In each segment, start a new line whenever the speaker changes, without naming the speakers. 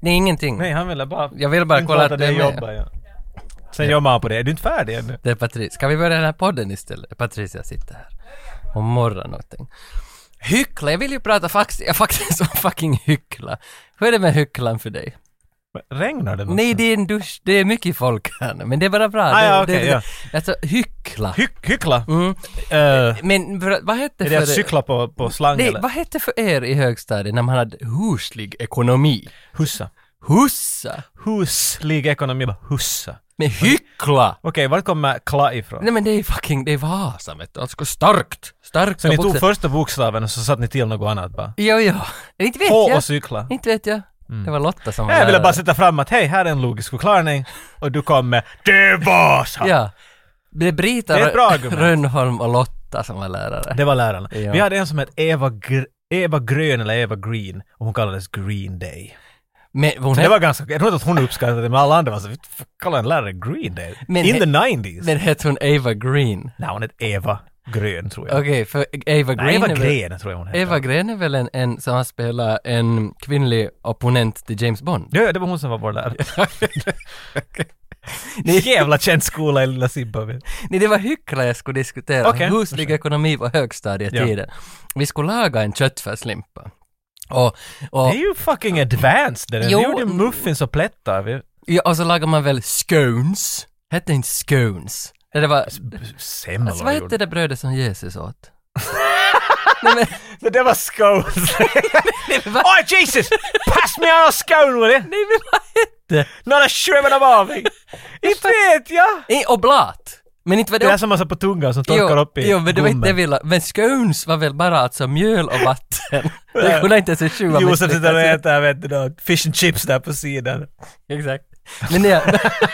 Nej, ingenting.
Nej, han ville bara...
Mm. Jag vill bara kolla att du
det
är med.
jobbar ja. Sen jobbar han på det. Är du inte färdig ännu?
Det är Patrice. Ska vi börja den här podden istället? Patricia sitter här och morrar någonting. Hyckla, jag vill ju prata fax... Jag faktiskt om fucking hyckla. Hur är det med hycklan för dig?
Regnar det?
Nej, det är en dusch, det är mycket folk här nu, men det är bara bra.
Ah,
det,
ja,
det, det,
okej, ja.
Alltså, hyckla.
Hyck, hyckla?
Mm.
Eh,
Men för, vad hette
är det att
för...
cykla på, på slang
Nej,
eller?
vad hette för er i högstadiet när man hade huslig ekonomi?
Hussa.
Hussa?
Huslig ekonomi, bara hussa.
Men hyckla!
Okej, var kommer kla ifrån?
Nej men det är fucking, det är Vasa vet du. Alltså starkt! Starkt!
så ni tog första bokstaven och så satte ni till något annat bara?
Jo, jo. Inte vet
H
jag.
och cykla?
Inte vet jag. Det var Lotta som var
Nej, Mm. jag ville
lärare.
bara sätta fram att hej, här är en logisk förklaring och du kom med Det var så!
Ja. Det är Brita
Det är ett bra argument.
Rönnholm och Lotta som var lärare.
Det var lärarna.
Ja.
Vi hade en som hette Eva, Gr- Eva Grön eller Eva Green och hon kallades Green Day.
Men hon
Det
hette,
var ganska, jag tror inte att hon uppskattade det men alla andra var så "Vad fan kallar en lärare Green Day?
Men
In
he-
the 90s?
men hette hon Eva Green?
Nej, hon hette Eva Grön tror jag.
Okej, för Eva Green
Nej, Eva
är väl,
Green tror jag hon hette.
Eva Green är väl en, en som har spelat en kvinnlig opponent till James Bond?
Ja, ja, det var hon som var vår lärare. Jävla känd skola i lilla Zimbabwe.
Nej, det var hyckla jag skulle diskutera.
Okej.
Huslig ekonomi på högstadietiden. Vi skulle laga en köttfärslimpa. Och,
Det
och,
är ju fucking advanced det där.
Jo. mm.
Vi gjorde ju muffins och plättar. Vi...
ja, och så lagar man väl scones? Hette inte scones? Det var,
Semlor
alltså, vad
gjorde
hette det brödet som Jesus åt? Nej, men,
Men det var scones.
nej, men vad,
Oj Jesus! Pass mig alla scone will you?
nej, men vad hette?
Några sjömän av avig. Inte vet jag!
Nej, Oblat! Men inte var
Det
det
där som man satt på tungan som torkar
jo,
upp i
Jo, men det var inte det
gommen.
vi la- Men scones var väl bara alltså mjöl och vatten? det kunde inte ens en tjuva
Josef sitter och
misslyckas.
äter vet du, då, fish and chips där på sidan.
Exakt. Men det...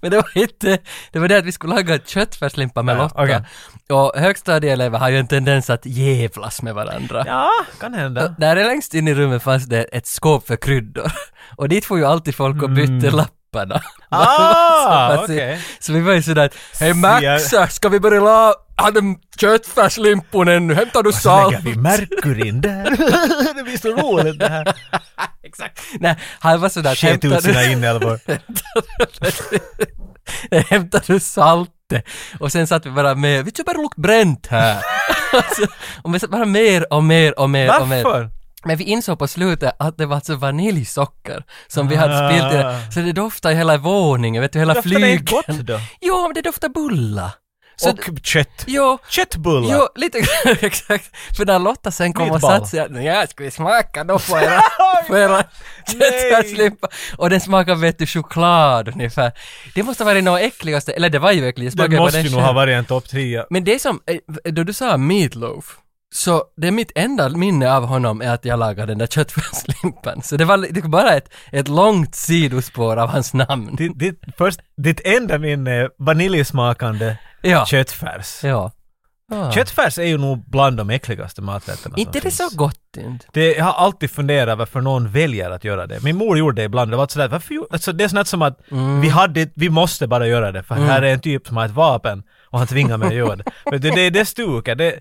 Men det var inte, det var det att vi skulle laga köttfärslimpa med
Ja,
Lotta.
okej.
Och högstadieelever har ju en tendens att jävlas med varandra.
Ja, kan hända.
Där längst in i rummet fanns det ett skåp för kryddor. Och dit får ju alltid folk och bytte lapparna.
Mm. Ah,
Så-
okej.
Så vi var ju sådär att hej Maxa, ska vi börja la... Hade köttfärslimpon ännu, hämtar du
Så
salt?
lägger vi Merkurin där. det blir så roligt det här.
Exakt. Nej, han var sådär att
Sket
hämtar
ut
du...
sina inälvor.
hämtar du saltet? Och sen satt vi bara med, vi typ bara lukt bränt här. Alltså, och vi satt bara mer och mer och
Eh,
mer och mer.
Varför?
Men vi insåg på slutet att det var alltså vaniljsocker som vi hade spillt i det. Så det doftade i hela våningen, vet du, hela
Ah. Doftar det inte
flyget.
gott då?
Jo, men det doftar bulla. Så
Och kött.
Jo,
Köttbullar.
jo, lite exakt. För när Lotta sen kom och
Meatball.
satte sig, "Nu, ja, ska vi smaka då på era, på era köttfärslimpa? Och den smakar vet du choklad ungefär. Det måste ha varit något äckligaste, eller det var ju äckligt, jag
Det
smakade på
måste
den
ju nog
själv.
ha varit en topp 10.
Men det som, eh, då du sa meatloaf, så det är mitt enda minne av honom är att jag lagade den där köttfärslimpan. Så det var, li- det var bara ett, ett långt sidospår av hans namn.
Ditt, ditt, först, ditt enda minne är vaniljsmakande
Ja.
köttfärs.
Ja. Ah.
Köttfärs är ju nog bland de äckligaste maträtterna
Inte
som
det så
finns.
gott inte.
Det, jag har alltid funderat varför någon väljer att göra det. Min mor gjorde det ibland. Det var sådär, varför gjorde... Alltså, det är sånt som att
Mm.
vi, hade, vi måste bara göra det, för här är en typ som har ett vapen och han tvingar mig att göra det. Men det, det, det stuket. Det,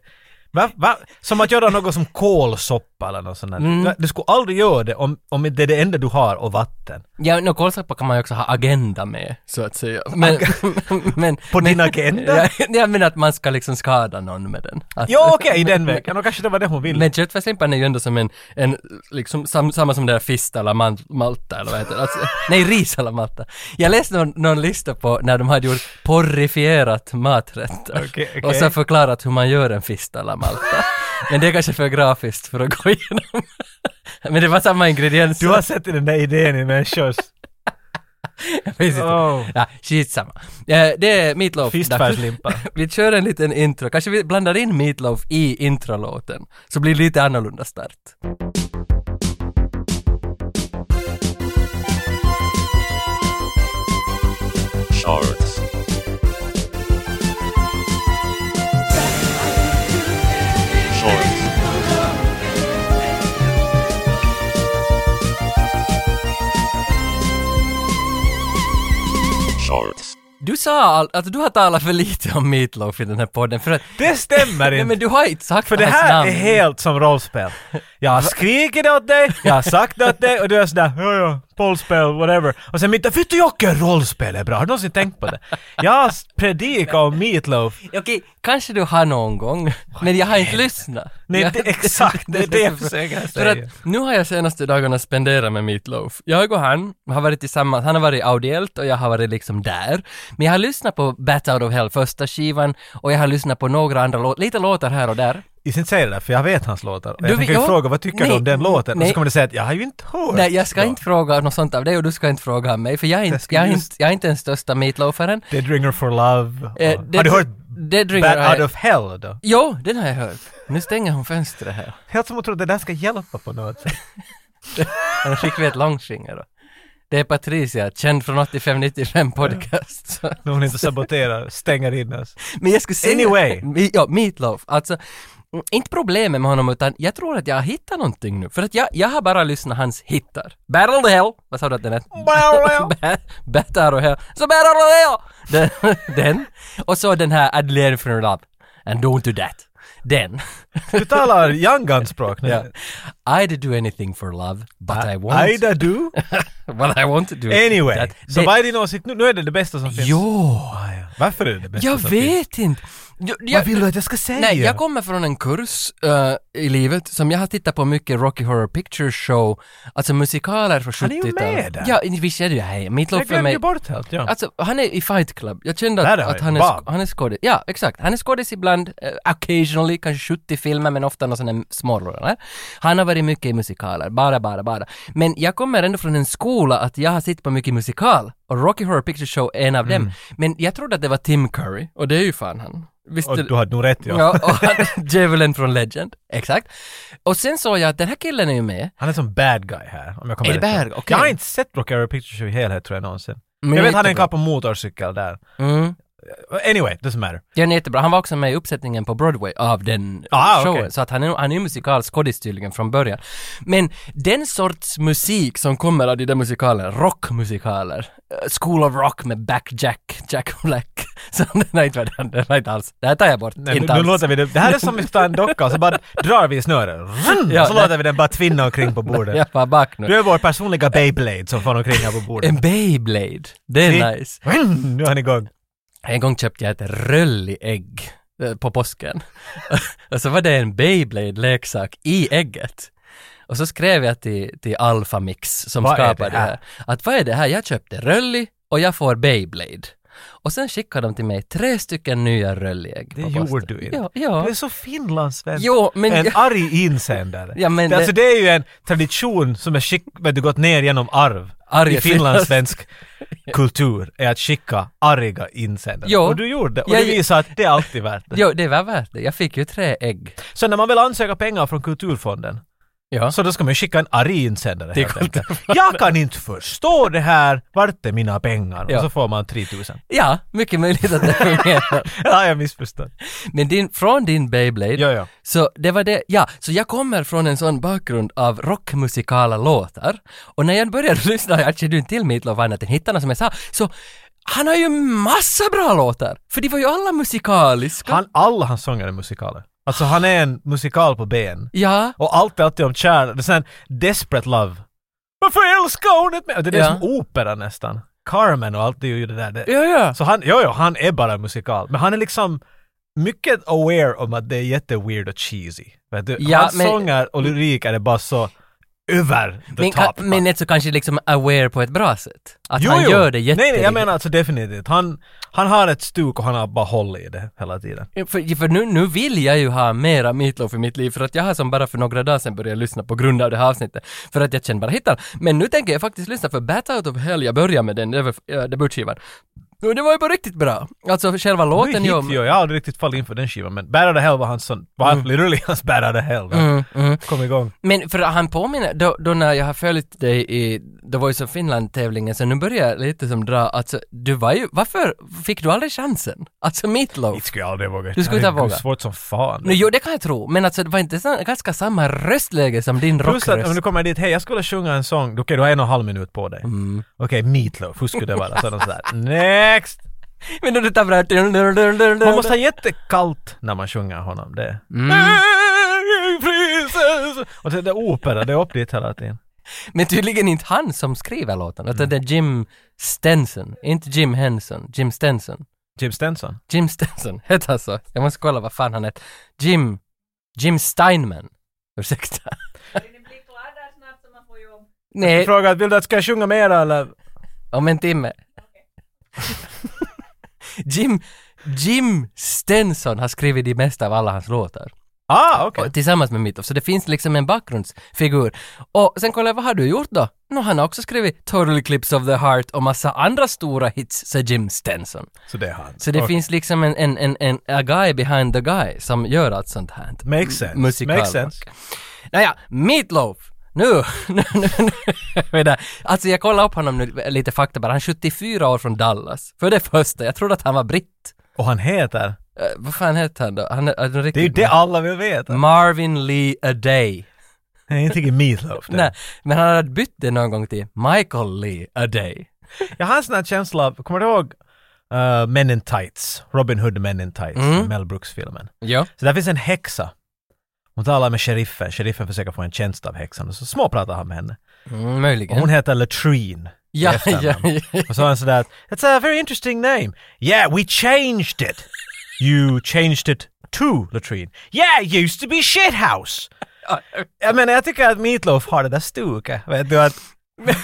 va, va? Som att göra något som kålsoppa eller något sånt där.
Mm.
Du skulle aldrig göra det om, om det är det enda du har och vatten.
Ja, no, kolsoppa kan man ju också ha agenda med, så att säga. Men, men,
På
men,
din agenda?
Ja, jag menar att man ska liksom skada någon med den. Att-
Ja, okej, i den vägen. Och kanske det var det hon ville.
Men köttfärslimpan är ju ändå som en, en liksom, sam, samma som det där fist eller man, malta eller vad heter det? Alltså, nej, ris eller malta. Jag läste någon, någon lista på när de hade gjort porrifierat maträtter.
Okej, okej.
Och så förklarat hur man gör en fist eller malta. Men det är kanske för grafiskt för att gå igenom. Men det var samma ingredienser.
Du har sett den där idén i människors...
Jag vet inte.
Oh.
Ja, skitsamma. Eh, Det är Meatloaf.
Fistfärslimpa.
Vi kör en liten intro, kanske vi blandar in Meatloaf i introlåten, så blir det lite annorlunda start.
Shorts. Shorts. Shorts.
Du sa all, att du har talat för lite om Meatloaf i den här podden för att...
Det stämmer
Nej
inte!
men du har inte sagt
För det
hans
här
namn.
är helt som rollspel. Jag har skrikit det åt dig, jag har sagt det åt dig och du är sådär ja ja, rollspel, whatever. Och sen mitt ”Vet du Jocke, rollspel är bra”. Har du någonsin tänkt på det? Jag har predikat om Meatloaf.
Okej, kanske du har någon gång, men jag har inte lyssnat.
Nej,
Jag-
det, exakt. Det är det jag försöker
För att
säga.
nu har jag senaste dagarna spenderat med Meatloaf. Jag och han har varit tillsammans, han har varit audiellt och jag har varit liksom där. Men jag har lyssnat på Bat Out of Hell, första skivan, och jag har lyssnat på några andra låtar, lite låtar här och där.
Jag ska inte säga det där, för jag vet hans låtar. Och
Du,
jag tänker ju
ja,
fråga vad tycker du
nej,
om den låten? Och
nej.
så kommer du säga att jag har ju inte hört.
Nej, jag ska
dem.
inte fråga något sånt av dig och du ska inte fråga av mig, för jag är
Jag
inte,
ska
jag är
just-
inte, jag är inte den största Meatloafaren.
Dead Ringer for Love. och-
Eh, det-
har du hört
det dringer
Bad
har
Out
jag...
of Hell då?
Jo, den har jag hört. Nu stänger hon fönstret här.
Helt som att tro att det där ska hjälpa på något sätt.
Hon skickade ett långfinger då. Det är Patricia, känd från 85-95 podcast. Så.
När hon inte saboterar, stänger in oss.
Men jag skulle säga...
Anyway.
Mi- Ja, Meatloaf. Alltså, mm, inte problemet med honom utan jag tror att jag har hittat någonting nu. För att jag, jag har bara lyssnat hans hittar. Battle the hell. Vad sa du att den hette? Ba- Battle the hell. Så battle the hell! Den. den. Och så den här Adelaide from Love. And don't do that. Den.
Du talar Young Gun-språk nu.
ja. I'd do anything for love, but I won't.
Aida du.
But I won't do
Anyway.
that.
Så
Det-
vad är din åsikt nu? Nu är det det bästa som finns.
Jo!
Varför är det det bästa
Jag
som finns?
vet inte. Jag, jag,
Vad vill du att jag ska säga?
nej, jag kommer från en kurs eh, i livet som jag har tittat på mycket Rocky Horror Picture Show, alltså musikaler från 70-talet.
är ju med där.
Ja, visst är det ju. Hej, Meatloaf
jag
för
glömde
mig.
ju bort helt. Ja.
Alltså, han är i Fight Club. Jag kände att,
Där har
att
vi
han, är,
Bob.
sk- han är skådis. Ja, exakt. Han är skådis ibland, eh, occasionally, kanske 70 filmer, men ofta några sådana småroller. Han har varit mycket i musikaler, bara, bara, bara. Men jag kommer ändå från en skola att jag har sett på mycket musikal, och Rocky Horror Picture Show är en av
Mm.
dem. Men jag trodde att det var Tim Curry, och det är ju fan han. Visst
och
är-
du hade nog rätt ja.
Ja, och han, Djävulen från Legend. Exakt. Och sen såg jag att den här killen är ju med.
Han är som bad guy här. Om jag kommer
Är det
rätt.
bad guy? Okej.
Jag har inte sett Rocky Horror Picture Show i helhet tror jag någonsin.
Men
jag vet han är en
jättebra.
karl på motorcykel där.
Mm.
Anyway, doesn't matter.
Den är jättebra. Han var också med i uppsättningen på Broadway av den
Ah,
showen.
okej.
Så att han är, han är ju musikalskådis tydligen från början. Men den sorts musik som kommer av de där musikalerna, rockmusikaler, eh, School of Rock med Back Jack, Jack Black. Så den har inte varit, den har inte alls. Det här tar jag bort.
Nej, nu,
inte
nu
alls.
låter vi det. Det här är som att ta en docka och så bara drar vi i snöret. Vroom!
Ja,
så
nej.
låter vi den bara tvinna omkring på
Jag
bordet.
var back nu.
Du är vår personliga Beyblade som far omkring här på bordet.
En Beyblade. Det är
Se.
nice.
Vroom! Nu är han igång.
En gång köpte jag ett röllig-ägg eh, på påsken. och så var det en Beyblade-leksak i ägget. Och så skrev jag till, till Alpha Mix som
Vad är det
skapade det här?
här?
Att vad är det här? Jag köpte röllig och jag får Beyblade. Och sen skickade de till mig tre stycken nya röllig-ägg
Det
på posten.
gjorde du inte.
Ja,
Du
ja.
är så finlandssvensk.
Jo, men...
en arg insändare.
Ja, men
det, alltså
det-
det är ju en tradition som är skick, vet du, gått ner genom arv
Arga
i finlandssvensk kultur, är att skicka arga insändare.
Jo.
Och du gjorde det. Och
Jag-
det visar att det är alltid värt det.
Jo, det var värt det. Jag fick ju tre ägg.
Så när man vill ansöka pengar från Kulturfonden,
Ja.
så då ska man ju skicka en arg insändare
Till
helt enkelt. Jag kan inte förstå det här, vart är mina pengar?
Ja.
Och så får man 3000.
ja, mycket möjligt att det fungerar.
Ja, jag missförstod.
Men din, från din Beyblade
Ja, ja.
Så det var det, ja, så jag kommer från en sån bakgrund av rockmusikala låtar och när jag började lyssna, jag kände ju inte till Meatloaf annat än hittarna som jag sa, så han har ju massa bra låtar, för de var ju alla musikaliska.
Han, alla hans sånger är musikaler. Alltså han är en musikal på ben.
Ja,
Och allt är alltid om kärlek. Sen Desperate Love. Varför älskar hon inte mig? Det är det
Ja.
som opera nästan. Carmen och allt är ju det där. Det.
ja, ja.
Så han, jo, jo, han är bara musikal. Men han är liksom mycket aware om att det är jätteweird och cheesy. Vet du?
Ja,
Hans
men-
sånger och lyrik är bara så över the
Men,
top.
men inte så kanske liksom aware på ett bra sätt. Att
Jo,
han
jo.
gör det
Nej, nej,
jätterikt.
jag menar alltså definitivt. Han, han har ett stuk och han har bara håll i det hela tiden.
För, för nu, nu vill jag ju ha mera Meatloaf i mitt liv för att jag har som bara för några dagar sedan börjat lyssna på grund av det här avsnittet. För att jag känner bara hittar. Men nu tänker jag faktiskt lyssna för Bat Out of Hell, jag börjar med den, det var äh, debutskivan. Och det var ju på riktigt bra. Alltså själva
Nu är
låten
hit,
ju...
ju, jag har aldrig riktigt fallit in för den skivan men Bad Outta Hell var hans sån, var literally hans Bad Outta Hell.
Mm, mm.
Kom igång.
Men för han påminner, då, då när jag har följt dig i The Voice of Finland-tävlingen så nu börjar jag lite som dra, alltså du var ju, varför fick du aldrig chansen? Alltså Meatloaf.
Inte skulle jag aldrig våga.
Du skulle inte
Herregud,
våga.
svårt som fan.
Nu, jo, det kan jag tro, men alltså det var inte så, ganska samma röstläge som din
Plus att om
rockröst.
du kommer dit, hej jag skulle sjunga en
Mm.
sång, okej du har en och en halv minut på dig. Okej, Meatloaf, hur skulle det vara? Så de sådär, next!
Men du tar bara...
Man måste ha jättekallt när man sjunger honom. Det.
Mm.
Mm. Och det är opera, det är upp dit hela tiden.
Men tydligen inte han som skriver låten, utan det är Jim Stenson. Inte Jim Henson, Jim Stenson.
Jim Stenson.
Jim Stenson heter han så? Jag måste kolla vad fan han heter. Jim... Jim Steinman. Ursäkta.
Vill ni bli glada snabbt så man får jobb?
Nej,
Fråga, vill du att ska jag sjunga mera eller?
om en timme. Jim... Jim Stenson har skrivit det mesta av alla hans låtar.
Ah, okej.
Och tillsammans med Mitov. Så det finns liksom en bakgrundsfigur. Och sen kollar jag, vad har du gjort då? Nå, han har också skrivit Total Eclipse of the Heart och massa andra stora hits, sa Jim Stenson.
Så det är han.
Så det
Okej.
finns liksom en, en, en, en a guy behind the guy som gör allt sånt här.
Makes sense.
Musikal-
Makes sense.
Nåja, Meatloaf! Nu, nu, nu, nu, är vi där. Alltså jag kollade upp honom nu, lite fakta bara. Han är 74 år från Dallas. För det första, jag trodde att han var britt.
Och han heter?
Eh, vad fan hette han då? Han är, är
Det är ju
Mm.
det alla vill veta.
Marvin Lee A Day.
Nej, inte i Meatloaf. det.
Nej, men han hade bytt det någon gång till Michael Lee A Day.
Jag har en sån här känsla av, kommer du ihåg eh, Men in Tights? Robin Hood Men in Tights,
Mm.
Mel Brooks-filmen.
Ja.
Så där finns en häxa. Hon talar med sheriffen, sheriffen försöker få en tjänst av häxan och så småpratar han med henne.
Mm,
Och
möjligen.
hon heter Latrine. i
ja, ja,
efternamn.
ja,
Och så har han sådär att It's a very interesting name. Yeah, we changed it. You changed it to latrine. Yeah, it used to be shithouse. Jag menar, jag tycker att Meatloaf har det där stuket. Vet du att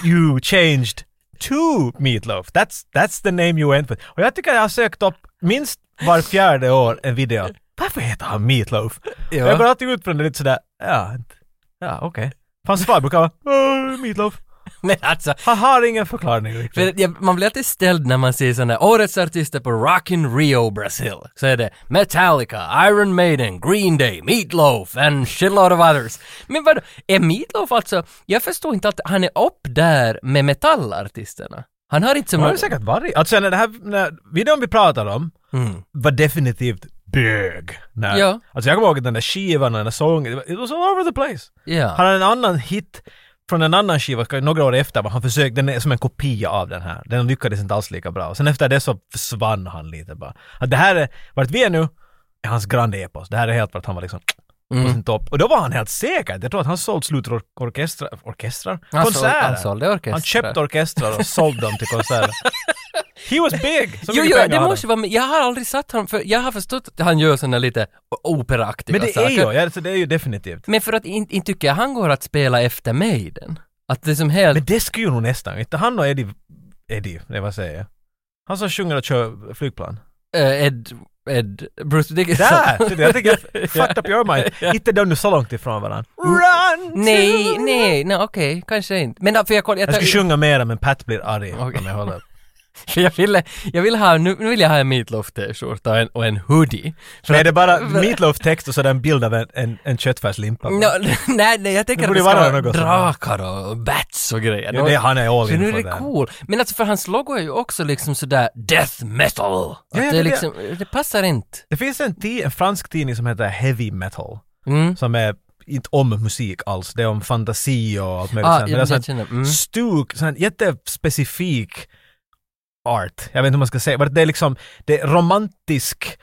You changed to Meatloaf. That's, that's the name you went with. Och jag tycker jag har sökt upp minst var fjärde år en video. Varför heter han Meatloaf?
Ja.
Jag går alltid ut från det lite sådär, ja, inte- ja okej. Hans far brukar vara, "Åh, Meatloaf.
Men alltså,
Han har ingen förklaring riktigt.
För jag, man blir alltid ställd när man ser sådana årets artister på Rockin' Rio Brasil. Så är det Metallica, Iron Maiden, Green Day, Meatloaf and shitload of others. Men vadå, är Meatloaf alltså, jag förstår inte att han är upp där med metallartisterna. Han har inte som
Det har
någon...
det säkert varit. Alltså när det här, när videon vi pratar om
Mm.
var definitivt bög. När,
Ja.
Alltså jag kommer ihåg den där skivan och den där sången, det var- it was all over the place. Han
Ja.
hade en annan hit från en annan skiva några år efter, men han försökte, den är som en kopia av den här. Den lyckades inte alls lika bra. Och sen efter det så försvann han lite bara. Att det här är, vart vi är nu, är hans grand epos. Det här är helt vart han var liksom
Mm.
på sin topp. Och då var han helt säker. Jag tror att han sålde slutorkestrar, orkestrar?
Han sålde-
konserter.
han sålde orkestrar.
Han köpte orkestrar och sålde dem till konserter. He was big! Så
Jo,
mycket
jo,
pengar
det
hade
måste vara, jag har aldrig satt honom för, jag har förstått att han gör sådana lite
han.
operaaktiga
Men det är
saker.
ju, ja, alltså, det är ju definitivt.
Men för att inte in tycker jag han går att spela efter Maiden. Att det är som helt...
Men det skulle ju nog nästan, inte han och Eddie, Eddie, det vad säger jag? Han som sjunger och kör flygplan.
Eh, Ed, Ed, Bruce Dickinson.
Där! Det är det. Jag tänker, fucked up your mind. Inte de nu så långt ifrån varandra. Run! to-
Nej, nej, nej okej, kanske inte. Men för jag kollade,
Jag
jag,
ska
jag,
sjunga mera men Pat blir arg
Okej.
om jag håller upp.
jag ville, jag vill ha, nu, nu vill jag ha en Meatloaf t-skjorta och en, och en hoodie. För
Nej
att-
det är bara Meatloaf-text och så är det en bild av en, en, en köttfärslimpa.
Nå, nej, nej, jag tänker
Det
att
borde
det ska
vara
vara
något sånt.
drakar och bats och grejer.
Ja, det, han är all
för
in
nu är
på
det
den.
cool. Men alltså för hans logo är ju också liksom sådär death metal. Att
ja,
det,
det-
är liksom, det passar inte.
Det finns en, ti- en fransk tidning som heter Heavy Metal.
Mm.
Som är inte om musik alls, det är om fantasi och allt möjligt.
Ah, jag,
sånt. Men det är
jag
sån
känner,
här
mm.
stuk, sån här jättespecifik art. Jag vet inte hur man ska säga, men det är liksom, det är romantisk,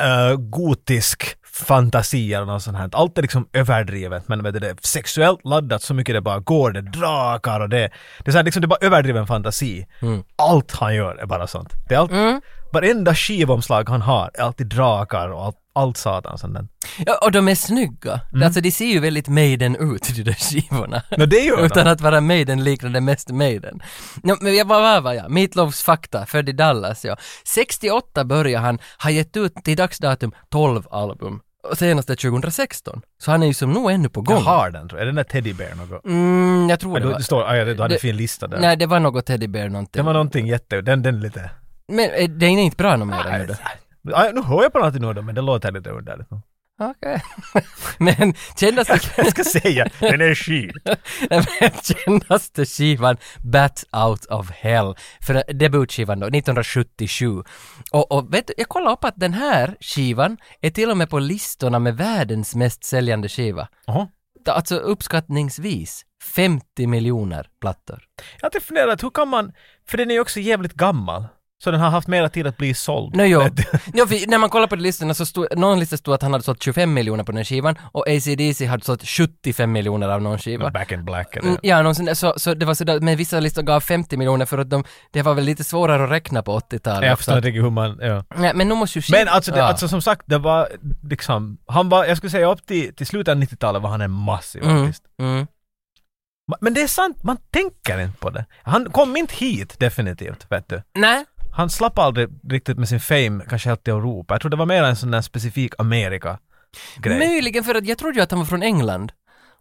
eh, gotisk fantasi eller något sånt här. Allt är liksom överdrivet, men vet du, det är sexuellt laddat så mycket det bara går, det är drakar och det, det är så här, liksom, det är bara överdriven fantasi.
Mm.
Allt han gör är bara sånt. Det är allt,
Mm.
varenda skivomslag han har är alltid drakar och allt, allt satan sånt där.
Ja, och de är snygga.
Mm.
Alltså de ser ju väldigt Maiden ut, de där skivorna.
Nå, det gör de.
Utan att vara Maiden liknar det mest Maiden. No, men jag var, var, var jag? Meatloafs fakta, född i Dallas ja. 68 började han, har gett ut till dags datum 12 album. Och senaste 2016. Så han är ju som nog ännu på gång.
Jag har den tror jag. Är den där teddybär något?
Mm, jag tror
Ja,
det
du,
var.
du, står, ah, ja, du hade
Det-
en fin lista där.
Nej, det var något Teddy Bear
Det
någonting.
var någonting jätte... Den, den lite...
Men eh, den är inte bra någon mer än det.
Ah, nu hör jag på någonting nu då, men det låter lite underligt.
Okej. men kändaste,
Jag ska säga, den är skit.
nej, men kändaste skivan, Bat Out of Hell, för eh, debutskivan då, 1977. Och, och vet du, jag kollade upp att den här skivan är till och med på listorna med världens mest säljande skiva.
Jaha.
Alltså uppskattningsvis 50 miljoner plattor.
typ Jag har alltid funderat, hur kan man... För den är ju också jävligt gammal. Så den har haft mera tid att bli såld.
No, jo.
Vet du?
jo för när man kollar på de listorna så stod, någon lista stod att han hade sålt 25 miljoner på den skivan och ACDC hade sålt 75 miljoner av någon skiva.
Back in black eller...
Mm, ja, någonsin, där. så, så det var sådär, men vissa listor gav 50 miljoner för att de, det var väl lite svårare att räkna på 80-talet.
Jag
Så
förstår
att-
inte riktigt hur man... Ja.
Nej, men nu måste ju
Men alltså, det,
Ja.
alltså som sagt, det var liksom... Han var, jag skulle säga upp till, till slutet av 90-talet var han en massiv
mm,
artist.
mm.
Ma- Men det är sant, man tänker inte på det. Han kom inte hit definitivt, vet du.
Nej,
Han slapp aldrig riktigt med sin fame, kanske helt till Europa. Jag tror det var mer en sån där specifik Amerika-grej.
möjligen för att jag trodde ju att han var från England.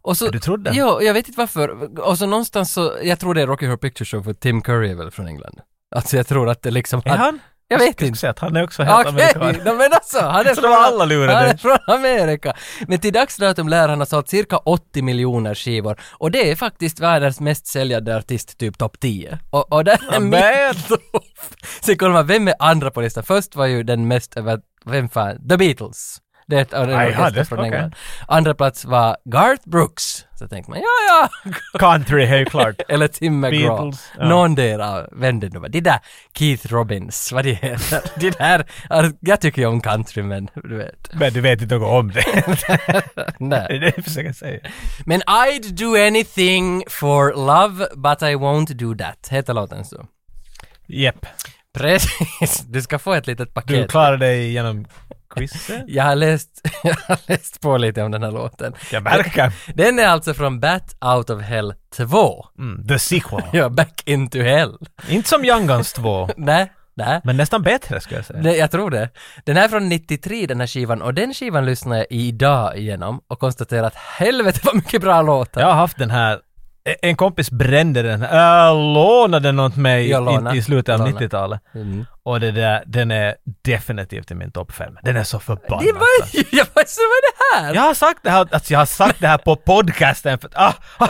Och så,
Du trodde?
Jo, jag vet inte varför. Och så någonstans så, jag tror det är Rocky Horror Picture Show för Tim Curry är väl från England. Alltså jag tror att det liksom...
Är han?
Jag vet
skulle
inte.
säga att han är också helt
Okej,
amerikan.
no, men alltså, han är
Så
från...
då var alla lurade.
Han är från Amerika. Men till dags datum lär han ha sålt cirka 80 miljoner skivor. Och det är faktiskt världens mest säljande artist, typ topp 10. Och, och där är
men.
mitt topp. Sen kollar man, vem är andra på listan? Först var ju den mest över... Vem fan? The Beatles. Det är ett en
Aj, ja, det-
orkester från
okej.
England. Andra plats var Garth Brooks. Så tänkte man, ja, ja.
Country, helt klart.
Eller Tim McGraw.
Beatles, ja.
Någondera, vem det nu var. Det där Keith Robbins, vad det heter. det där, jag tycker ju om country men du vet.
Men du vet inte något om det. det
Nej.
är det jag försöker säga.
Men I'd do anything for love but I won't do that, heter låten så.
Jepp.
Precis, du ska få ett litet paket.
Du klarar dig genom quizet?
jag har, läst, jag har läst på lite om den här låten.
Jag märker.
Den är alltså från Bat Out of Hell 2.
Mm, the sequel.
Ja, Back Into Hell.
inte som Young Guns 2,
Nej, nej.
men nästan bättre skulle jag säga.
Nej, jag tror det. Den här är från 93, den här skivan, och den skivan lyssnar jag idag igenom och konstaterar att helvete vad mycket bra låtar.
Jag har haft den här e- en kompis brände den. Äh, lånade den åt mig
Jag lånade.
i, i slutet av
Lånade.
90-talet.
Mm.
Och det där, den är definitivt i min topp 5. Den är så förbannad.
Det
alltså.
var ju, jag bara, så vad är det här?
Jag har sagt det här, alltså jag har sagt det här på podcasten för att, ah, ah,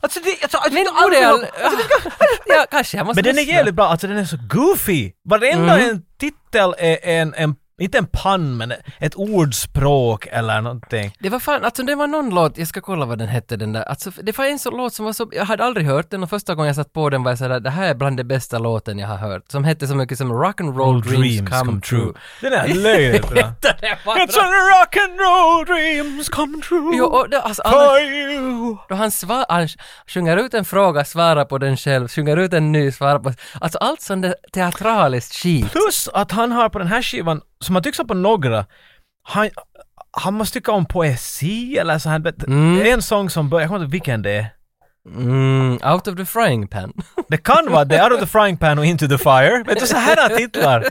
alltså det, alltså, alltså,
Men
jag aldrig-
Orel, Ah. ja, kanske jag måste
Men den är
lyssna. Mm.
jävligt bra, alltså den är så goofy! Varenda en titel är en, en, inte en pann men ett ordspråk eller någonting.
Det var fan, alltså det var någon låt, jag ska kolla vad den hette den där, alltså det var en sån låt som var så, jag hade aldrig hört den och första gången jag satt på den var jag sådär, det här är bland det bästa låten jag har hört, som hette så mycket som Rock'n'Roll Dreams, Come, True.
Den är löjligt bra.
Det
It's a rock and roll dreams come true
Jo, och det, alltså, alla-
for you.
Då han, svar, han sjunger ut en fråga, svarar på den själv, sjunger ut en ny, svarar på... Alltså allt sånt där teatraliskt skit.
Plus att han har på den här skivan, som han tycks ha på några, han, han måste tycka om poesi eller så här. Det- Det är en sång som börjar, jag kommer inte ihåg vilken det är.
Mm, out of the frying pan.
Det kan vara det, Out of the frying pan och Into the fire. Vet du, så här titlar.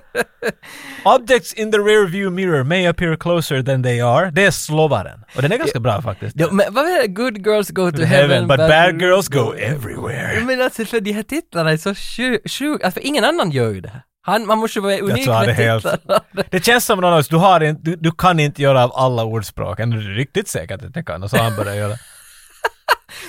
Objects in the rear view mirror may appear closer than they are. Det är slovaren. Och den är ganska bra faktiskt.
Jo, men vad är det? Good girls go to heaven,
Heaven, but bad girls go everywhere.
Men alltså för de här titlarna är så sjuka, sjuk, alltså för ingen annan gör ju det här. Han, man måste ju vara unik
tror han
med
är helt-
titlarna.
Det känns som någon av oss, du, har inte, du, du kan inte göra av alla ordspråken. Du är riktigt säker att du inte kan. Och så har han börjat göra.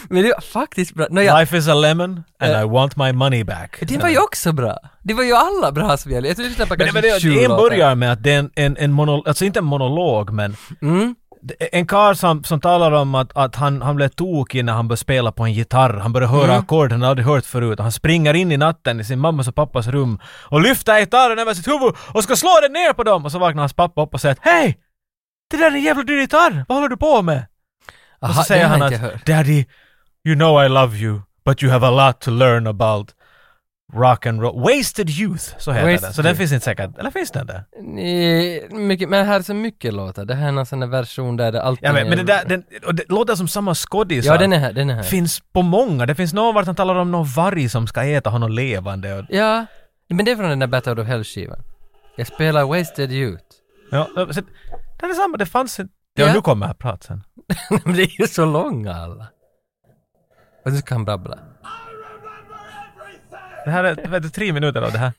Men det var faktiskt bra. Nåja,
Life is a lemon and I want my money back.
det var ju också bra. Det var ju alla bra som gällde. Jag tror lyssnade på
Men,
kanske
men det,
sju
en
låtar.
börjar med att det är en, en, en monolog, alltså inte en monolog men Det är En karl som, som talar om att, att han, han blev tokig när han började spela på en gitarr. Han började höra ackord han aldrig hört förut. Och Han springer in i natten i sin mammas och pappas rum och lyfter gitarren över sitt huvud och ska slå den ner på dem! Och så vaknar hans pappa upp och säger att Hej! Det där är en jävla dyr gitarr! Vad håller du på med?
Aha,
och så säger
den har
han
inte jag hört.
att Daddy, you know I love you, but you have a lot to learn about rock and roll. Wasted youth, så heter den.
Wasted
Så den
Youth.
finns inte säkert. Eller finns den där?
Nej, mycket, men här är så mycket låtar. Det här är någon sån där version där det alltid
Jag vet, men det där, den, och det låter som samma skådisar.
Eh, Ja, den är här, den är här.
finns på många. Det finns någon vart han talar om någon varg som ska äta honom levande. Och,
Ja, men det är från den där Battle of Hell-skivan. Jag spelar Wasted Youth.
ja, så, det är samma, det fanns inte... Ja,
Ja.
nu kommer här pratsen.
men det är ju så långa alla. Och nu ska han babbla.
Det här är, vet du, tre minuter av det här.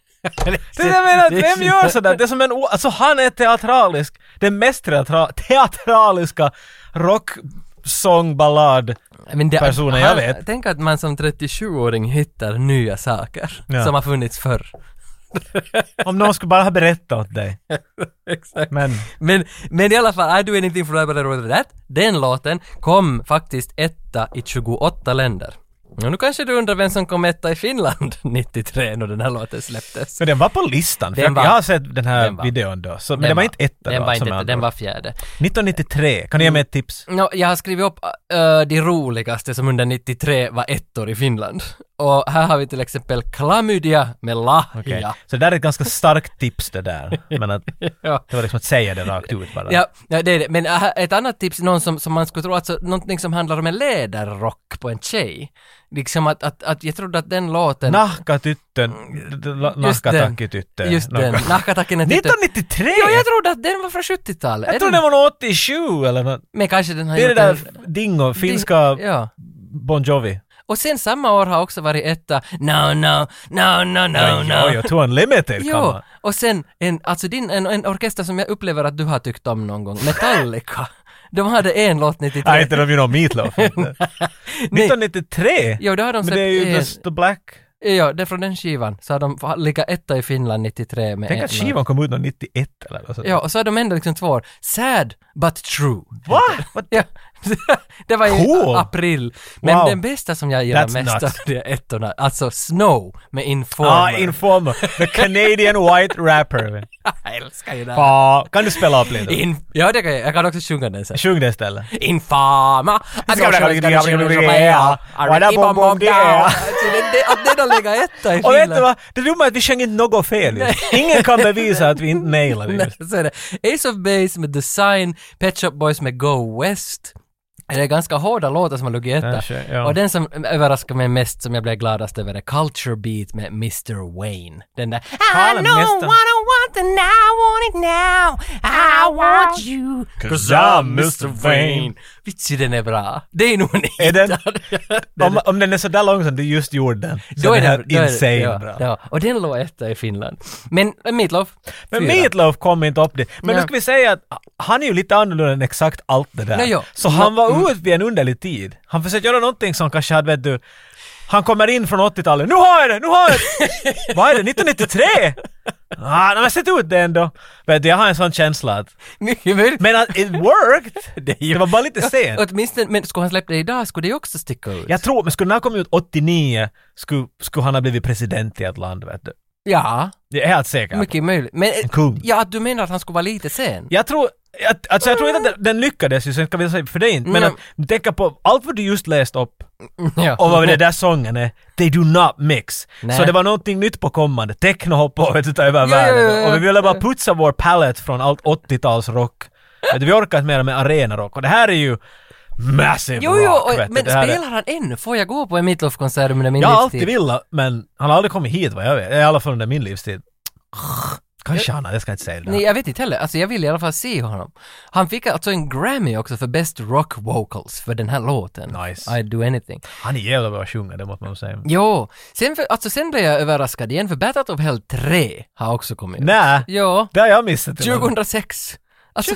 Det är
är-
det jag menar,
det är
vem
så-
gör sådär? Det är som en, o- alltså han är teatralisk. Den mest teatra, teatraliska rocksångballad.
Men det,
Personer jag vet.
Tänk att man som 37-åring hittar nya saker
Ja.
som har funnits förr.
Om någon skulle bara ha berättat åt dig.
Exakt.
Men
Men, men i alla fall, I do anything for love but I don't do that. Den låten kom faktiskt etta i 28 länder. Ja, nu kanske du undrar vem som kom etta i Finland 93 när den här låten släpptes.
Men den var på listan, för
Den
jag,
var-
jag har sett den här
den var-
videon då. Så, men den, var inte etta
Den
då,
var inte
som jag
etta,
andra.
den var fjärde.
1993, kan du ge mig ett tips?
Nå, jag har skrivit upp äh, de roligaste som under 93 var ettor i Finland. Och här har vi till exempel Klamydia med Lahja.
Okej. Så det där är ett ganska starkt tips det där. Men att,
Ja.
det var liksom att säga det rakt ut bara.
Ja, ja, det är det. Men äh, ett annat tips, någon som, som man skulle tro, alltså någonting som handlar om en läderrock på en tjej. Liksom att, att, att jag trodde att den låten...
Nahkatyttön,
just
nahkatakityttön.
den. Just den.
Något-
Nahkatakken är tyttö.
1993!
Jo, jag trodde att den var från 70-talet. Är
Jag tror
den-
det var någon 87 eller något.
Men kanske den har
Det är det
gjort
där
en-
Dingo,
Det-
finska
Ja.
Bon Jovi.
Och sen samma år har också varit etta, no, no, no, no, no,
Ja,
no.
jag tror Unlimited kan
Jo,
man.
och sen en, alltså din, en, en orkester som jag upplever att du har tyckt om någon gång, Metallica. De hade en låt 93.
Nej, inte de ju någon Meatloaf. inte.
Nej.
1993?
Jo, det har de
Men det är ju
släppt en-
Just The Black.
Ja, det är från den skivan. Så har de legat etta i Finland 93 med
Tänk
en
att
låt.
skivan kom ut någon 91 eller något sånt.
Ja, och så har de ändå liksom två år. Sad but true.
Va? What?
Ja, det var i
Cool.
april. Men
Wow.
den bästa som jag gillar
That's
mest
nuts.
av de ettorna, alltså Snow med Informer.
Ah, Informer. The Canadian White Rapper.
jag älskar ju den.
Ah, kan du spela upp lite?
In, ja, det kan jag. Jag kan också sjunga den sen.
Sjung det istället.
Infama! Att
Ska
jag
vi-
ska- ska- ska- ska- ska- ska- ja.
Vad där bom, bom, det är.
Alltså, det- det- Att den har legat etta i
Och vet
Finland.
du vad? Det dumma är att vi sjöng inte något fel. Ingen kan bevisa att vi inte nailade det.
Nej, så är det. Ace of Base med Design, Pet Shop Boys med Go West. Det är ganska hårda låtar som har legat etta.
Kanske, ja.
Och den som överraskar mig mest, som jag blev gladast över, är Culture Beat med Mr Wayne. Den där I
Tala
don't
om nästa.
wanna want and I want it now I want you Cause I'm Mr Wayne Vitsi, den är bra. Det är nog en
Är den-
den
Om, om den är sådär lång som du just gjorde den, så
då är den
den här
då är det-
insane
ja,
bra.
Ja, och den låg etta i Finland. Men äh, Meatloaf,
Men
fyra.
Meatloaf kom inte upp dit. Men
Nej.
nu ska vi säga att han är ju lite annorlunda än exakt allt det där.
Nej, ja. Mm.
Så han var ut vid en underlig tid. Han försökte göra någonting som kanske hade, vet du, han kommer in från 80-talet. Nu har jag det! Nu har jag det! Vad är det? 1993? Ah, nej, men sett ut det ändå. Vet du, jag har en sån känsla att...
Mycket möjligt.
Men att it worked!
Det
det,
är ju-
var bara lite sent.
Åtminstone, men skulle han släppa det idag skulle det också sticka ut.
Jag tror, men skulle den ha kommit ut 89 skulle, skulle han ha blivit president i ett land, vet du.
ja,
Det är helt säkert.
mycket möjligt. Men eh,
En kung.
ja, du menar att han skulle vara lite sen?
Jag tror, att, alltså jag tror inte att den- den lyckades ju, så jag kan väl säga för dig inte, men
Mm.
att tänka på allt vad du just läst upp
Ja.
och vad den där sången är, they do not mix.
Nej.
Så det var någonting nytt på kommande, techno hoppade och vet du, ta över
Ja, ja,
världen.
ja, ja.
Och vi ville bara putsa vår palette från allt 80-talsrock. Vet du, vi orkar inte mer med arenarock och det här är ju massive
Jo,
rock.
jo, och,
vet du.
men
Det här är-
spelar han än? Får jag gå på en Meatloaf-konsert under min
Jag har
livstid?
alltid velat, men han har aldrig kommit hit vad jag vet. I alla fall under min livstid. Kanske han har, jag ska inte säga det.
Nej,
där.
jag vet inte heller. Alltså jag vill i alla fall se honom. Han fick alltså en Grammy också för Best Rock Vocals för den här låten.
Nice.
I'd do anything.
Han är jävla bra att sjunga, det måste man säga.
Jo, sen, för, alltså sen blev jag överraskad igen för Battle of Hell 3 har också kommit.
Nej,
Jo,
det har jag missat.
2006. Alltså,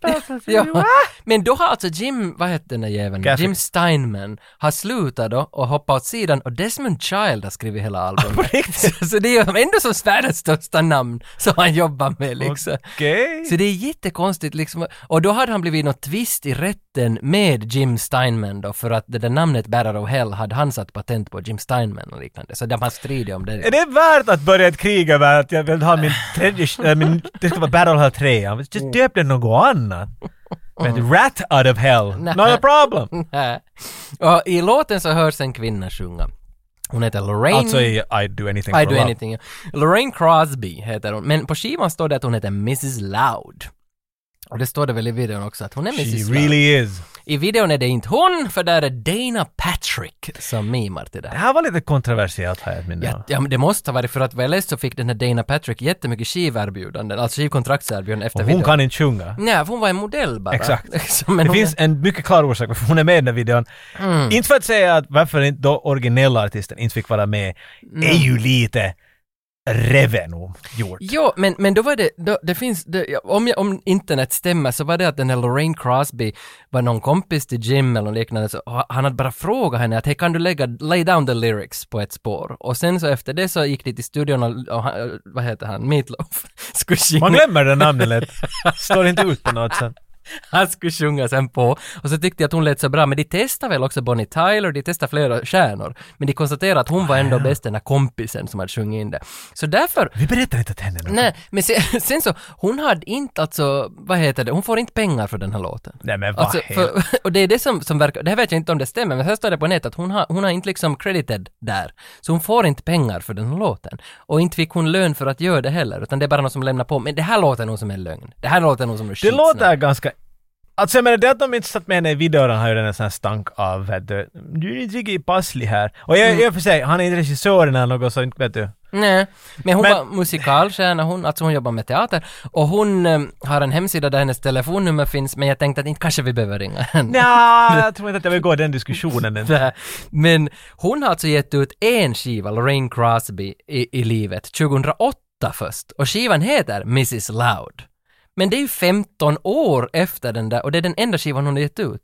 Battlefield
Ja. Men då har alltså Jim, vad hette den där jäveln?
Cassidy.
Jim Steinman har slutat då och hoppat åt sidan och Desmond Child har skrivit hela albumet. så, så det är ju ändå som världens största namn som han jobbar med liksom.
Okej.
Så det är jättekonstigt liksom. Och då hade han blivit något twist i rätten med Jim Steinman då för att det där namnet Battle of Hell hade han satt patent på Jim Steinman och liknande. Så de har stridit om
Är
det.
det värt att börja ett krig över att jag vill ha min tredje, äh, min, det ska vara Battle Hell 3. Jag vill Just döp den något annat. Men Rat out of hell.
Mm. Nej. Mm.
Not a problem.
Nej. och i låten så hörs en kvinna sjunga. Hon heter Lorraine.
Alltså i I do anything
I
for
do
love.
anything. Lorraine Crosby heter hon, men på skivan står det att hon heter Mrs Loud. Och det står det väl i videon också att hon är Mrs
She
Loud.
really is.
I videon är det inte hon, för där är Dana Patrick som mimar till det
Det
här.
här var lite kontroversiellt har jag ett minne
Ja,
av.
ja, men det måste ha varit för att vad jag läste så fick den här Dana Patrick jättemycket skiverbjudanden, alltså skivkontraktserbjudanden efter
Och
videon.
hon kan inte sjunga.
Nej, för hon var en modell bara.
Exakt.
Så, men
det
hon- Mm.
finns en mycket klar orsak varför hon är med i den här videon. Inte för att säga att varför inte då originella artisten inte fick vara med
Mm.
är ju lite revenue gjort.
Jo, men, men då var det, då, det finns, det, ja, om, jag, om internet stämmer så var det att den här Lorraine Crosby var någon kompis till Jim eller något liknande, så ha- han hade bara frågat henne att hej kan du lägga, lay down the lyrics på ett spår? Och sen så efter det så gick de till studion och, och han- vad heter han, Meatloaf, skulle
Man
sjunga.
glömmer det namnet lätt. Står inte ut på något sätt.
Han skulle sjunga sen på. Och så tyckte jag att hon lät så bra, men de testade väl också Bonnie Tyler, de testade flera stjärnor. Men de konstaterade att hon var
Ah,
ändå bäst, den här kompisen som hade sjungit in det. Så därför
Vi berättar inte till henne nu.
Nej, men sen, sen så, hon hade inte alltså, vad heter det, hon får inte pengar för den här låten.
Nej, men vad
alltså, för, Och det är det som, som verkar, det här vet jag inte om det stämmer, men här står det på nätet att hon har, hon har inte liksom credited där. Så hon får inte pengar för den här låten. Och inte fick hon lön för att göra det heller, utan det är bara någon som lämnar på. Men det här låter nog som en lögn. Det här låter nog som en
Det
skitsnack.
låter ganska... Alltså jag menar det att de inte satt med henne i videon har ju den här sån här stank av vet du, du är inte riktigt passlig här. Och jag,
Mm.
i och för sig, han är inte regissören eller något sånt vet du.
Nej, men hon
Men-
var musikalstjärna, hon, alltså hon jobbar med teater. Och hon eh, har en hemsida där hennes telefonnummer finns, men jag tänkte att inte kanske vi behöver ringa henne.
Nja, jag tror inte att jag vill gå den diskussionen än.
det här. Men hon har alltså gett ut en skiva, Lorraine Crosby, i, i livet, 2008 först. Och skivan heter Mrs Loud. Men det är ju 15 år efter den där och det är den enda skivan hon har gett ut.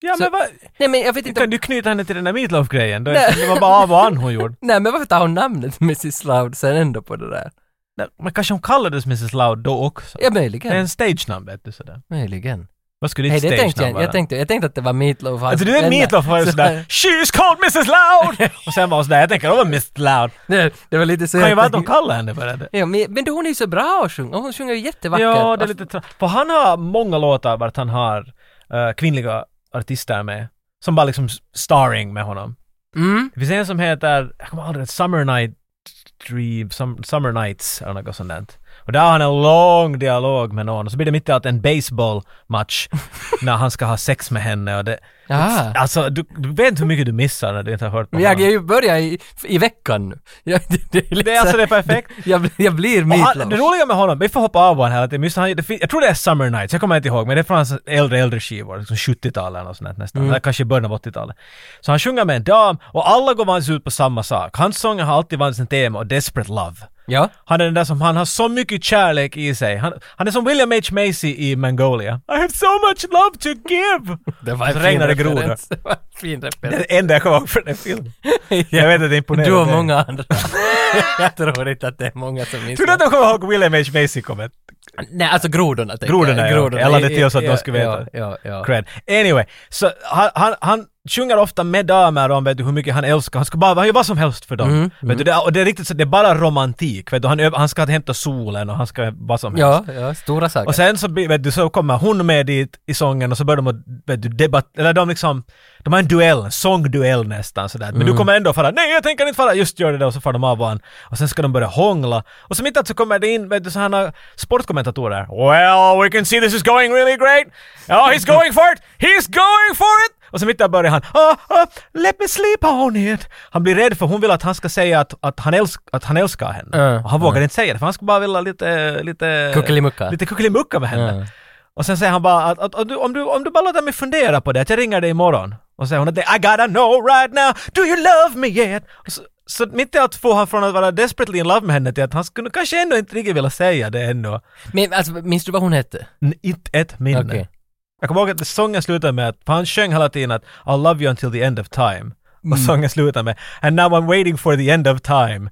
Ja
Så-
men vad...
Nej men jag vet inte om...
Kan du knyta henne till den där Meatloaf-grejen? Då-
Nej.
Det var bara av och an hon gjorde.
Nej men varför tar hon namnet Mrs Loud sen ändå på det där?
Nej, Men kanske hon kallades Mrs Loud då också?
Ja
Det är
möjligen.
en stage-namn vet du sådär.
Möjligen.
Vad skulle
Nej
ditt
det tänkte
stage-namn
jag,
vara?
jag tänkte, jag tänkte att det var Meatloaf.
Alltså du är Meatloaf var ju sådär “She's called Mrs Loud!” och sen var hon sådär, jag tänker åh Mrs Loud.
Det, det var lite så
Kan ju
jag
vara att de
tänkte-
kallar henne för det.
Ja, men, men hon är ju så bra och sjunger, hon sjunger ju jättevackert.
Ja, det är lite tra- För han har många låtar vart han har eh, kvinnliga artister med. Som bara liksom s- starring med honom.
Mm.
Det finns en som heter, jag kommer aldrig ihåg, Summer Night Dream, Sum- Summer Nights eller något sånt där. Och där har han en lång dialog med någon och så blir det mitt i allt en baseballmatch när han ska ha sex med henne och det...
Jaha.
Alltså du, du vet inte hur mycket du missar när du inte har hört på
Men jag,
honom.
jag börjar i, i veckan nu. Jag, det, det, är lite
Det är alltså
så-
det är perfekt.
Jag, blir- jag blir
Och Han,
Meatloaf.
det roliga med honom, vi får hoppa av honom här lite, men just han, det, fin- jag tror det är Summer Nights, jag kommer inte ihåg, men det är från hans äldre, äldre skivor, liksom 70-talet eller något sånt där nästan,
Mm.
eller kanske i början av 80-talet. Så han sjunger med en dam och alla går vanligtvis ut på samma sak. Hans sånger har alltid varit sin tema och Desperate Love.
Ja.
Han är den där som, han har så mycket kärlek i sig. Han, han är som William H. Macy i Mongolia. I have so much love to give!
Det var
en Så fin regnar det grodor. referens.
Det var en fin
Det är
referens.
det enda jag kommer ihåg från den filmen. Jag vet att det imponerar
Du och
dig.
många andra. jag tror inte att det är många som minns
Tror du att
det.
de kommer ihåg William H. Macy kommer?
Nej, alltså grodorna tänker
Grodorna, ja, okej. Jag lade till så att de skulle
ja,
veta.
Ja, ja.
cred. Anyway, så han, han, han sjunger ofta med damer om vet du, hur mycket han älskar, han ska bara, han gör vad som helst för dem.
Mm,
vet Du, det, och det är riktigt så, det är bara romantik. Vet du, han, ö- han ska hämta solen och han ska vad som helst.
Ja, ja, stora saker.
Och sen så, blir- vet du, så kommer hon med dit i sången och så börjar de att, vet du, debatt, eller de liksom, de har en duell, en sångduell nästan sådär. Men du kommer ändå fara, nej jag tänker inte fara, just gör det då, och så far de av varandra. Och sen ska de börja hångla. Och så mitt i allt så kommer det in, vet du, sådana sportkommentatorer. Well, we can see this is going really great. Oh, he's going for it! He's going for it! Och så mitt där börjar han, oh, oh, let me sleep on it. Han blir rädd för hon vill att han ska säga att, att, han, älsk, att han älskar henne.
Mm,
och han vågar inte säga det för han ska bara vilja lite, lite...
Kuckelimucka.
Lite kuckelimucka med henne.
Mm.
Och sen säger han bara att, att, att du, om, du, om du bara låter mig fundera på det, att jag ringer dig imorgon. Och säger hon att I gotta know right now, do you love me yet? Och så, så mitt i allt får han från att vara desperately in love med henne till att han skulle kanske ändå inte riktigt vilja säga det ännu.
Men alltså, minns du vad hon hette?
N- Inte ett minne.
Okej.
Jag kommer ihåg att sången slutade med att, för han sjöng hela tiden att I'll love you until the end of time. Och sången slutade med And now I'm waiting for the end of time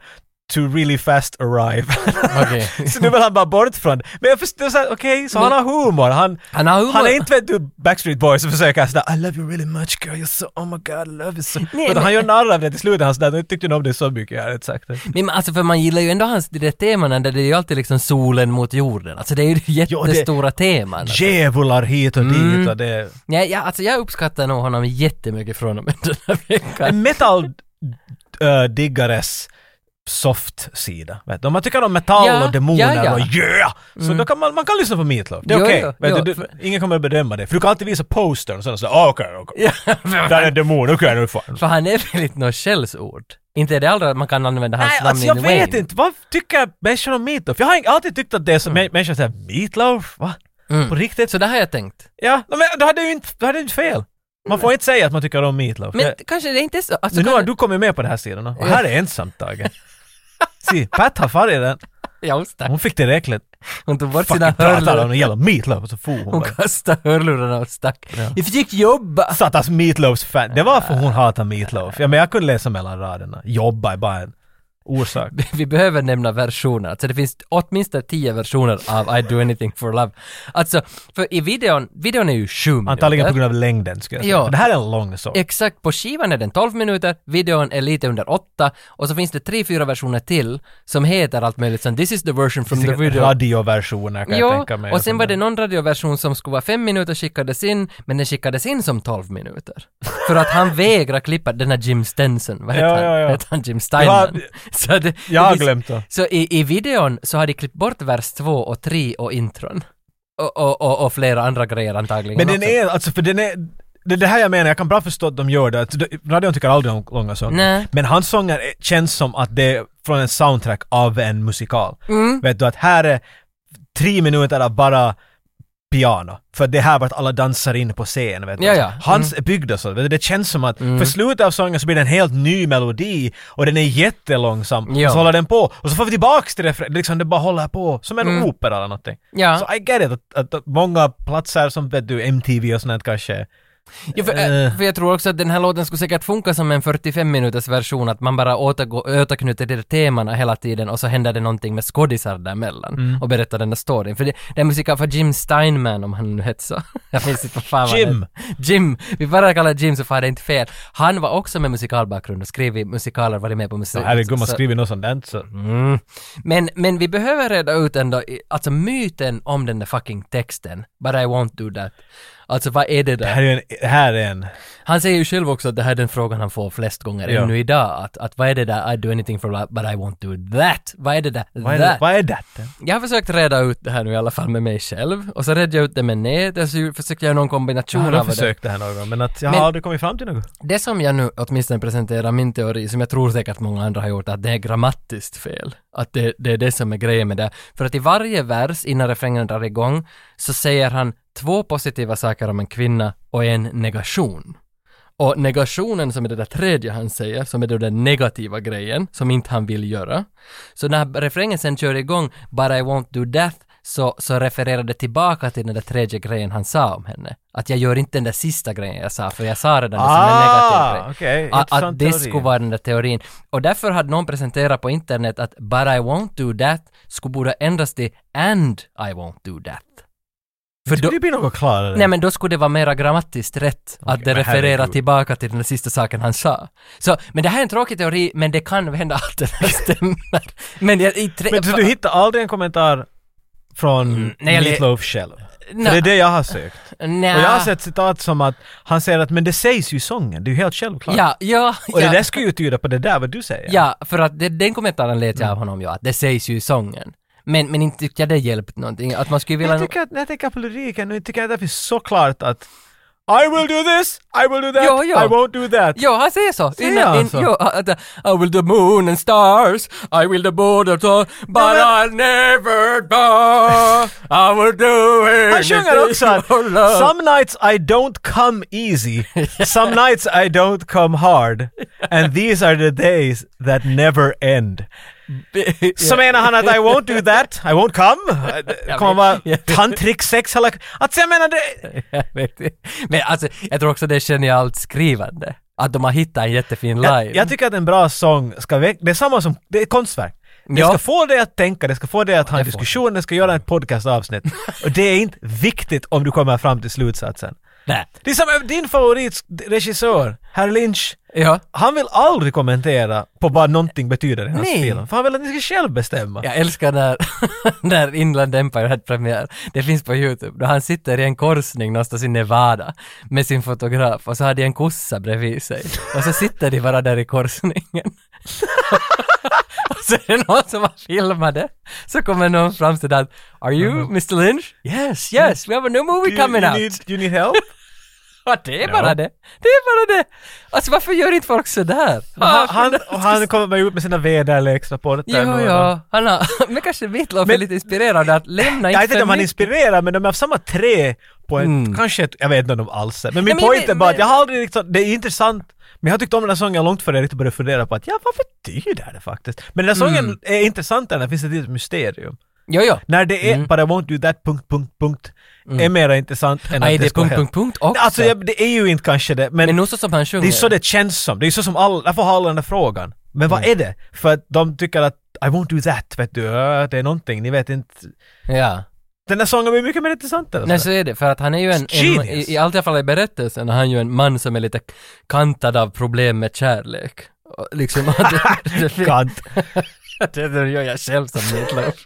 to really fast arrive.
Okej.
så nu vill han bara bort från det. Men jag förstår såhär, okej, så han har humor. Han,
Han har humor.
han är inte vet du Backstreet Boys och försöker sådär I love you really much girl, you're so, oh my god, I love you so. Utan
men-
han gör narr av det till slut, han sådär, nu tyckte nog om det så mycket, jag har inte sagt det.
Men men alltså för man gillar ju ändå hans, det där temana där det är ju alltid liksom solen mot jorden. Alltså det är ju jättestora teman. Alltså.
Djävular hit och dit och det.
Ja, ja, alltså jag uppskattar nog honom jättemycket från och med den här veckan.
en metalldiggares soft-sida. Vet du? Om man tycker om metall
Ja,
och demoner
ja, ja.
och yeah! Så då kan man, man kan lyssna på Meatloaf. Det är
Jo,
okej.
jo,
Vet
jo,
du,
för-
du, ingen kommer att bedöma det. För du kan alltid visa postern och sådär. Så, ah, okej, okej.
Ja,
Där är en demon, okej, nu är det fine.
För han är väl inte något skällsord? Inte är det aldrig att man kan använda hans
Nej,
namn
alltså
in
jag vet
vain.
inte. Vad tycker människor om Meatloaf? Jag har inte- alltid tyckt att det är som mm. människor säger Meatloaf? Va?
Mm.
På riktigt?
Så det har jag tänkt.
Ja, men då hade du inte, då hade du inte fel. Man får inte säga att man tycker om Meatloaf.
Mm. Men
Jag-
kanske det inte är så... Alltså,
Men nu
kan-
har du kommit med på den här sidan och här är ensamt Tage. Se, Pat har farit den.
Ja, just det.
Hon fick tillräckligt.
Hon tog bort sina
Fucking pratar om
hörlurar.
en jävla meatloaf och så for hon
Hon
bara.
kastade hörlurarna och stack. Vi fick jobba!
Satans
Ah.
meatloafs fan. Det var för hon hatar meatloaf. Ja men jag kunde läsa mellan raderna. Jobba är bara en... orsak.
vi behöver nämna versioner. Alltså det finns åtminstone tio versioner av I do anything for love. Alltså, för i videon, videon är ju sju minuter.
Antagligen på grund av längden skulle jag säga.
Ja.
För Det här är en lång sång.
Exakt, på skivan är den 12 minuter, videon är lite under 8 och så finns det tre, fyra versioner till som heter allt möjligt som This is the version from the video.
Radioversioner kan jag tänka mig.
och sen var det någon radioversion som skulle vara 5 minuter skickades in, men den skickades in som 12 minuter. För att han vägrar klippa den här Jim Stenson, vad heter
Ja,
han?
ja, ja.
Heter han Jim Steinman?
Ja,
så det,
jag har
finns-
glömt det.
Så i, i videon så har de klippt bort vers 2 och 3 och intron. Och, och, och, och flera andra grejer antagligen
Men den
också.
är, alltså för den är... Det är det här jag menar, jag kan bra förstå att de gör det. Att de- Radion tycker aldrig om långa sånger.
Nej.
Men hans sånger är- känns som att det är från en soundtrack av en musikal.
mm,
Vet du, att här är tre minuter av bara piano. För det här vart alla dansar in på scen. Vet du.
Ja, Mm. ja.
Hans är byggd och så. Vet du, det känns som att för slutet av sången så blir det en helt ny melodi och den är jättelångsam.
Ja.
Och så håller den på. Och så får vi tillbaks till refrängen. Liksom det bara håller på. Som en opera eller någonting.
Mm. Ja.
Så I get it. Att, att, att många platser som vet du, MTV och sånt här kanske.
Jo, för,
Eh.
för jag tror också att den här låten skulle säkert funka som en 45 minuters version, att man bara återgår, återknyter till temana hela tiden och så händer det någonting med skådisar däremellan
Mm.
och berättar den där storyn. För det, det är musik för Jim Steinman, om han nu hette så. Jag minns inte vad fan han
Jim.
hette. Jim! Vi bara kallar Jim så far det är inte fel. Han var också med musikalbakgrund och skrev i musikaler, varit med på musik.
Herregud, man
så-
skriver något sånt där. Så.
Mm. Men, men vi behöver reda ut ändå, i- alltså myten om den där fucking texten, but I won't do that. Alltså vad är det där?
Det här är en... Det här är en
Han säger ju själv också att det här är den frågan han får flest gånger
Ja.
ännu idag. Att, att vad är det där I do anything for love but I won't do that. Vad är det där
vad, är det,
that?
vad är det?
Jag har försökt reda ut det här nu i alla fall med mig själv. Och så redde jag ut det med nätet, så försökte jag göra någon
Jag
kombination
har
av det.
försökt det här någon gång, men att jag
Men-
har aldrig kommit fram till något.
Det som jag nu åtminstone presenterar min teori, som jag tror säkert många andra har gjort, att det är grammatiskt fel. Att det, det är det som är grejen med det. För att i varje vers, innan refrängen drar igång, så säger han två positiva saker om en kvinna och en negation. Och negationen som är det där tredje han säger, som är då den negativa grejen, som inte han vill göra. Så när refrängen sen kör igång, “But I won't do that” så, så refererar det tillbaka till den där tredje grejen han sa om henne. Att jag gör inte den där sista grejen jag sa, för jag sa redan det som en negativ grej.
okej.
Att, att
Ah! intressant
det
teori.
skulle vara den där teorin. Och därför hade någon presenterat på internet att “But I won't do that” skulle borde ändras till “And I won't do that”. För då,
Skulle det bli något klarare?
Nej men då skulle det vara mera grammatiskt rätt att det
men
refererar
herregud.
tillbaka till den sista saken han sa. Så, men det här är en tråkig teori, men det kan hända att det här stämmer. men jag, i tre,
Men så du hittar aldrig en kommentar från
Mm, nej, jag-
Meatloaf själv?
Nja.
För det är det jag har sökt.
Nja.
Och jag har sett citat som att han säger att men det sägs ju i sången, det är ju helt självklart.
Ja, ja,
Och
ja.
det där skulle ju tyda på det där vad du säger.
Ja, för att det, den kommentaren lät
Mm.
jag av honom ju att det sägs ju i sången. Men, men inte tyckte jag det hjälpt någonting. Att man skulle
Men
vilja...
jag tycker att, när jag tänker på lyriken, nu tycker jag att det finns så klart att I will do this, I will do that,
Ja, ja.
I won't do that.
Ja, han säger så.
Säger han så?
jo, att, uh, I will the moon and stars, I will the border to, but I'll never die, I will do it.
Han sjunger också att
for love.
Some nights I don't come easy, some nights I don't come hard, and these are the days that never end. Så menar han att I won't do that, I won't come,
Jag
kommer
vet.
vara
Jag vet.
tantriksex hela... Alltså jag menar det...
Jag vet inte. Men alltså, jag tror också det är genialt skrivande. Att de har hittat en jättefin line.
Jag, jag tycker att en bra sång ska väcka... Det är samma som... Det är konstverk. Det
Ja.
ska få dig att tänka, det ska få dig att ha en
det får
diskussion, det ska göra ett podcastavsnitt. Och det är inte viktigt om du kommer fram till slutsatsen.
Nej.
Det är som eh, din favoritregissör, herr Lynch.
Ja.
Han vill aldrig kommentera på vad någonting betyder i hans
Nej.
film. För han vill att ni ska själv bestämma.
Jag älskar när, när Inland Empire hade premiär. Det finns på YouTube. Då han sitter i en korsning någonstans i Nevada med sin fotograf och så har de en kossa bredvid sig. Och så sitter de bara där i korsningen. och så är det någon som har filmat det. Så kommer någon fram till att Are you Mr Lynch? Yes, yes, we have a new
Do
movie
Mm-hmm. you,
coming
you,
out.
need, you need help?
Ja, det är bara det. Det är bara det. Alltså varför gör inte folk sådär?
han, han, och han kommer ut med sina väderleksrapporter.
Jo,
och-
ja, han har, men kanske Meatloaf är
Men-
lite inspirerad att lämna inte
Jag vet inte
för
om han
mycket.
inspirerar men de är av samma tre på ett, kanske ett, jag vet inte om de alls är. Men min
men-
poäng är
men-
bara att jag har aldrig liksom, det är intressant, men jag har tyckt om den här sången långt före jag riktigt började fundera på att ja, vad betyder det faktiskt? Men den här sången är intressant när det finns ett litet mysterium.
Jo, jo.
När det är
Mm.
“But I won't do that...” punkt, punkt, punkt, är mer intressant än
Nej,
att
Mm. det är
ska
punkt,
hända.
punkt, punkt också.
Alltså jag, det är ju inte kanske det, men,
men nog så som han sjunger.
det är så det känns som. Det är så som alla, därför har alla den där frågan. Men
Mm.
vad är det? För att de tycker att I won't do that, vet du. Äh, Det är någonting, ni vet inte.
Ja.
Den här sången blir mycket mer intressant än
Nej
så.
så är det, för att han är ju en, en
Genius.
i, i alla fall i berättelsen, är han ju en man som är lite kantad av problem med kärlek. Och Liksom, att det, det, fin-
Kant.
det, det gör jag själv som Meatloaf.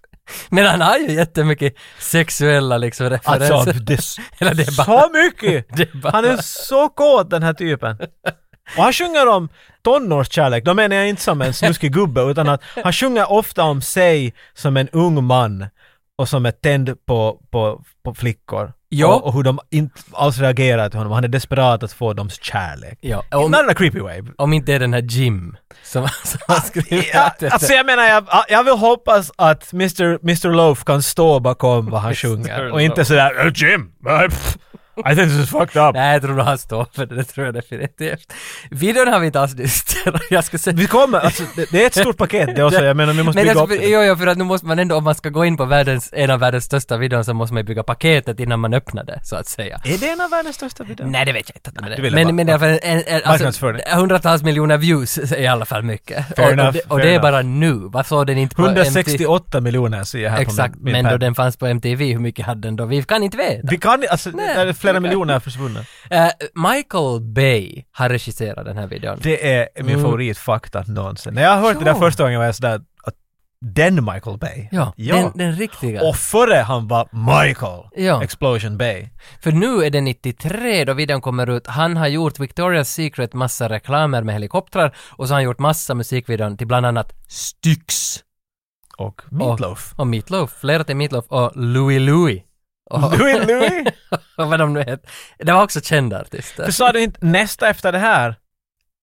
Men han har ju jättemycket sexuella liksom referenser.
Alltså, det är
Eller det är bara-
så mycket!
Det är bara-
Han är så kåt den här typen. Och han sjunger om tonårskärlek, då menar jag inte som en snuskig gubbe utan att han sjunger ofta om sig som en ung man och som är tänd på, på, på flickor.
Ja.
Och, och hur de inte alls reagerar till honom. Han är desperat att få deras kärlek.
Ja, om,
Not in a creepy way.
om inte det är den här Jim som, som har skrivit
Ja,
det.
alltså jag menar, jag, jag vill hoppas att Mr. Mr. Loaf kan stå bakom vad han sjunger och inte sådär "Eh, Jim, eh, pff, I think this is fucked up.
Nej, jag tror nog han står för det, det tror jag definitivt. Videon har vi inte alls diskuterat. Jag ska säga...
Vi kommer, alltså, det, det är ett stort paket det också, jag menar vi måste
Men
bygga
alltså,
upp
för,
det.
jo, jo, för att nu måste man ändå, om man ska gå in på världens, en av världens största videon så måste man ju bygga paketet innan man öppnar det, så att säga.
Är det en av världens största videor?
Nej, det vet jag inte. att det är.
du ville bara-
men men i alla fall, en, en, en, alltså,
Marknadsföring.
hundratals miljoner views är i alla fall mycket.
Fair
och, och,
enough,
det, och
fair
det är
enough.
bara nu. Vad såg den inte på MTV?
168 miljoner ser jag här
Exakt,
på min, min
men
pad.
då den fanns på MTV, hur mycket hade den då? Vi kan inte veta.
Vi kan alltså,
Nej,
där är flera miljoner försvunna.
Eh, Michael Bay har regisserat den här videon.
Det är min
Mm.
favoritfakta någonsin. När jag hörde det där
Ja.
första gången var jag sådär, att den Michael Bay.
ja,
ja.
Den, den riktiga.
Och före han var Michael
Ja.
Explosion Bay.
För nu är det 93 då videon kommer ut. Han har gjort Victoria's Secret massa reklamer med helikoptrar och så har han gjort massa musikvideon till bland annat Styx
Och Meatloaf.
och Meatloaf, flera till Meatloaf och Louis Louis. Och,
Louis Louis!
och vad de nu heter. Det var också kända artister.
För sa du inte nästa efter det här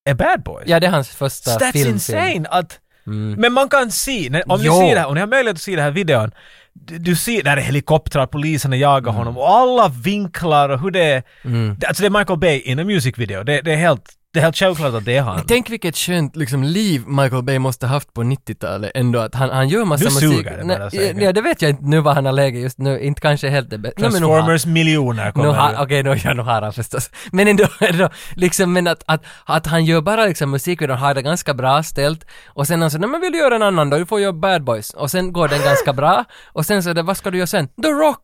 är Bad Boys?
Ja, det är hans första
That's
filmfilm.
insane! Att,
Mm.
men man kan se, när, om, ni
Jo.
ser det här, om ni har möjlighet att se den här videon, du, du ser där är helikoptrar, poliserna jagar honom och alla vinklar och hur det är.
Mm.
Det- Alltså det är Michael Bay in a music video. Det, det, är, helt, det är helt självklart att det är han.
Tänk vilket skönt liksom, liv Michael Bay måste haft på 90-talet ändå, att han, han gör massa
Nu
musik.
suger det bara
Nej,
säkert.
Ja, det vet jag inte nu vad han har läge just nu, inte kanske helt det bästa. Nej, men nog har-
Transformers miljoner
Nu
kommer
har, alltså-
nu.
okej, nu, ja, nu har han förstås. Men ändå, ändå liksom, men att, att, att han gör bara liksom musikvideon, har det ganska bra ställt och sen han säger, nej men vill du göra en annan då, du får göra Bad Boys. Och sen går den ganska bra och sen så är det, vad ska du göra sen? The Rock!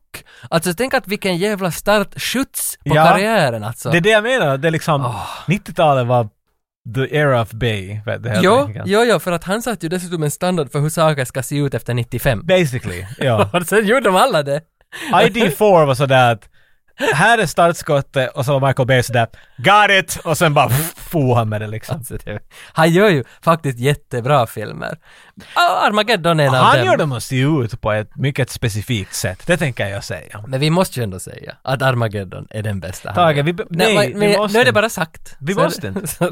Alltså tänk att vilken jävla start, skjuts på
Ja.
karriären alltså.
Det är det jag menar, det är liksom, 90-talet var the era of Bay. Vet du, helt
jo,
enkelt.
jo, jo, för att han satte ju dessutom en standard för hur saker ska se ut efter 95.
Basically, ja.
Och sen gjorde de alla det.
ID4 var sådär att här är startskottet och så var Michael Bay sådär got it och sen bara f- for han med det liksom.
Alltså, det. Han gör ju faktiskt jättebra filmer. Ah, Armageddon är en av
Han
dem.
gör dem att se ut på ett mycket specifikt sätt, det tänker jag säga.
Men vi måste ju ändå säga att Armageddon är den bästa. han
Tage,
gör.
vi be-
Nej,
nej,
men,
vi måste
Nu är det
inte.
bara sagt.
Vi
Så är
måste
det-
inte.
Så,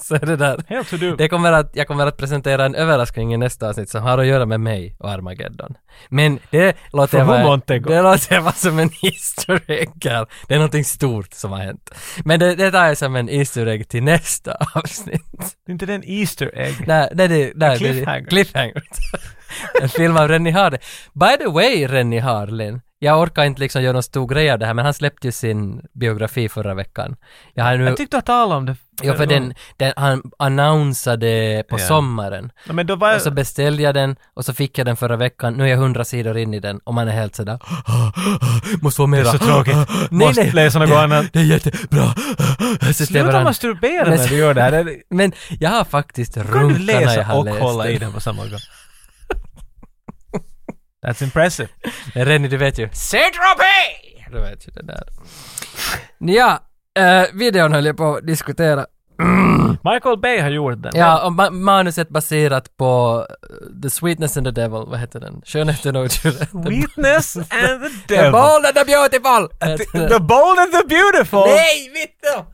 så är det där.
Helt hur du.
Det kommer att, jag kommer att presentera en överraskning i nästa avsnitt som har att göra med mig och Armageddon. Men det låter,
Från
jag vara,
Montego.
det låter jag vara som en easter egg här. Det är någonting stort som har hänt. Men det, det tar jag som en easter egg till nästa avsnitt.
Det är inte den Easter egg.
Nej, nej, det, nej, det-
Cliffhanger.
cliffhanger. en film av Rennie Harlin. By the way, Rennie Harlin. Jag orkar inte liksom göra någon stor grej av det här, men han släppte ju sin biografi förra veckan. Jag har nu...
Jag tyckte att tala om det.
Ja, för den, den, han annonsade på
Ja. Äh.
sommaren.
Ja, men då var
Och så
jag...
beställde jag den och så fick jag den förra veckan. Nu är jag hundra sidor in i den och man är helt sådär "Ah, Måste få mera.
Det är så tråkigt.
nej,
Måste
nej.
läsa något
Det-
annat.
Det är jättebra. Så stämmer
Sluta
han.
masturbera
Men-
när du gör det här. Det-
Men jag har faktiskt
Kan du
runkarna jag
läsa
har
och
läst.
hålla i
den.
den på samma gång? That's impressive.
Men Renny, du vet ju. Saint-Tropez! Du vet ju det där. Ja, eh, videon höll jag på att diskutera.
Michael Bay har gjort den.
Ja, och ma- manuset baserat på eh, The Sweetness and the Devil, vad heter den? Skönheten och odjuret.
Sweetness and the
The
devil.
bold and the beautiful!
The bold and the beautiful!
Nej, vittom!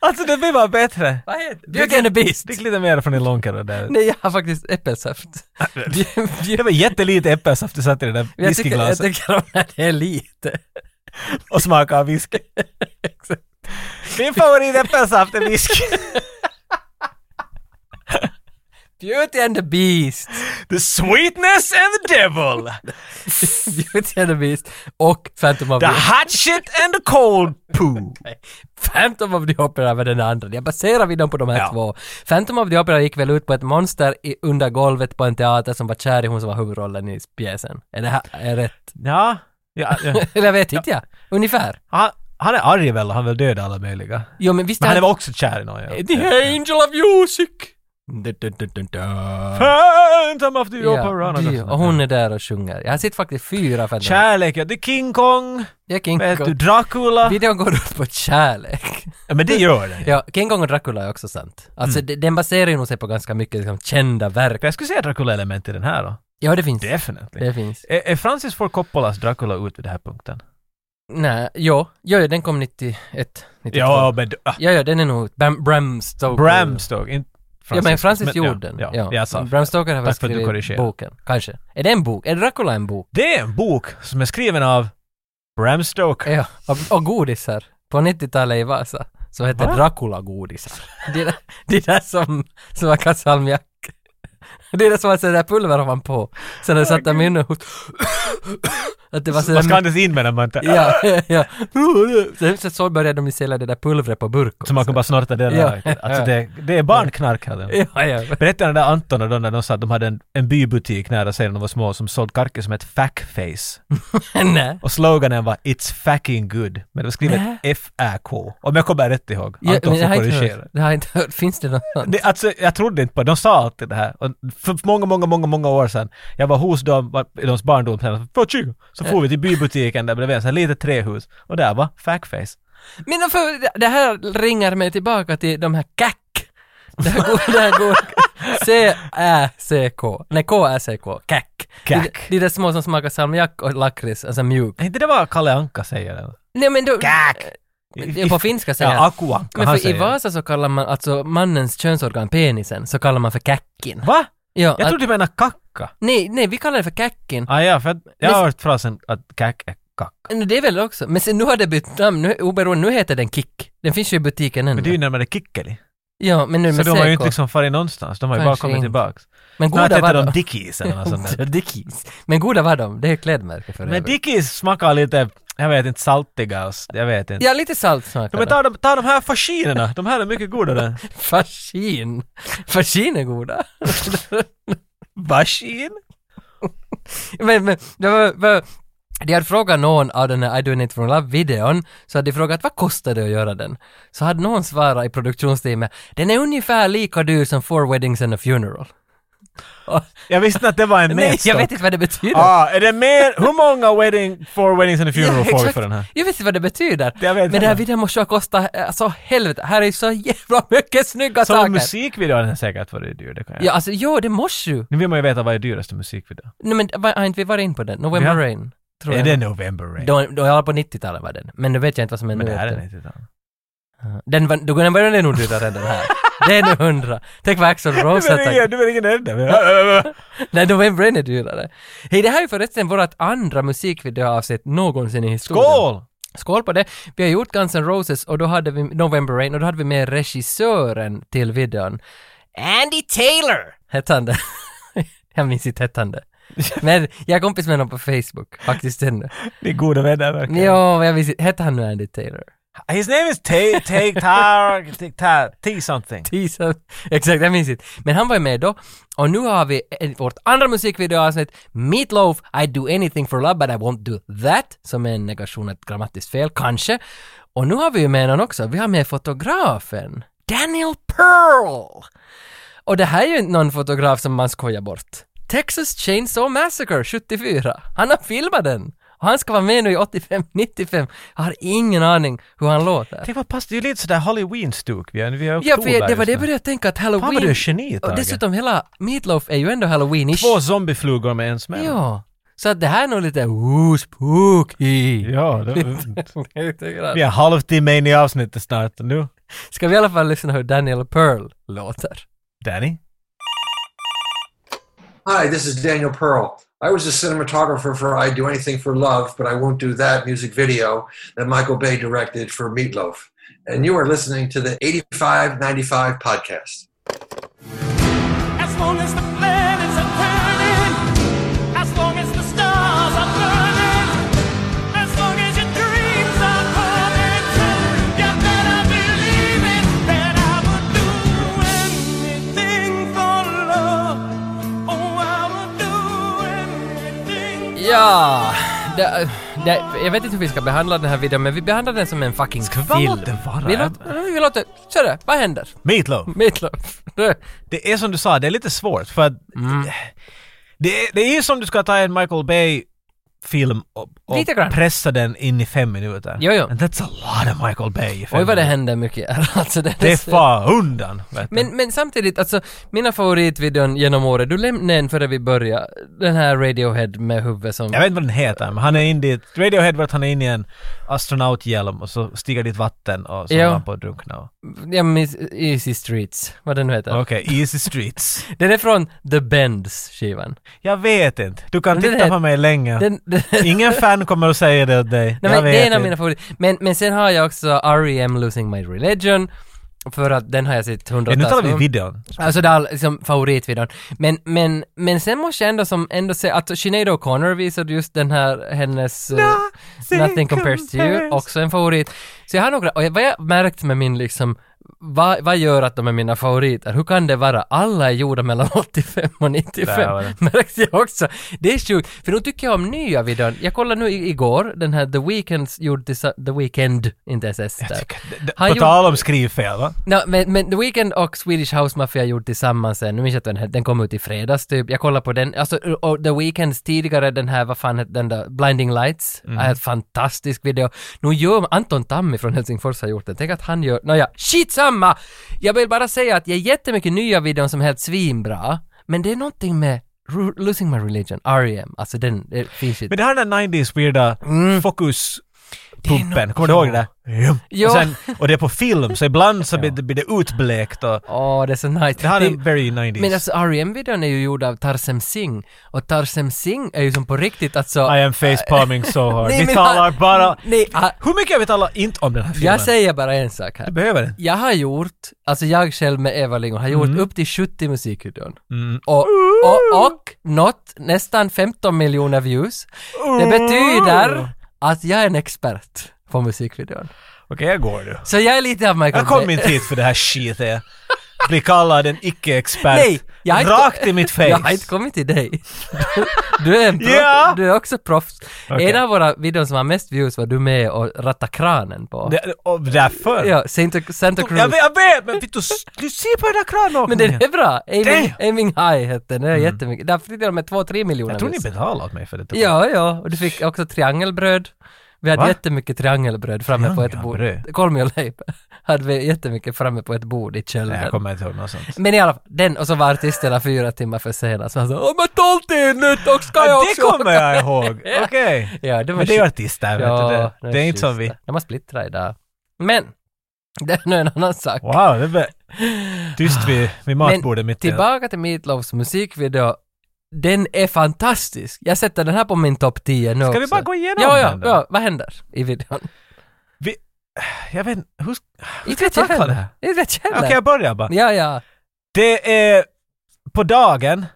Alltså det blir bara bättre.
Vad heter det? Beauty and the Beast!
Drick lite mer från din långkärra där.
Nej, jag har faktiskt äppelsaft.
Det var jättelite äppelsaft du satte i det där
jag, tycker, jag
whiskyglaset
tycker om när det är lite.
och smakade av whisky.
Exakt.
Min favorit äppelsaft är whisky.
Beauty and the Beast!
The sweetness and the devil!
Beauty and the Beast och Phantom of
The
the...
hot shit and the cold poo!
Nej, Phantom of the Opera var den andra. Jag baserar vi dem på de här
Ja.
två. Phantom of the Opera gick väl ut på ett monster i, under golvet på en teater som var kär i hon som var huvudrollen i pjäsen. Är det här är rätt?
Ja, ja, ja.
Eller jag vet inte jag. Ungefär.
Han, han är arg väl, han vill döda alla möjliga.
Jo men visst
Men han
är
är väl också kär i någon? ja.
The Angel of Music! Dun, dun, dun, dun, dun.
Phantom of the Opera!
Ja,
alltså. något
det-
sånt.
och hon är där och sjunger. Jag har sett faktiskt fyra Phantom.
Kärlek, ja. Det är King Kong,
Det är King
vet du,
Kong.
Dracula.
Videon går ut på kärlek.
Ja, men det gör den.
Ja, King Kong och Dracula är också sant. Alltså
Mm.
de- den baserar ju nog sig på ganska mycket liksom, kända verk.
Jag skulle säga Dracula-element i den här då.
Ja, det finns.
Definitely.
Det finns.
Är, är Francis Ford Coppolas Dracula ut vid den här punkten?
Nej, jo, jo, jo, den kom 91, 92.
Ja, men... ah,
ja, ja, den är nog Bram, Bram Stoker.
Bram Stoker, inte
Ja, men Francis gjorde
ja,
den.
Ja, ja. jag sa.
Bram Stoker har väl
Tack för att du
skrivit
korrigerar.
boken. Kanske. Är det en bok? Är Dracula en bok?
Det är en bok som är skriven av Bram Stoker.
Ja. Och, och godisar. På 90-talet i Vasa. Så hette
Va?
Dracula-godisar. Det är där- det är där som, som man kastar salmiak. Det är det som var sådär pulver ovanpå. Sen när jag satte min och... Att det var
Man ska
sådär...
andas in med den man inte...
Ja, ja. Sen så- så började de ju sälja det där pulvret på burk
Ah, Så man kan bara snorta det där.
Ja.
Alltså det, det är barnknark här. det.
Ja, ja.
Berättade den där Anton och de när de sa att de hade en, en bybutik nära sig när de var små som sålde karker som ett fackface.
Mm. Nej.
Och sloganen var “It's facking good”. Men det var skrivet
Nä.
F-Ä-K. Om jag kommer rätt ihåg.
Ja,
Anton
men det
får
har jag inte
korrigera.
hört. Det har jag inte hört. Finns det något sånt?
Det, alltså, jag trodde inte på det. De sa alltid det här. Och för många, många, många, många år sedan. Jag var hos dem var- i deras barndomshem. För 20. Så for vi till bybutiken där bredvid, så här litet trähus. Och där var Fackface.
Men då får- det- det här ringar mig tillbaka till de här kack. Det här går, det här går C-Ä-C-K. Nej, K-Ä-C-K. Kack.
Kack.
Det, det är det små som smakar salmiak och lakrits, alltså mjuk.
Nej, inte det var Kalle Anka säger det.
Nej men då...
Kack!
Det är på finska säger
Ja,
jag.
Aku Anka,
Men
han
för i
säger det.
Vasa så kallar man alltså mannens könsorgan penisen, så kallar man för kackin.
Va?
Ja,
Jag
att-
trodde du menade kacka.
nej, nej, vi kallar det för kackin.
Ah, ja, för att jag
Men-
har hört frasen att kack är kacka.
Men Det är väl också, men sen nu har det bytt namn, nu, oberoende, nu heter den Kick. Den finns ju i butiken ännu.
Men det är ju närmare kickeli.
Ja, Mm. men nu
Så
med
de har ju
CK.
inte liksom farit någonstans. De har ju bara
Kanske
kommit
inte.
tillbaks.
Men
Snart
goda var
heter de
de.
Dickies eller något sånt där.
Dickies. Men goda var de, det är klädmärke för
Men
övrigt.
Dickies smakar lite, jag vet inte, saltiga och s- jag vet inte.
Ja, lite salt smakar
Ja, men
det.
ta de, ta de här fascinerna, de här är mycket godare.
Fascin. Fascin är goda.
Fascin?
men, men, det var, var, de hade frågat någon av den här I Doing It For Love-videon, så hade de frågat vad kostar det att göra den? Så hade någon svarat i produktionsteamet, den är ungefär lika dyr som Four Weddings and a Funeral. Och,
Jag visste inte att det var en
nej, jag
mätstock.
vet inte vad det betyder.
Ah, är det mer, hur många wedding, four weddings and a funeral får vi
exakt.
för den här?
Jag vet inte vad det betyder.
Jag vet
men
inte.
den här videon måste ha kostat, alltså helvete, här är ju så jävla mycket snygga saker.
Som musikvideo har den säkert varit dyr, det kan jag.
Ja, alltså jo, det måste ju.
Nu vill man ju veta vad är dyraste musikvideo.
Nej men va- har inte vi varit in på den? November
Ja.
Rain? Tror
Är
jag.
det November Rain?
Då, då jag var på 90-talet var den. Men nu vet jag inte vad som är
Men
nu.
det här
efter.
är inte det.
Ja. Den var, då den var den nog dyrare än den här. Det är nu hundra. Tänk vad Axel Rose har tagit.
Du vill ingen ända.
Nej, November Rain är dyrare. Hej, det här är förresten vårt andra musikvideoavsnitt någonsin i historien.
Skål!
Skål på det! Vi har gjort Guns N' Roses och då hade vi November Rain och då hade vi med regissören till videon. Andy Taylor! Hette han det? jag minns inte hette han det. Men jag är kompis med honom på Facebook, faktiskt ännu.
Ni är goda vänner verkligen.
Jo, men jag visste Hette han nu Andy Taylor?
His name is Tay, Tay, Tar, Tay- Tar, T something.
Tisa. Exakt, jag minns inte. Men han var ju med då. Och nu har vi eh, vårt andra musikvideoavsnitt, Meatloaf, I do anything for love but I won't do that, som är en negation, ett grammatiskt fel, kanske. Och nu har vi ju med någon också, vi har med fotografen, Daniel Pearl! Och det här är ju inte någon fotograf som man skojar bort. Texas Chainsaw Massacre 74. Han har filmat den! Och han ska vara med nu i 85-95. Jag har ingen aning hur han låter.
Tänk vad pass, det är ju lite sådär halloween-stuk. Vi är, vi är i
Ja,
oktober
för jag, det var
just
det
nu.
jag började tänka att halloween...
Fan vad du är geni,
Och
Tage.
dessutom hela Meatloaf är ju ändå halloweenish.
Två zombieflugor med en smäll.
Ja. Så att det här är nog lite ooh, spooky.
Ja, det,
Lite grann.
vi är halvtimme in i avsnittet snart och nu.
Ska vi i alla fall lyssna hur Daniel Pearl låter?
Danny?
Hi, this is Daniel Pearl. I was a cinematographer for I Do Anything for Love, but I Won't Do That music video that Michael Bay directed for Meatloaf. And you are listening to the 8595 podcast.
As for Oh,
Ja, det, det, jag vet inte hur vi ska behandla den här videon men vi behandlar den som en fucking
Ska vi bara
film.
låta den vara,
vi låter, vi låter, kör det, vad händer?
Meatloaf.
Meatloaf. Det-
Det är som du sa, det är lite svårt för att
Mm.
det, är- det är som du ska ta en Michael Bay-film och, och
Lite grann.
pressa den in i fem minuter.
Jo, jo.
And that's a lot of Michael Bay i fem
Oj vad det
minuter.
händer mycket här alltså. Det,
Det är far undan. Vet du.
men, men samtidigt, alltså mina favoritvideon genom året, du lämnade en före vi började, den här Radiohead med huvudet som...
Jag vet inte vad den heter, men han är inne i... Radiohead var att han är inne i en astronauthjälm och så stiger dit vatten och så
Ja.
håller han på att drunkna. och-
Jag minns Easy Streets, vad den nu heter.
Okej, Easy Streets.
Den är från The Bends-skivan.
Jag vet inte. Du
Men
kan
den
titta
heter-
på mig länge.
Den, den,
Ingen fan kommer att säga det åt dig.
Nej,
jag
men
vet
det är en av
inte.
mina favoriter. Men, men sen har jag också R.E.M. Losing My Religion. För att den har jag sett
Men nu
hundratals
talar vi
gånger.
videon.
Alltså det är all- liksom favoritvideon. Men, men, men sen måste jag ändå som, ändå säga att Sinead O'Connor visade just den här, hennes eh, Nothing Compares to You, också en favorit. Så jag har några, och jag- vad jag märkt med min liksom, vad, vad gör att de är mina favoriter? Hur kan det vara? Alla är gjorda mellan 85 och 95.
Där var det.
Märkte jag också. Det är sjukt, för nu tycker jag om nya videon. Jag kollade nu i, igår, den här The Weeknds gjord tillsa- The Weeknd, inte ens S där.
D-
Han
På
gjorde-
tal om skrivfel va?
No, men, men The Weeknd och Swedish House Mafia gjorde tillsammans en, nu minns jag inte vad den här, den kom ut i fredags typ, jag kollade på den, alltså och The Weeknds tidigare den här, vad fan hette den där, Blinding Lights,
Mm.
är en fantastisk video. Nu gör Anton Tammi från Helsingfors har gjort den, tänk att han gör, nåja, skitsamma! Jag vill bara säga att jag är jättemycket nya videon som är helt svinbra, men det är någonting med Ru- Losing My Religion, R.E.M., alltså den, det finns ju...
Men det här är den 90s weirda
Mm.
fokus pumpen, kommer du ihåg det där?
Ja.
Och, sen, och det är på film, så ibland så blir det, blir det utblekt och
Åh, det är så nice.
det här
Det-
är very 90s.
Men alltså R.E.M-videon är ju gjord av Tarsem Singh och Tarsem Singh är ju som på riktigt alltså...
I am facepalming so hard.
Nej,
vi
men
talar
han-
bara...
Nej, han-
Hur mycket har vi talat inte om den här filmen?
jag säger bara en sak
Du
här.
behöver den.
Jag har gjort, alltså jag själv med Eva Lingon har
Mm.
gjort upp till 70 musikvideon. Och, och, och nått nästan 15 miljoner views. Det betyder att jag är en expert på musikvideon.
Okej, jag går nu.
Så jag är lite av Michael
Jag kom
Bay.
inte hit för det här skitet. Bli kallad en icke-expert.
Nej, jag har inte-
Rakt i mitt face.
Jag har inte kommit till dig. Du, du, är, en proff,
Ja.
du är också proffs.
Okej.
En av våra videon som har mest views var du med och rattade kranen på.
Det- och därför.
Ja, Santa, Santa Cruz.
Jag vet, jag vet, men vet du, du ser på den där
Men
kranåkningen.
den är bra! Aiming,
Damn. Mm.
Aiming High hette den, det är jättemycket. Därför fick de med 2-3 miljoner
Jag tror ni
views.
betalade åt mig för det.
Ja, ja, och du fick också triangelbröd. Vi hade
Va?
jättemycket triangelbröd framme på ett bord.
Triangelbröd?
Kolmi och Leip hade vi jättemycket framme på ett bord i
Nej, jag
källaren.
kommer inte ihåg något sånt.
Men i alla fall, den och så var artisterna fyra timmar försenade. Så han sa ”Om jag tolv till nytt och ska jag
Ja,
också
det kommer
åka?"
jag ihåg! Okej.
Ja, det var
Men det är ju
skit.
artister, vet
Ja,
du. Det, det är inte
schyssta.
som vi...
De har splittrat idag. Men! Det är nu en annan sak.
Wow, det var tyst vid, vid matbordet mitt i.
Tillbaka till Meat Loafs musikvideo. Den är fantastisk. Jag sätter den här på min topp 10 nu
Ska vi
också.
bara gå igenom
ja, ja,
den då?
ja, vad händer i videon?
Vi, jag vet inte, hur...
Inte vet
tackla
heller.
det här?
Inte vet jag
Okej,
heller.
jag börjar bara.
Ja, ja.
Det är på dagen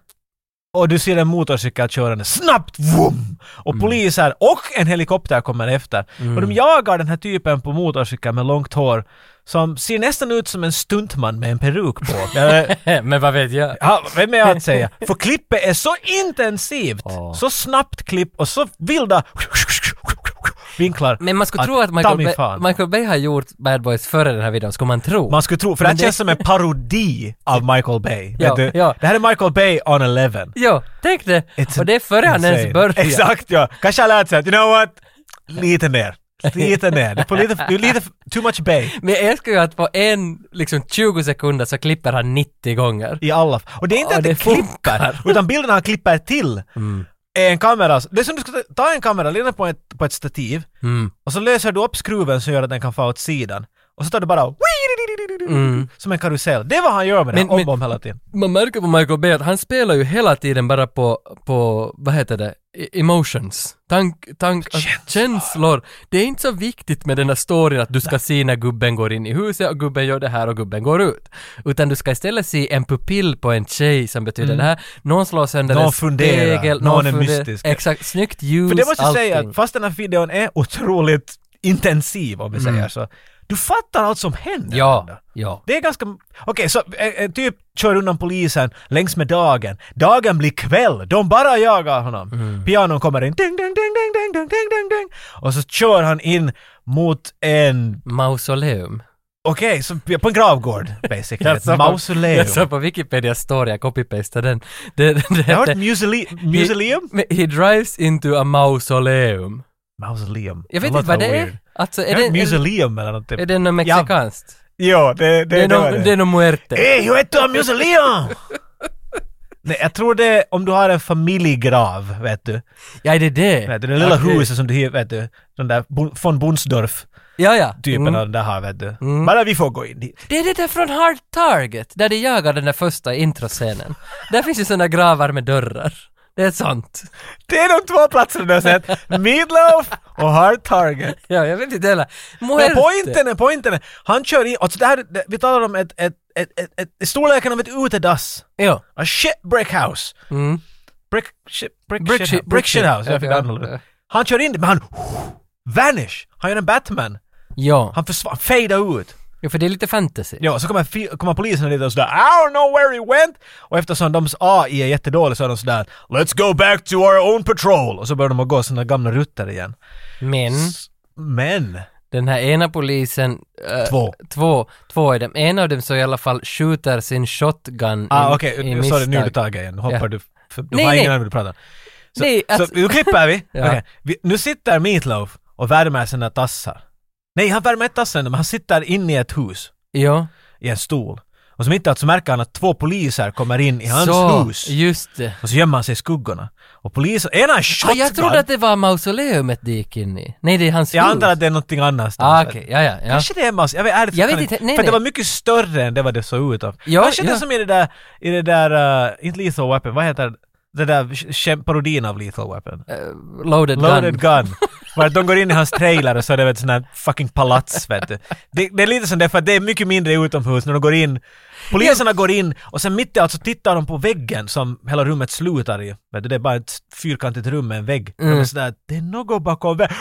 och du ser en motorcykel körande snabbt, vroom! Och
Mm.
poliser och en helikopter kommer efter. Och de jagar den här typen på motorcykel med långt hår som ser nästan ut som en stuntman med en peruk på. Eller,
Men vad vet jag?
Ja, vem är jag att säga? För klippet är så intensivt,
Ja.
så snabbt klipp och så vilda vinklar.
Men man skulle tro att
ta
Michael,
mig
Bay,
fan.
Michael Bay har gjort Bad Boys före den här videon, skulle man tro.
Man skulle tro, för det
Men
här
det-
känns som en parodi av Michael Bay.
Ja,
vet du?
ja.
Det här är Michael Bay on 11.
Jo, tänk det!
It's
och det är före han ens
insane.
började.
Exakt ja. Kanske har lärt sig att, you know what? Lite ner. Lite ner. Du är på lite, du är lite too much Bay.
Men jag älskar ju att på en, liksom 20 sekunder så klipper han 90 gånger.
I alla Och det är inte
Ja,
att
det
det
funkar. Mm.
klipper, utan bilden han klipper till är en kamera. Det är som du ska ta- ta en kamera, lägga den på ett, på ett stativ
Mm.
och så löser du upp skruven så gör att den kan få åt sidan. Och så tar du bara och-
Mm.
som en karusell. Det är vad han gör med den,
Men-
om
men-
och om hela tiden.
man märker på Michael Bay att han spelar ju hela tiden bara på, på vad heter det, E- emotions. Tank, tank, känslor. känslor. Det är inte så viktigt med den här storyn att du ska se när gubben går in i huset och gubben gör det här och gubben går ut. Utan du ska istället se en pupill på en tjej som betyder det här. Någon slår sönder
Mm. Någon
en
funderar.
spegel.
Någon är
funderar.
mystisk.
Exakt, snyggt ljus,
För det måste jag säga,
allting.
att fast den här videon är otroligt intensiv om vi säger så, Du fattar allt som händer. Amanda.
Mm. Ja, ja.
Det är ganska... Okej, så en, en typ kör undan polisen längs med dagen. Dagen blir kväll. De bara jagar honom.
Mm.
Pianon kommer in. Ding, ding, ding, ding, ding, ding, ding, ding, ding. Och så kör han in mot en...
Mausoleum.
Okej, så på en gravgård basically. Ett
sa på-
mausoleum.
Jag såg på Wikipedia story, jag copy-pastade den. Det, det, det
Jag har hört
hette-
museum. Museum?
He, he drives into a mausoleum.
Mausoleum.
Jag vet
låter
inte vad det
weird.
är. Alltså, är
Jag
det,
har hört
är,
museum eller något.
är det något
Ja.
mexikanskt?
Jo, det, det,
Det är
det var
någon- det Eh? är någon muerte.
Ey, yo heter museum! Nej, jag tror det är om du har en familjegrav, vet du.
Ja, är det det?
Vet du det lilla
Okej.
huset som du hyr, vet du. Den där Bo- von Bunsdorf-typen
Ja, ja. Mm.
av den där har, vet du. Bara vi får gå in dit.
Det är det där från Hard Target, där de jagar den där första introscenen. där finns ju såna gravar med dörrar. Det är sant.
Det är de två platserna du har sett. Meatloaf och Hard Target.
Ja, jag vet inte heller.
Men
Muerte.
poängen är, poängen är, han kör in, alltså det här, det, vi talar om ett, ett, ett, ett, ett storleken av ett utedass.
Ja.
A shit brick house.
Mm.
Brick, shit, brick,
Brick
shit,
shit-
house.
brick
brick shit
shit.
house. Jag fick
Ja,
annorlunda.
ja.
Han kör in det, men han... Vanish! Han gör en Batman.
Ja.
Han försvann, fadar ut.
ja, för det är lite fantasy.
Ja, så kommer, fi- kommer polisen dit och sådär I don't know where he went! Och eftersom de AI är jättedålig så är de sådär Let's go back to our own patrol! Och så börjar de att gå sina gamla rutter igen.
Men
Men...
den här ena polisen... eh,
Två.
Två, två är dem. En av dem så i alla fall skjuter sin shotgun
Ah
i-
okej,
i
sorry nu är du
misstag.
tagen igen. Nu hoppar
Ja.
du... För, du
Nej,
har
nej.
ingen aning vad du pratar om. Så,
Nej, alltså-
så nu klipper vi.
Ja.
Okej, vi. Nu sitter Meatloaf och värmer sina tassar. Nej, han värmer inte tassar ännu, men han sitter inne i ett hus.
Ja.
i en stol. Och som inte att så märker han att två poliser kommer in i hans
så,
hus.
just det.
Och så gömmer han sig i skuggorna. Och polisen, ena är
Ah,
shotgun!
jag trodde att det var mausoleumet de gick in i. Nej, det är hans
Jag
hus.
antar att det är någonting annat.
Ah, okej. Ja, ja, ja.
Kanske det är Mas, jag vet, ärligt,
Jag
kan
vet inte, nej,
För att det
nej.
var mycket större än det vad det såg ut av.
Ja,
Kanske det
ja.
är som i det där, i det där, uh, inte Lethal Weapon, vad heter det? det där sh- parodin av Lethal Weapon.
Loaded, gun.
Loaded gun. Var att de går in i hans trailer och så är det ett sånt här fucking palats vet du. Det, det är lite som det för att det är mycket mindre utomhus när de går in. Poliserna går in och sen mitt i allt så tittar de på väggen som hela rummet slutar i. Vet du, det är bara ett fyrkantigt rum med en vägg. De är sådär, det är något bakom väggen.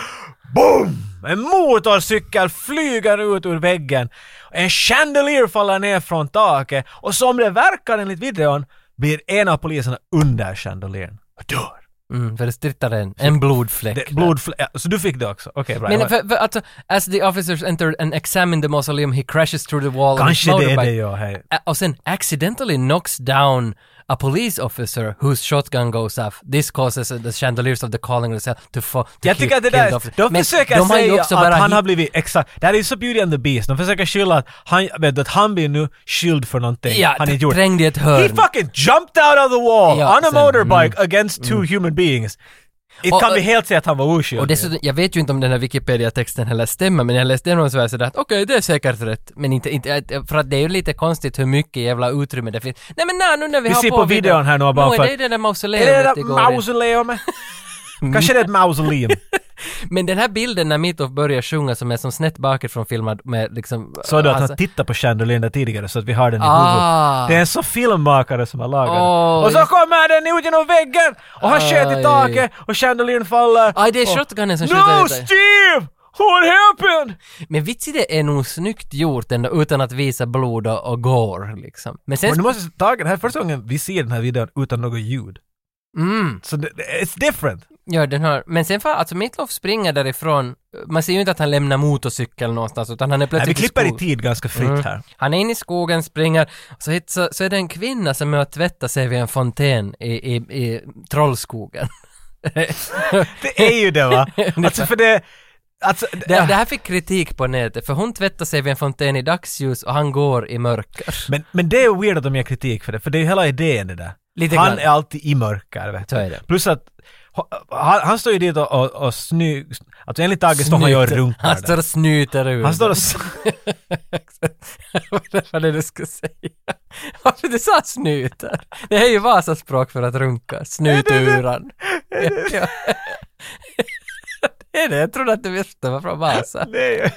Boom! En motorcykel flyger ut ur väggen. En chandelier faller ner från taket och som det verkar enligt videon blir en av poliserna under chandelieren och dör.
Mm, för det strittar en, en blodfläck.
Det,
där.
blodfl- ja, så du fick det också? Okej, bra.
Men för, för, alltså, as the officers entered and examined the mausoleum he crashes through the wall
Kanske
on his
det är
motorbike.
det jag hej.
A- Och sen accidentally knocks down a police officer whose shotgun goes off. This causes uh, the chandeliers of the calling cell to fall. To
Jag tycker att det där, de försöker säga att han har blivit, exakt, det här är ju så Beauty and the Beast, de försöker skylla att han, vet du, att han blir nu skyld för någonting
Ja,
han inte gjort.
trängd i ett
He
hörn.
fucking jumped out of the wall
Ja,
on a
sen- mm.
motorbike against two human beings. It
Och-
kan vi
och-
helt säga att han var oskyldig.
Och dessutom, jag vet ju inte om den här Wikipedia-texten heller stämmer, men jag läste igenom den så var jag sådär att okej, det är säkert rätt. Men inte, inte, att- för att det är ju lite konstigt hur mycket jävla utrymme det finns. Nej men nej, nu när vi,
Vi
har
ser
på,
på videon här nu och bara
Nå, är
för
det är det där
är det det
mausoleumet
där
igår.
mausoleumet? Kanske det är ett mausoleum.
Men den här bilden när Mitov börjar sjunga som är som snett bakifrån filmad med liksom...
Sa du att
alltså-
han tittade på chandeliern där tidigare så att vi har den i
Ah.
huvudet? Det är en så filmmakare som har lagat den.
Åh,
Och så
just-
kommer den ut genom väggen! Och han sköt
Aj.
i taket och chandeliern faller.
Aj, det är
Och-
shotgunen Ah, som skjuter
No
ut dig.
Steve! What happened?
Men vitsi det är nog snyggt gjort ändå utan att visa blod och, och gore liksom. Men sen...
Och nu måste jag ta det här är första gången vi ser den här videon utan något ljud.
Mm,
Så det, det- it's different.
ja den har... Men sen fan, alltså Mitloff springer därifrån. Man ser ju inte att han lämnar motorcykeln någonstans utan han är
Nej, vi
plötsligt
klipper i
skogen.
tid ganska fritt
Mm.
här.
Han är inne i skogen, springer, så, hit, så, så är det en kvinna som är och tvättar sig vid en fontän i, i, i Trollskogen.
Det är ju det va? Alltså för det... Alltså,
Det, det här fick kritik på nätet, för hon tvättar sig vid en fontän i dagsljus och han går i mörker.
Men, men det är ju weird att de ger kritik för det, för det är ju hela idén det där.
Lite
han
grann.
är alltid i mörker, vet du.
Så är det.
Plus att han, han står ju dit och, och, och sny... Alltså enligt Tage står han ju och
Snyter-
runkar
Han
där.
står och snyter ur.
Han står och...
den.
s-
Vad var det du skulle säga? Varför du sa snyter? Det är ju Vasaspråk för att runka. Snyturan. Ja. Det är det, jag trodde att du visste var från Vasa.
Nej,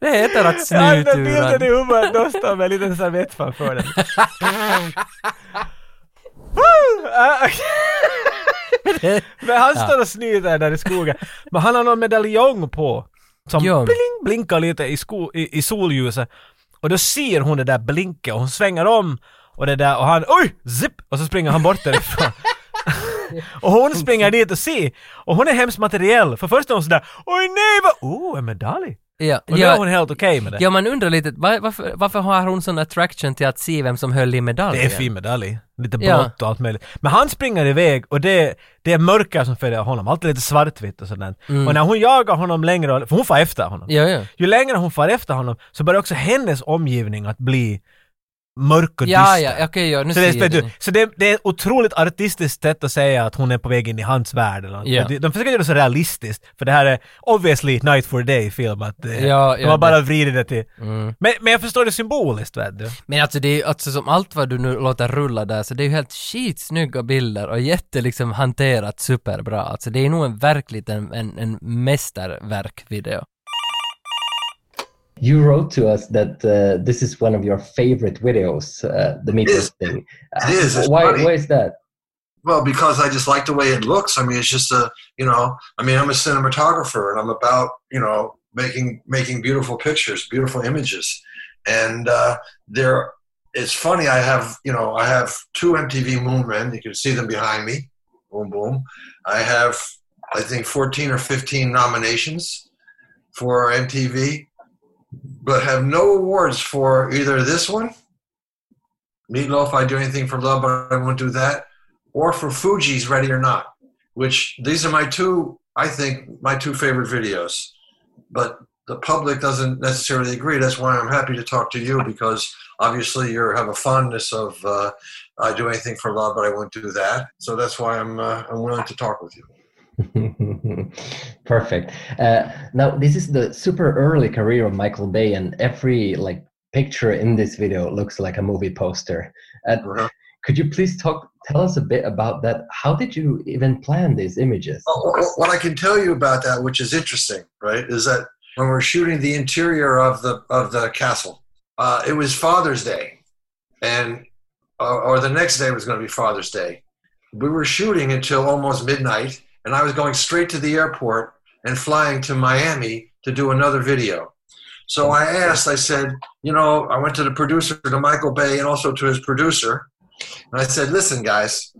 Det heter att
jag har den där bilden i
snyturan.
huvudet. De står med en liten servett framför den. Woo! Ah, okej. Men han står och snyter där i skogen. Men han har någon medaljong på. som
Ja.
bling, blinkar lite i, sko, i, i solljuset. Och då ser hon det där blinket och hon svänger om och det där och han oj! Zip! Och så springer han bort därifrån. och hon springer dit och ser. Och hon är hemskt materiell. För först är hon sådär oj nej vad... Oh, en medalj!
Ja,
Och då är hon
ja,
helt okej med det.
ja, man undrar lite, var, varför, varför har hon sån attraction till att se vem som höll i
Det
medaljen?
är en fin medalj. Lite
Ja.
blått och allt möjligt. Men han springer iväg och det, det är mörker som följer honom. Alltid lite svartvitt och sådär. Och när hon jagar honom längre, och- för hon far efter honom.
Mm. Ja, ja.
Ju längre hon far efter honom så börjar också hennes omgivning att bli mörk och
Ja,
dyster.
ja, okej, ja, nu
Så, det,
ser
är,
jag
du,
det.
så det, det är ett otroligt artistiskt sätt att säga att hon är på väg in i hans värld. Eller något.
Ja.
de, de försöker göra det så realistiskt, för det här är obviously Night for Day film. Att, eh,
Ja,
de
ja,
har bara
det-
vridit det till...
Mm.
Men, men jag förstår det symboliskt, vet du.
Men alltså det är ju- alltså som allt vad du nu låter rulla där så det är ju helt skitsnygga bilder och jätte liksom hanterat superbra. Alltså det är nog en verkligt en, en, en mästerverk-video.
You wrote to us that uh, this is one of your favorite videos, uh, the meat
It is.
Loaf thing. Uh,
It is. It's
Why,
funny.
why is that?
Well, because I just like the way it looks. I mean, it's just a you know. I mean, I'm a cinematographer, and I'm about you know making making beautiful pictures, beautiful images, and uh, there. It's funny. I have you know I have two MTV Moonmen. You can see them behind me. Boom, boom. I have I think 14 or 15 nominations for MTV, but have no awards for either this one. Meatloaf, I do anything for love, but I won't do that or for Fuji's Ready or Not, which these are my two, I think, my two favorite videos. But the public doesn't necessarily agree. That's why I'm happy to talk to you because obviously you have a fondness of uh, I do anything for love, but I won't do that. So that's why I'm uh, I'm willing to talk with you.
Perfect. Uh, now this is the super early career of Michael Bay, and every like picture in this video looks like a movie poster. Could you please talk? Tell us a bit about that. How did you even plan these images?
Well, wh- wh- What I can tell you about that, which is interesting, right, is that when we're shooting the interior of the of the castle, uh, it was Father's Day, and or, or the next day was going to be Father's Day. We were shooting until almost midnight, and I was going straight to the airport and flying to Miami to do another video. So I asked, I said, you know, I went to the producer, to Michael Bay, and also to his producer, and I said, listen, guys.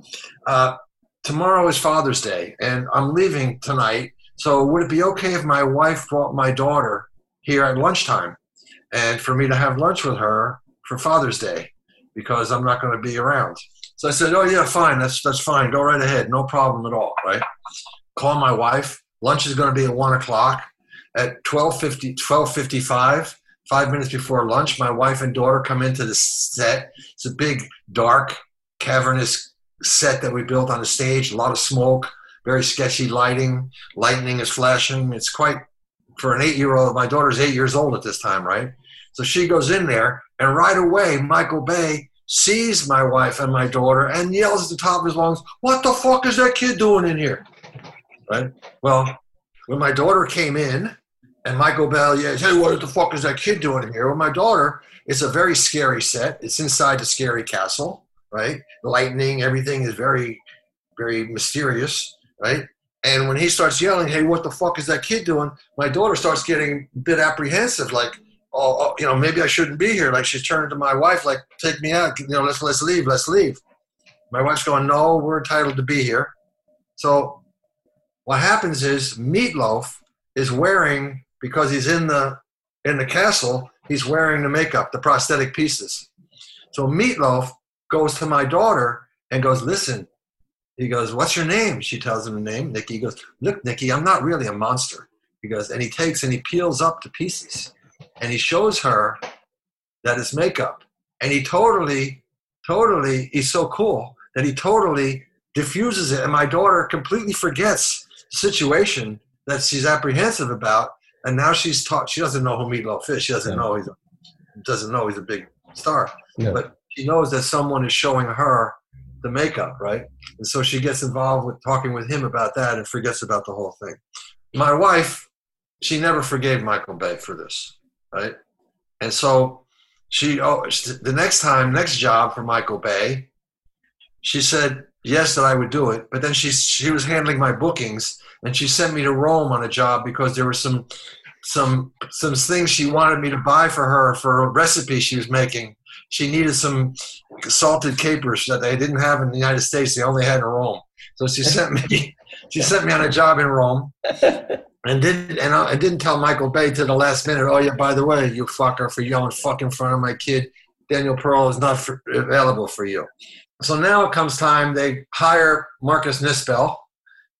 Uh, tomorrow is Father's Day, and I'm leaving tonight. So would it be okay if my wife brought my daughter here at lunchtime, and for me to have lunch with her for Father's Day, because I'm not going to be around? So I said, "Oh yeah, fine. That's that's fine. Go right ahead. No problem at all. Right? Call my wife. Lunch is going to be at one o'clock. At 12:50, 12:55, five minutes before lunch, my wife and daughter come into the set. It's a big, dark, cavernous set that we built on the stage. A lot of smoke, very sketchy lighting. Lightning is flashing. It's quite for an eight-year-old. My daughter's eight years old at this time, right? So she goes in there, and right away, Michael Bay sees my wife and my daughter and yells at the top of his lungs, "What the fuck is that kid doing in here?" Right? Well, when my daughter came in. And Michael Bell, yeah, hey, what the fuck is that kid doing in here? Well, my daughter, it's a very scary set. It's inside the scary castle right? Lightning, everything is very, very mysterious, right? And when he starts yelling, "Hey, what the fuck is that kid doing?" My daughter starts getting a bit apprehensive, like, "Oh, oh, you know, maybe I shouldn't be here." Like she's turning to my wife, like, "Take me out, you know, let's let's leave, let's leave." My wife's going, "No, we're entitled to be here." So, what happens is Meatloaf is wearing because he's in the in the castle. He's wearing the makeup, the prosthetic pieces. So Meatloaf goes to my daughter and goes, Listen, he goes, What's your name? She tells him the name, Nikki. He goes, Look, Nikki, I'm not really a monster. He goes, And he takes and he peels up to pieces and he shows her that it's makeup. And he totally, totally, he's so cool that he totally diffuses it. And my daughter completely forgets the situation that she's apprehensive about. And now she's taught, she doesn't know who Meatloaf is. She doesn't know he's a, doesn't know he's a big star
No.
but she knows that someone is showing her the makeup, right? And so she gets involved with talking with him about that and forgets about the whole thing. My wife, she never forgave Michael Bay for this, right? And so she, oh, the next time, next job for Michael Bay, she said yes that I would do it, but then she she was handling my bookings and she sent me to Rome on a job because there was some some some things she wanted me to buy for her for a recipe she was making. She needed some salted capers that they didn't have in the United States; they only had in Rome. So she sent me she sent me on a job in Rome, and didn't and I, I didn't tell Michael Bay to the last minute. Oh yeah, by the way, you fucker for yelling fuck in front of my kid. Daniel Pearl is not for, available for you. So now it comes time they hire Marcus Nispel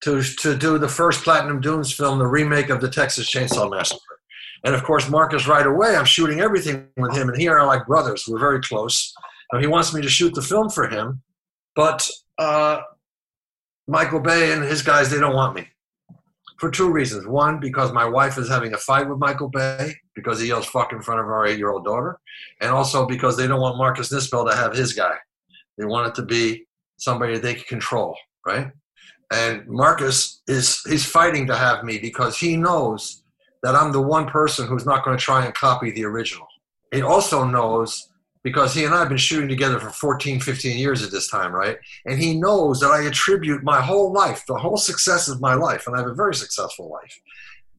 to to do the first Platinum Dunes film, the remake of the Texas Chainsaw Massacre. And of course, Marcus right away, I'm shooting everything with him, and he and I are like brothers. We're very close. And he wants me to shoot the film for him, but uh, Michael Bay and his guys they don't want me for two reasons. One, because my wife is having a fight with Michael Bay because he yells "fuck" in front of our eight-year-old daughter, and also because they don't want Marcus Nispel to have his guy. They want it to be somebody they can control, right? and Marcus is he's fighting to have me because he knows that I'm the one person who's not going to try and copy the original. He also knows because he and I have been shooting together for 14, 15 years at this time, right? And he knows that I attribute my whole life, the whole success of my life, and I have a very successful life,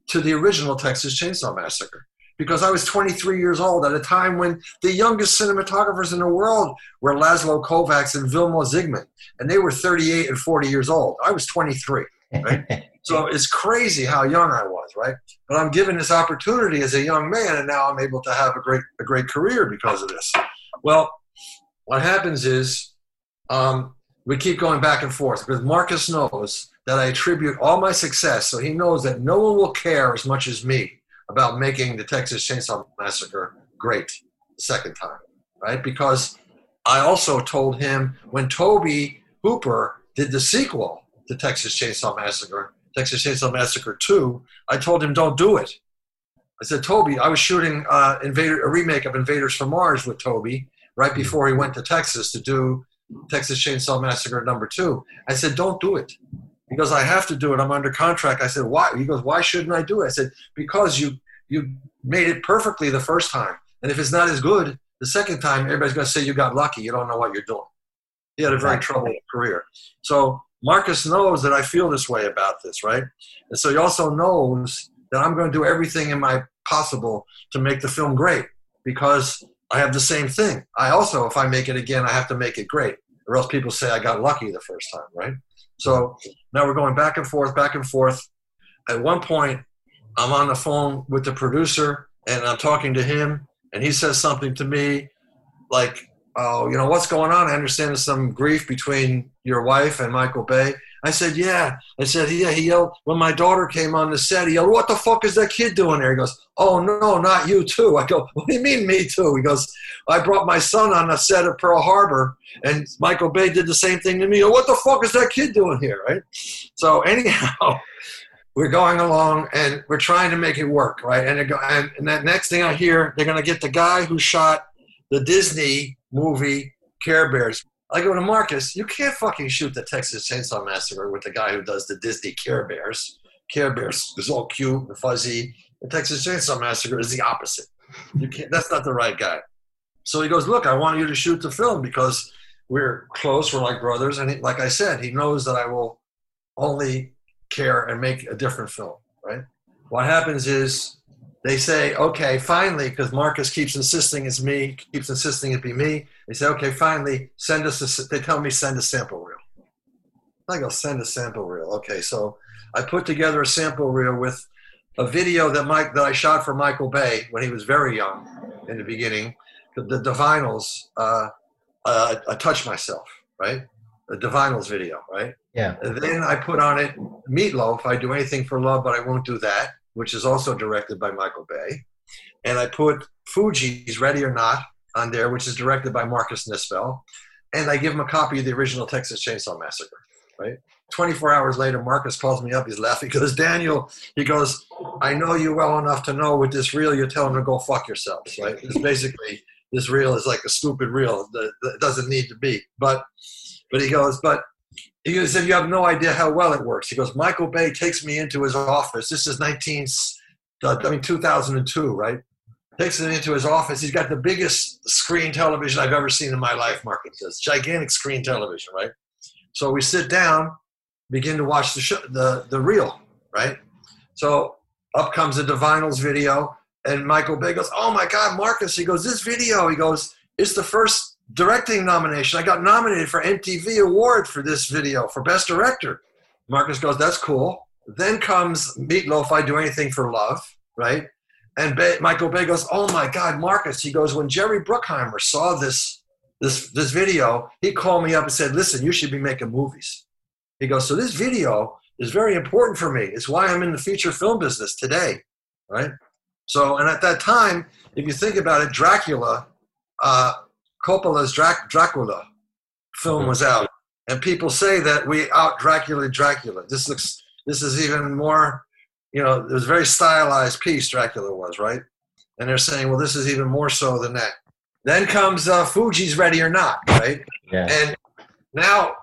to the original Texas Chainsaw Massacre. Because I was 23 years old at a time when the youngest cinematographers in the world were Laszlo Kovacs and Vilmo Zsigmond and they were 38 and 40 years old. I was 23, right? so it's crazy how young I was, right? But I'm given this opportunity as a young man, and now I'm able to have a great a great career because of this. Well, what happens is um, we keep going back and forth because Marcus knows that I attribute all my success, so he knows that no one will care as much as me about making the Texas Chainsaw Massacre great the second time, right? Because I also told him when Toby Hooper did the sequel to Texas Chainsaw Massacre, Texas Chainsaw Massacre 2, I told him, don't do it. I said, Toby, I was shooting uh, Invader, a remake of Invaders from Mars with Toby right before he went to Texas to do Texas Chainsaw Massacre number two. I said, don't do it. He goes, I have to do it. I'm under contract. I said, why? He goes, why shouldn't I do it? I said, because you, you made it perfectly the first time. And if it's not as good the second time, everybody's going to say you got lucky. You don't know what you're doing he had a very troubled career. So Marcus knows that I feel this way about this, right? And so he also knows that I'm going to do everything in my possible to make the film great because I have the same thing. I also, if I make it again, I have to make it great, or else people say I got lucky the first time, right? So now we're going back and forth, back and forth. At one point, I'm on the phone with the producer and I'm talking to him, and he says something to me like, oh, you know, what's going on? I understand there's some grief between your wife and Michael Bay. I said, yeah. I said, yeah, he yelled, when my daughter came on the set, he yelled, what the fuck is that kid doing there? He goes, oh, no, not you too. I go, what do you mean me too? He goes, I brought my son on a set of Pearl Harbor, and Michael Bay did the same thing to me. Oh, what the fuck is that kid doing here, right? So anyhow, we're going along and we're trying to make it work, right? And, it go, and, and that next thing I hear, they're going to get the guy who shot the Disney movie Care Bears. I go to Marcus, you can't fucking shoot the Texas Chainsaw Massacre with the guy who does the Disney Care Bears. Care Bears is all cute and fuzzy. The Texas Chainsaw Massacre is the opposite. You can't, that's not the right guy. So he goes, look, I want you to shoot the film because we're close, we're like brothers. And he, like I said, he knows that I will only care and make a different film, right? What happens is they say, okay, finally, because Marcus keeps insisting it's me, keeps insisting it be me. They say, okay, finally, send us. A, they tell me send a sample reel. I go send a sample reel. Okay, so I put together a sample reel with a video that Mike that I shot for Michael Bay when he was very young in the beginning. The, the Divinals, uh, uh, I touched myself, right? The Divinals video, right?
Yeah.
And then I put on it Meatloaf. I do anything for love, but I won't do that which is also directed by Michael Bay. And I put Fuji's Ready or Not on there, which is directed by Marcus Nispel. And I give him a copy of the original Texas Chainsaw Massacre, right? 24 hours later, Marcus calls me up. He's laughing. He goes, Daniel, he goes, I know you well enough to know with this reel, you're telling them to go fuck yourselves, right? It's basically, this reel is like a stupid reel that that doesn't need to be. But, but he goes, but he said, "You have no idea how well it works." He goes, "Michael Bay takes me into his office. This is 19, I mean 2002, right? Takes me into his office. He's got the biggest screen television I've ever seen in my life. Market says, gigantic screen television, right? So we sit down, begin to watch the show, the the reel, right? So Up comes the Divinals video, and Michael Bay goes, "Oh my God, Marcus!" He goes, "This video." He goes, "It's the first directing nomination. I got nominated for MTV Award for this video for Best Director." Marcus goes, "That's cool." Then comes Meatloaf, "I Do Anything for Love," right? And Bay, Michael Bay goes, "Oh my God, Marcus!" He goes, "When Jerry Bruckheimer saw this this this video, he called me up and said, "Listen, you should be making movies." He goes, "So this video is very important for me. It's why I'm in the feature film business today, right?" So, and at that time, if you think about it, Dracula, uh, Coppola's Drac- Dracula film was out, and people say that we out Dracula Dracula. This looks this is even more you know, it was a very stylized piece, Dracula was, right? And they're saying, well, this is even more so than that. Then comes uh, Fuji's Ready or Not, right?
Yeah.
And now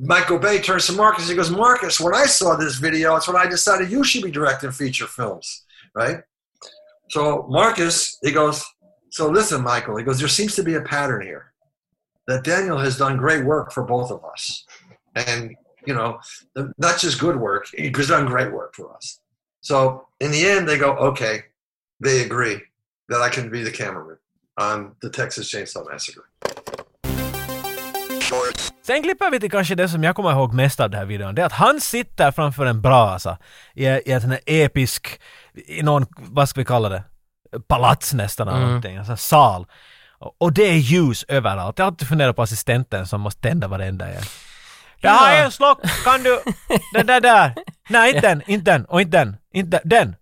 Michael Bay turns to Marcus. He goes, Marcus, when I saw this video, it's when I decided you should be directing feature films, right? So Marcus, he goes, so listen, Michael, he goes, there seems to be a pattern here that Daniel has done great work for both of us. And, you know, not just good work, he's done great work for us. So in the end, they go, okay, they agree that I can be the cameraman on the Texas Chainsaw Massacre.
Sen klipper vi till kanske det som jag kommer ihåg mest av den här videon. Det är att han sitter framför en brasa i, i en sån här episk, i någon, vad ska vi kalla det, palats nästan eller
Mm.
någonting, en sån här sal. Och- Och det är ljus överallt. Jag har alltid funderat på assistenten som måste tända varenda en. Jag har
Ja.
en slock, kan du? Den där där! Nej, inte den, inte den, och inte den, inte den!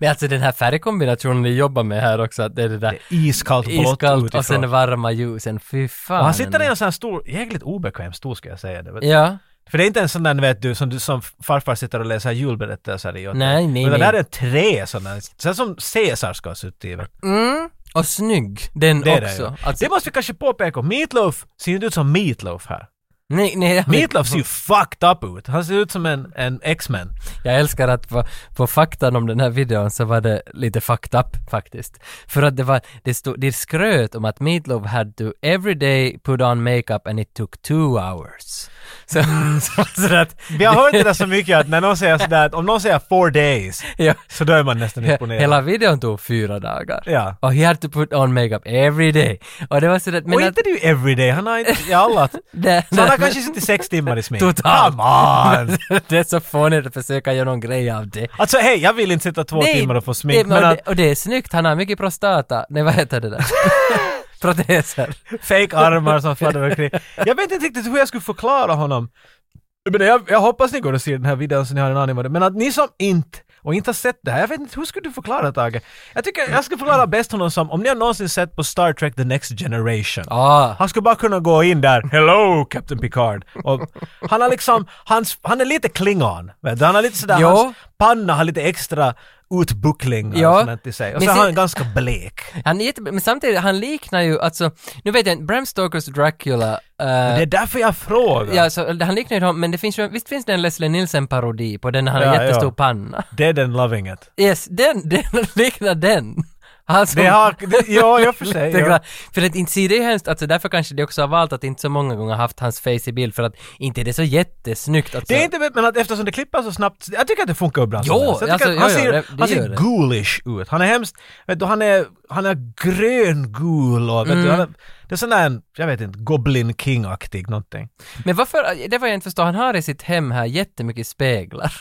Men alltså den här färgkombinationen vi jobbar med här också, att det är det där
Iskallt blått
iskallt
utifrån.
och sen varma ljusen, fy fan.
Och han sitter i en sån här stor, jäkligt obekväm stol ska jag säga. Det. vet-
Ja,
För det är inte en sån där, vet du, som, du, som farfar sitter och läser julberättelser i. åt
Nej,
dig.
nej,
Utan
nej.
där är tre sådana, så här som Caesar ska ha suttit i. vet du.
mm. och snygg, den
Det är det.
också. Alltså,
ju. Det måste vi kanske påpeka, Meatloaf ser ju inte ut som Meatloaf här.
nej, nej, jag-
Meatloaf ser ju fucked up ut. Han ser ut som en, en X-Men.
Jag älskar att på, på faktan om den här videon så var det lite fucked up faktiskt. För att det var, det stod, det skröt om att Meatloaf had to every day put on makeup and it took two hours. Så, så, så att...
Vi har hört det där så mycket att när någon säger sådär, att om någon säger four days,
Ja.
så då är man nästan imponerad.
Hela videon tog fyra dagar.
Ja.
Och he had to put on makeup every day. Och det var sådär,
och
men
inte det är ju everyday, han har inte jallat.
Nej,
Så han har
nej,
kanske suttit sex timmar i smink.
Totalt.
Come on!
det är så fånigt att försöka göra någon grej av det.
Alltså hej, jag vill inte sitta två timmar och få smink,
det,
men
och,
att
det, och det är snyggt, han har mycket prostata. Nej, vad heter det där? Proteser.
fake armar som fladdrar omkring. Jag vet inte riktigt hur jag skulle förklara honom. Men jag, jag hoppas ni går och ser den här videon så ni har en aning om det. Men att ni som inte och inte har sett det här, jag vet inte, hur skulle du förklara Tage? Jag tycker jag ska förklara bäst honom som, om ni har någonsin sett på Star Trek The Next Generation.
Ah.
Han skulle bara kunna gå in där, hello Captain Picard. Och han har liksom, hans, han är lite klingon. Vet du? Han har lite sådär,
Jo.
hans panna har lite extra utbucklingar
Ja.
och sånt i sig. Och
Men
så är
sen-
han ganska blek.
Han är jätte... Men samtidigt, han liknar ju, alltså, nu vet jag inte, Bram Stokers Dracula, eh,
Det är därför jag frågar.
ja, så, han liknar ju honom, men det finns ju, visst finns det en Leslie Nielsen-parodi på den när han har
Ja,
jättestor
ja.
panna?
Dead and loving it.
Yes, den, den liknar den. Alltså, Han som-
Det har, det, ja, jag för sig.
Lite
ja.
grann. För att inte ser det ju hemskt, alltså därför kanske de också har valt att inte så många gånger haft hans face i bild för att inte är det så jättesnyggt. Alltså.
Det är inte, men att eftersom det klipper så snabbt, jag tycker att det funkar bra.
Jo,
som helst. jag tycker
alltså,
att han
jo, jo,
ser,
det- det
han
gör
ser
det.
ghoulish ut. Han är hemskt, vet du, han är, han är gröngul och vet
Mm.
du, han är, det är sån där, en, jag vet inte, Goblin King-aktig någonting.
Men varför, det var jag inte förstår, han har i sitt hem här jättemycket speglar.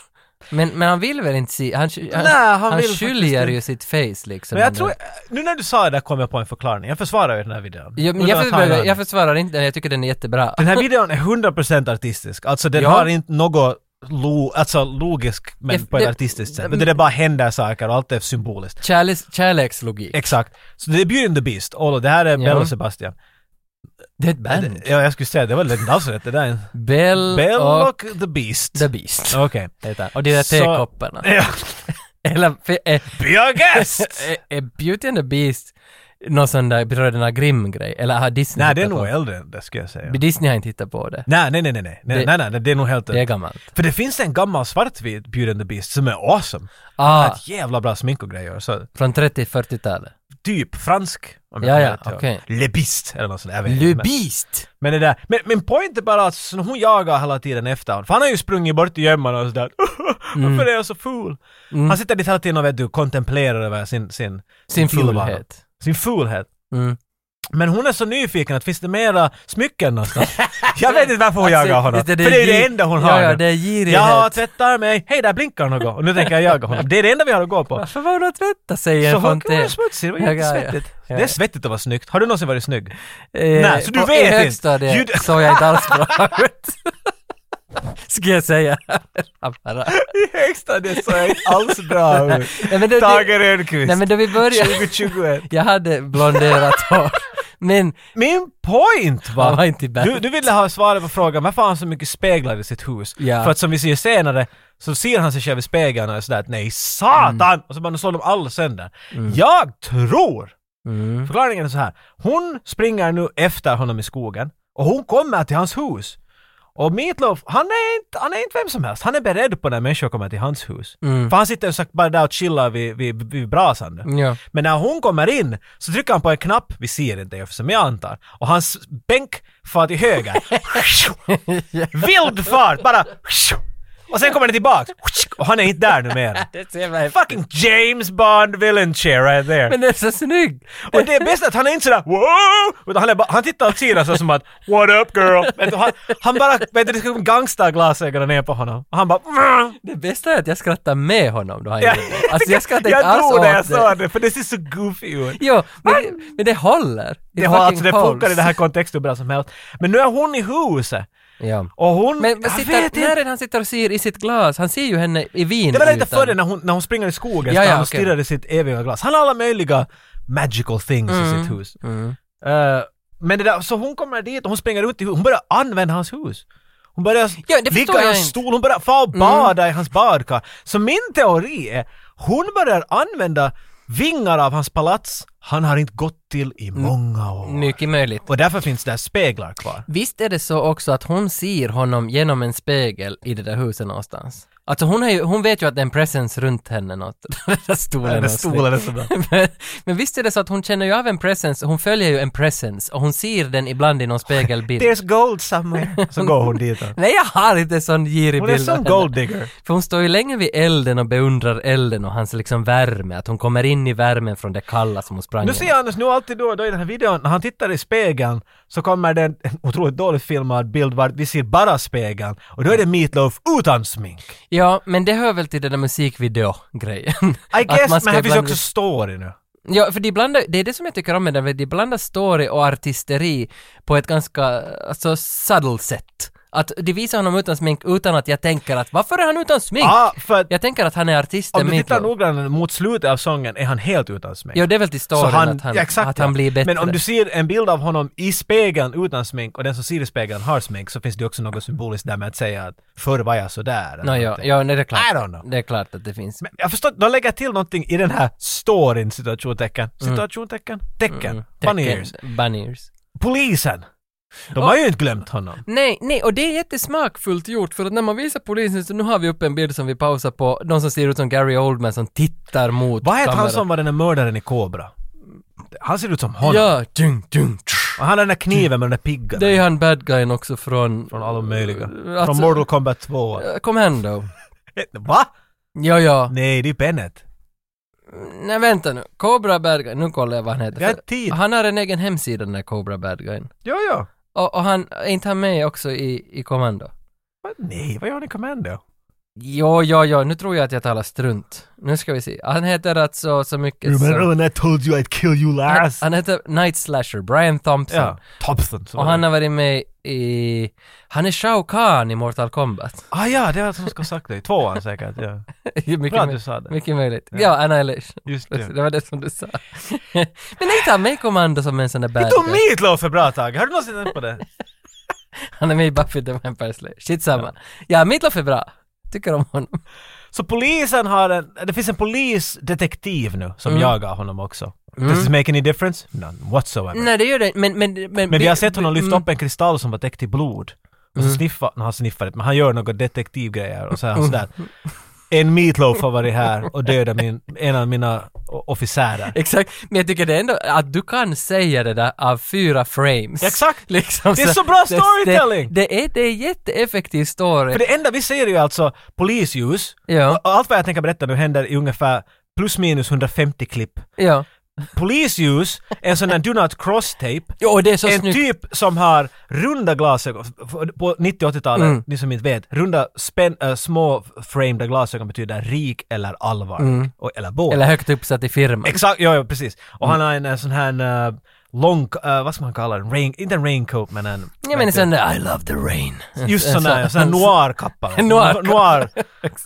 Men, men han vill väl inte se, han, han,
Nej, han vill
skiljer
faktiskt
ju sitt face liksom.
Men jag
under-
tror, nu när du sa det där kom jag på en förklaring. Jag försvarar ju den här videon.
Ja, men
Utan
jag,
att ha en
försvarar,
aning.
jag försvarar inte den, jag tycker den är jättebra.
Den här videon är 100% artistisk. Alltså den
Ja.
har inte något lo, alltså logisk men
Det-
på ett
det- mm.
artistiskt sätt.
men-
Men det bara händer saker och allt är symboliskt.
Kärleks, kärlekslogik.
Exakt. Så det är Beauty and the Beast. Olo, det här är Bell
Ja.
och Sebastian.
Det är ett band.
Ja, jag skulle säga det var lite alls rätt det där. är en-
Bell,
Bell
och,
och The Beast.
The Beast.
Okej.
heter han. Och de där
Så-
tekopparna.
Ja.
Eller, för- eh,
Be our guest!
är, är Beauty and the Beast någon sån där Bröderna Grimm-grej? Eller har Disney
Nej, det är
hittat
nog
på
äldre än det skulle jag säga.
det? Disney har inte hittat på det.
Nej, nej, nej, nej, nej, nej,
Det-
nej, nej, det är nog helt
Det är
rätt.
gammalt.
För det finns en gammal svartvit Beauty and the Beast som är awesome.
Ah,
Ett jävla bra smink och grejer. Så
från 30-40-talet.
typ fransk. om jag
Ja,
kommer
ja,
rätt ihåg.
okej.
Le Beast eller något sånt. där, Jag vet inte,
Le
men-
Beast!
Men det där, men min point är bara att så hon jagar hela tiden efter honom. För han har ju sprungit bort i gömman och sådär.
Mm.
Varför är jag så ful? Han sitter dit hela tiden och vet du, kontemplerar över sin... Sin,
Sin
tillvaro.
fulhet.
Sin fulhet.
Mm.
Men hon är så nyfiken att finns det mera smycken någonstans? jag vet inte varför hon jagar honom.
Alltså, Visst
för det är ju det
gi-
enda hon
ja,
har.
Ja,
nu.
det är girighet.
jag tvättar mig, hej där blinkar något. Och nu tänker jag jaga honom. Det är det enda vi har att gå på.
Varför var hon att tvätta sig i
Så
en
hon kan
fontän?
vara smutsig, det var
Ja, ja, ja.
jättesvettigt.
Ja,
Det är
ja.
svettigt att vara snygg. Har du någonsin varit snygg?
Eh,
Nej, så du
och
vet
I
inte.
högstadiet
Ljud-
såg jag inte alls bra ut. Ska jag säga. Ja, bara.
I högstadiet såg jag inte alls bra ut.
Nej, men det- det-
Tage Rönnqvist.
Nej men då vi började,
2021.
jag hade blonderat hår. Men
Min point
han var
var...
inte bad.
Du, du ville ha svaret på frågan varför har han så mycket speglar i sitt hus?
Ja.
För att som vi ser senare så ser han sig själv i spegeln och är sådär att nej satan! Och så bara nu såg de alla sönder. Jag tror
Mm.
Förklaringen är så här. Hon springer nu efter honom i skogen och hon kommer till hans hus. Och Meatloaf, han är inte, han är inte vem som helst. Han är beredd på när människor kommer till hans hus.
Mm.
För han sitter och sagt bara där och chillar vid, vid, vid brasan. nu.
Ja.
Men när hon kommer in så trycker han på en knapp, vi ser inte det som jag antar, och hans bänk far till höger. Vild fart, bara Och sen kommer den tillbaks. Och han är inte där numera.
Det ser man
Fucking James Bond villain chair right there.
Men det är så snygg!
Och det är bäst att han är inte sådär wow! Utan han, är bara, han tittar åt sidan så som att what up girl? Vet du, han, han bara, vet du, det ska komma gangsterglasögonen ner på honom. Och han bara "Mm."
Det bästa är att jag skrattar med honom då han
Ja.
gjorde det. Alltså jag skrattar inte
Jag
alls
tror
åt
det jag
det.
sa det, för det ser så goofy ut.
Jo, men, men det håller. It
Det, har, alltså,
fucking
det funkar i
holds.
den här kontexten hur bra som helst. Men nu är hon i huset.
Ja.
Och hon,
Men vad
jag vet
sitter, när
inte.
är det han sitter och ser i sitt glas? Han ser ju henne i vin.
Det var lite före när hon, när hon springer i skogen,
Ja,
står
ja,
han och
okej.
stirrar i sitt eviga glas. Han har alla möjliga magical things i sitt hus.
Mm.
Eh, men det där, så hon kommer dit och hon springer runt i huset, hon börjar använda hans hus. Hon börjar
Ja, det förstår
ligga i
jag
hans
inte. Mm.
stol, hon börjar fara och bada i hans badkar. Så min teori är, hon börjar använda vingar av hans palats han har inte gått till i
Mm.
många år.
Mycket möjligt.
Och därför finns där speglar kvar.
Visst är det så också att hon ser honom genom en spegel i det där huset någonstans? Alltså hon, har ju, hon vet ju att det är en presence runt henne något. Den där stolen.
Den där
och
stolen är så bra.
men, men visst är det så att hon känner ju av en presence, hon följer ju en presence och hon ser den ibland i någon spegelbild.
There's gold somewhere. Så går hon dit. och-
Nej jag har inte sån girig
Hon är
bild av
som
henne.
gold digger.
För hon står ju länge vid elden och beundrar elden och hans liksom värme, att hon kommer in i värmen från det kalla som hon sprang
Nu
i.
ser jag Anders nu alltid då och då i den här videon, när han tittar i spegeln så kommer det en en otroligt dåligt filmad bild var vi ser bara spegeln och då är det Meatloaf utan smink.
Ja, men det hör väl till den där musikvideo-grejen.
I
Att
guess,
man ska
men här finns ju
ibland-
också story nu.
Ja, för de blandar, det är det som jag tycker om med den, de blandar story och artisteri på ett ganska, alltså, subtle sätt. Att de visar honom utan smink utan att jag tänker att varför är han utan smink?
Ja, för att
Jag tänker att han är artisten
om du tittar
Meatloaf.
noggrannare mot slutet av sången är han helt utan smink.
Ja, det är väl till storyn att, han,
ja, exakt,
att han
ja.
blir bättre.
Men om du ser en bild av honom i spegeln utan smink och den som ser i spegeln har smink så finns det också något symboliskt där med att säga att förr var jag sådär. eller
No, ja,
någonting.
ja, nej, det är klart.
I don't know.
Det är klart att det finns.
Men jag förstår, de lägger till någonting i den här storyn, situationstecken.
Mm.
Situationtecken? Tecken? Bunny ears.
Bunny-ears.
Polisen! De har ju inte glömt honom.
Nej, nej, och det är jättesmakfullt gjort för att när man visar polisen så nu har vi upp en bild som vi pausar på, någon som ser ut som Gary Oldman som tittar mot
Vad heter han
kameran.
som var den där mördaren i Cobra? Han ser ut som honom.
Ja, dung, dung, tsch.
Och han har den där kniven med den där piggan.
Det är han bad guyen också från...
Från alla möjliga.
Alltså-
Från Mortal Kombat 2.
Eh, Kom hem då.
Va?
Ja, ja.
Nej, det är Bennett.
Nej, vänta nu. Cobra bad guy, nu kollar jag vad han heter.
Vi har
För
tid.
Han har en egen hemsida den där Cobra bad guyen.
Ja, ja.
Och, och han, är inte han med också i, i Commando?
Va? Nej, vad gör ni Commando?
Jo, ja, ja, nu tror jag att jag talar strunt. Nu ska vi se. Han heter alltså så mycket som...
when I told you I'd kill you
Han, han heter Night Slasher, Brian Thompson.
Ja. Thompson. så
Och
var
han
det.
har varit med i... Han är Shao Kahn i Mortal Kombat.
Ah ja, det var som ska ha sagt det. Tvåan säkert, ja.
mycket,
Bra att
möj-
du sa det.
mycket möjligt. Ja, Annihilation.
Just det.
Det var det som du sa. Men är inte han med i Commando som en sån där bad
Vi tog
guy?
Meatloaf för bra tag. Har du någonsin tänkt på det?
Han är med i Buffy the Vampire Slayer. Skitsamma. Ja, Meatloaf är bra. Tycker om honom.
Så polisen har en, det finns en polisdetektiv nu
Mm.
som jagar honom också. Does this make any difference? None whatsoever.
Nej, det gör det Men, men, men,
Men vi har sett honom lyfta
mm,
upp en kristall som var
Mm.
täckt i blod. Och så sniffa, när han sniffar det, men han gör något detektivgrejer och så är han sådär. en Meatloaf har varit här och dödat min, en av mina o- officerer.
Exakt, men jag tycker det är ändå att du kan säga det där av fyra frames.
Exakt.
Liksom
Det är så bra
det- det-
storytelling.
Det, är, det är jätteeffektiv story.
För det enda vi ser är ju alltså polisljus.
Ja,
Och Allt vad jag tänker berätta nu händer i ungefär plus minus 150 klipp.
ja.
Polisljus är en sån där do not cross-tape.
Jo, och det är så
en
snyggt.
typ som har runda glasögon, f- f- på 90-80-talet,
Mm.
ni som inte vet, runda spän, äh, små frameda glasögon betyder rik eller allvar. Och, eller båda.
Eller högt uppsatt i firman.
Exakt, ja, ja precis. Och han har en, eh, sån här eh, lång, eh, vad ska man kalla den, rain, inte en raincoat men en...
Jag menar sen där I love the rain.
Just
En
sån där, en sån här noir-kappa.
En noir-
noir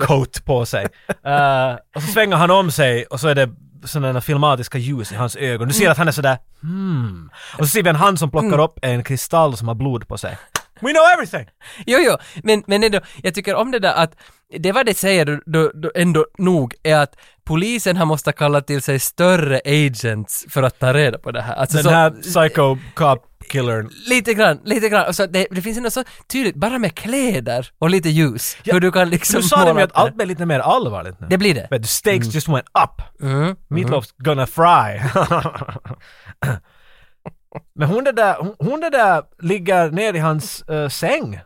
coat på sig. Eh, och så svänger han om sig och så är det sådana filmatiska ljus i hans ögon.
Mm.
Du ser att han är sådär hmm. Och så ser vi en hand som plockar upp en kristall som har blod på sig. We know everything!
Jo, jo, men, men ändå, jag tycker om det där att det var det säger du, du, du ändå nog är att polisen har måste kalla till sig större agents för att ta reda på det här. Alltså,
Den
så-
här psycho cop killern.
Lite grann, lite grann. Och så det, det finns ändå så tydligt, bara med kläder och lite ljus, hur du kan liksom
Du sa det
måla
med att
upp
allt blir lite mer allvarligt nu.
Det blir det.
But the stakes just went up.
Mm.
Meatloaf's gonna fry. Men hon det där, hon- hon det där ligger ner i hans eh, säng.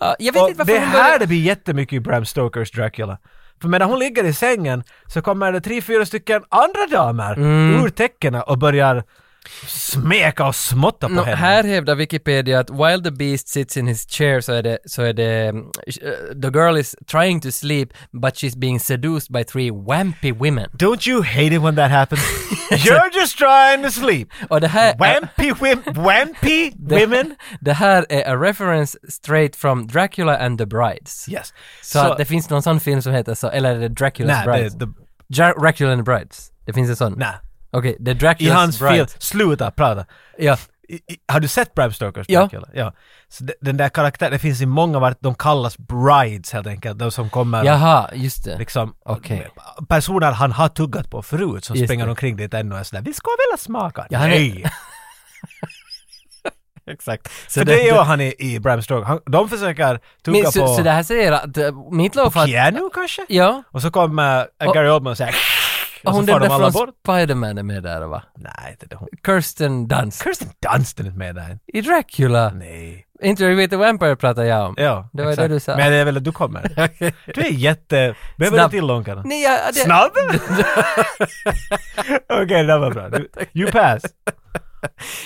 Ja, jag vet
Och
inte varför
det
hon
här
började-
det blir jättemycket i Bram Stokers Dracula. För medan hon ligger i sängen så kommer det tre, fyra stycken andra damer
Mm.
ur täckena och börjar smeka och smotta på
Nå,
henne.
här hävdar Wikipedia att while the beast sits in his chair så är det, så är det mm, sh- eh, the girl is trying to sleep but she's being seduced by three wampy women.
Don't you hate it when that happens? You're just trying to sleep.
Och det här,
Wampy, wim, wampy women.
Äh. det här är a reference straight from Dracula and the Brides.
Yes.
Så, att det finns någon sån film som heter så, eller är det Dracula's
nej,
Brides?
det, det,
Ja- Dracula and the Brides. Det finns en sån?
nej.
Okej, det är
I hans
Dracula's
film.
Brides.
Sluta prata.
Ja.
I, i, har du sett Bram Stokers
Ja.
Dracula? Ja. Så de, den där karaktären, det finns i många vart de kallas brides helt enkelt. De som kommer
Jaha, just det.
liksom
Okej.
personer han har tuggat på förut som
Just
springer
det.
omkring dit ännu och är sådär ”Vi ska vilja smaka”.
Ja, han är-
Nej!
Exakt. Så
För det gör han i, i Bram Stoker. Han, de försöker tugga
men,
på
så, så det här säger att äh, Meatloaf har...
Keanu kanske?
Ja.
Och så kommer äh,
Och-
Gary Oldman och säger
Och
och
hon
så
den
far de
där
alla
från
bort.
Spiderman är med där va?
Nej, inte det hon.
Kirsten Dunst.
Kirsten Dunst är inte med där.
I Dracula.
Nej.
Interview with the Vampire pratar jag om.
Ja,
Det var det du sa.
Men det är väl att du kommer. Du är jätte... Behöver
Snabb.
du till långkare?
Nej, jag, det,
Snabb? Okej, det var bra. Du, you pass.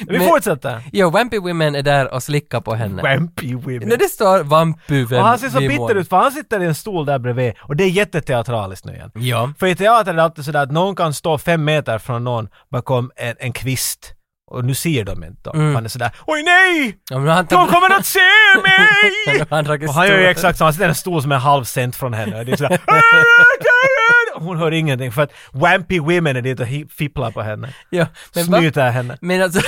Vi
Men-
fortsätter.
Jo, Wampy Women är där och slickar på henne.
Wampy
När
women.
det står Vampy Women
Och han ser så bitter ut för han sitter i en stol där bredvid och det är jätteteatraliskt nu igen.
Ja.
För i teater är det alltid sådär att någon kan stå fem meter från någon bakom en, en kvist och nu ser de inte dem.
Mm.
Han är sådär ”Oj nej!
Ja, men han
De kommer att se mig!”
Han drar en
Och han gör ju
stor-
exakt samma, han sitter i en stol som är en halv cent från henne. Och det är sådär, "Åh, Hon hör ingenting för att Wampy Women är dit och hi- fipplar på henne.
Ja, men va?
Snyter henne.
Men alltså,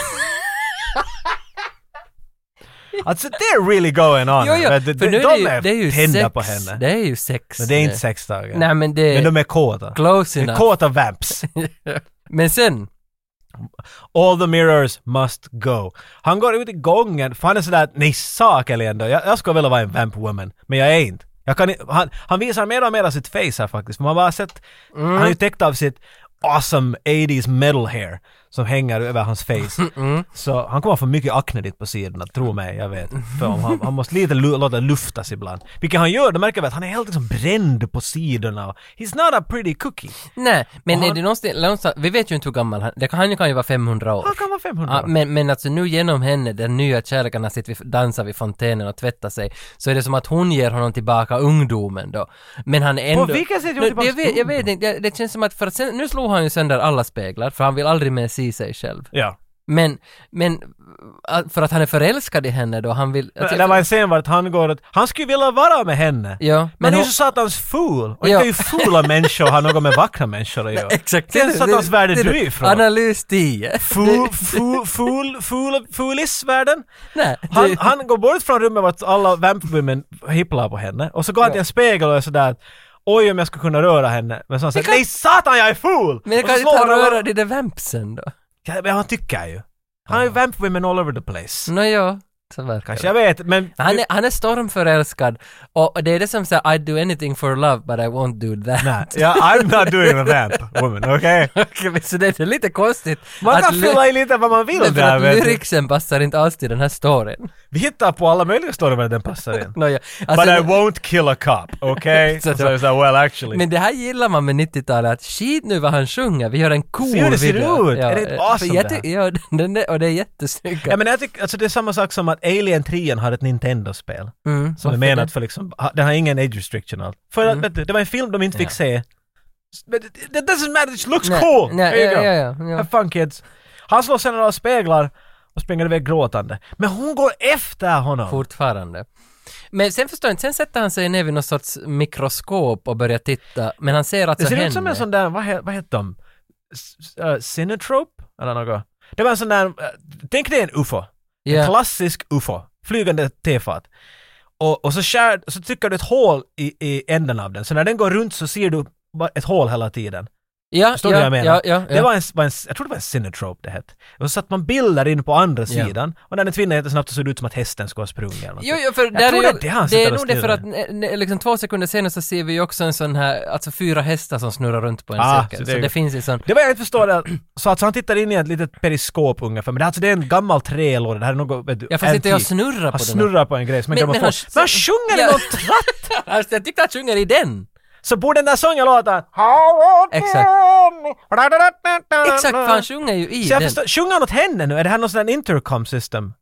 Alltså they're really going on.
jo, jo,
De, de,
för nu
de
är det ju,
är,
det är ju
tända
sex.
på henne.
Det är ju sex.
Men det är inte
nu.
sexdagar.
Nej men det är
Men de är kåta.
close
De är
enough.
kåta vamps.
Men sen,
All the mirrors must go. Han går ut i gången, för han är sådär, nej sakeligen då, jag, jag skulle vilja vara en vamp woman, men jag är inte. Jag kan, i- han, han visar mer och mer av sitt face här faktiskt, man har bara sett, han är ju täckt av sitt awesome 80s metal hair som hänger över hans face. Så han kommer få mycket akne dit på sidorna, tro mig, jag vet. För om han, han måste lite lu- låta luftas ibland. Vilket han gör, då märker vi att han är helt liksom bränd på sidorna. He's not a pretty cookie.
nej, men
Och
är
han-
det någonstans, någonstans, vi vet ju inte hur gammal han det kan, Han kan ju vara 500 år.
Han kan vara 500
Ja,
år.
men, men alltså nu genom henne, den nya kärleken, när sitter vi dansar vid fontänen och tvättar sig, så är det som att hon ger honom tillbaka ungdomen då. Men han är ändå...
vilket sätt ger hon
Nu,
tillbaka
jag vet, jag vet
ungdomen?
inte, det, det känns som att, för att sen, nu slog han ju sönder alla speglar, för han vill aldrig mer se sig själv.
Ja.
Men, men, att- för att han är förälskad i henne då, han vill... alltså,
Det det var en scen vart han går att han skulle vilja vara med henne.
Ja, men
men han är
hon-
ju så satans ful.
Ja.
Och inte är ju fula människor har något med vackra människor att göra.
Exakt.
Det är så satans värde du är ifrån.
Analys 10.
Ful, ful, ful, ful, fulisvärlden.
Nej,
Han,
det-
han går bort från rummet vart alla vampwomen hipplar på henne. Och så går han till en spegel och är sådär att, oj om jag skulle kunna röra henne. Men så han säger
kan-
nej satan jag är ful!
Men jag
Och så
kan
slår
inte han
han alla-
röra de där vampsen då?
Ja, men han tycker ju. Han är ju vampwomen all over the place.
Nåja, Så verkar
Kanske, jag vet, men...
Mm. Han är, han är stormförälskad och och det är det som säger I'd do anything for love but I won't do that.
Nej, ja, I'm not doing a vamp, woman, okej?
Okej, men så det är lite konstigt.
Man
att
kan
ly-
fylla i lite vad man vill
Men för
där,
att
vet du.
lyricsen passar inte alls till den här storyn.
Vi hittar på alla möjliga stories där den passar in.
Nåja,
But
alltså,
I won't kill a cop, okej?
Så
så
att-
jag sa, well actually.
men det här gillar man med 90-talet, att skit nu vad han sjunger, vi gör en cool
Se hur det ser
video.
ut. Är det inte
eh, för
awesome
jag
det här?
ty- ja, den är, och det är jättesnygga.
Ja men jag tycker, alltså det är samma sak som att Alien 3 har ett Nintendo-spel.
Mm,
Som är
varför
menat
det? Mm.
för liksom, ha- den har ingen age restriction allt. För att, vet du, det var en film de inte fick se. Men det- That doesn't matter, it looks
Nej,
cool!
nej,
There you
ja,
go.
ja, ja, ja.
Have fun kids. Han slår sönder några speglar och springer iväg gråtande. Men hon går efter honom!
Fortfarande. Men sen förstår jag inte, sen sätter han sig ner vid någon sorts mikroskop och börjar titta, men han ser alltså
det ser
henne.
ut som en sån där, vad, he, vad heter de? S- s- eh, Cinetrope? Eller något. Det var en sån där, eh, tänk dig en UFO. En
Ja,
klassisk UFO, flygande tefat. Och, och så, skär, så trycker du ett hål i, i änden av den, så när den går runt så ser du bara ett hål hela tiden.
ja,
Förstår du vad jag
ja,
menar?
ja, ja,
Det
ja.
var en, var en, jag tror det var en Cinetrope det hette. Och så satte man bilder in på andra
Ja.
sidan, och när den tvinnar jättesnabbt så såg det ut som att hästen skulle ha sprungit eller något.
Jo, jo, för där
tror
är
det är det
ju,
han
det är
sitter och
nog det för
snurrar.
att ne, ne, liksom två sekunder senare så ser vi ju också en sån här, alltså fyra hästar som snurrar runt på en
Ah,
cirkel.
så det
Så,
är
det
ju-
finns ju sån,
Det var jag inte förstår det. Så alltså han tittar in i ett litet periskop ungefär, men det, är alltså, det är en gammal trälåda, det här är något, vet du,
jag får sitta och
antikt.
snurra på
Han
den. här.
snurrar på en grej som en
Men-
grammofon.
men
Men,
han-
han sjunger
Ja.
ja. något tratt!
Alltså jag tyckte han sjunger i den!
Så borde den där sången låta...
Exakt. Exakt, för han
Så
sjunger ju i
jag
den.
förstår, sjunger han åt henne nu? Är det här någon sån där intercom system?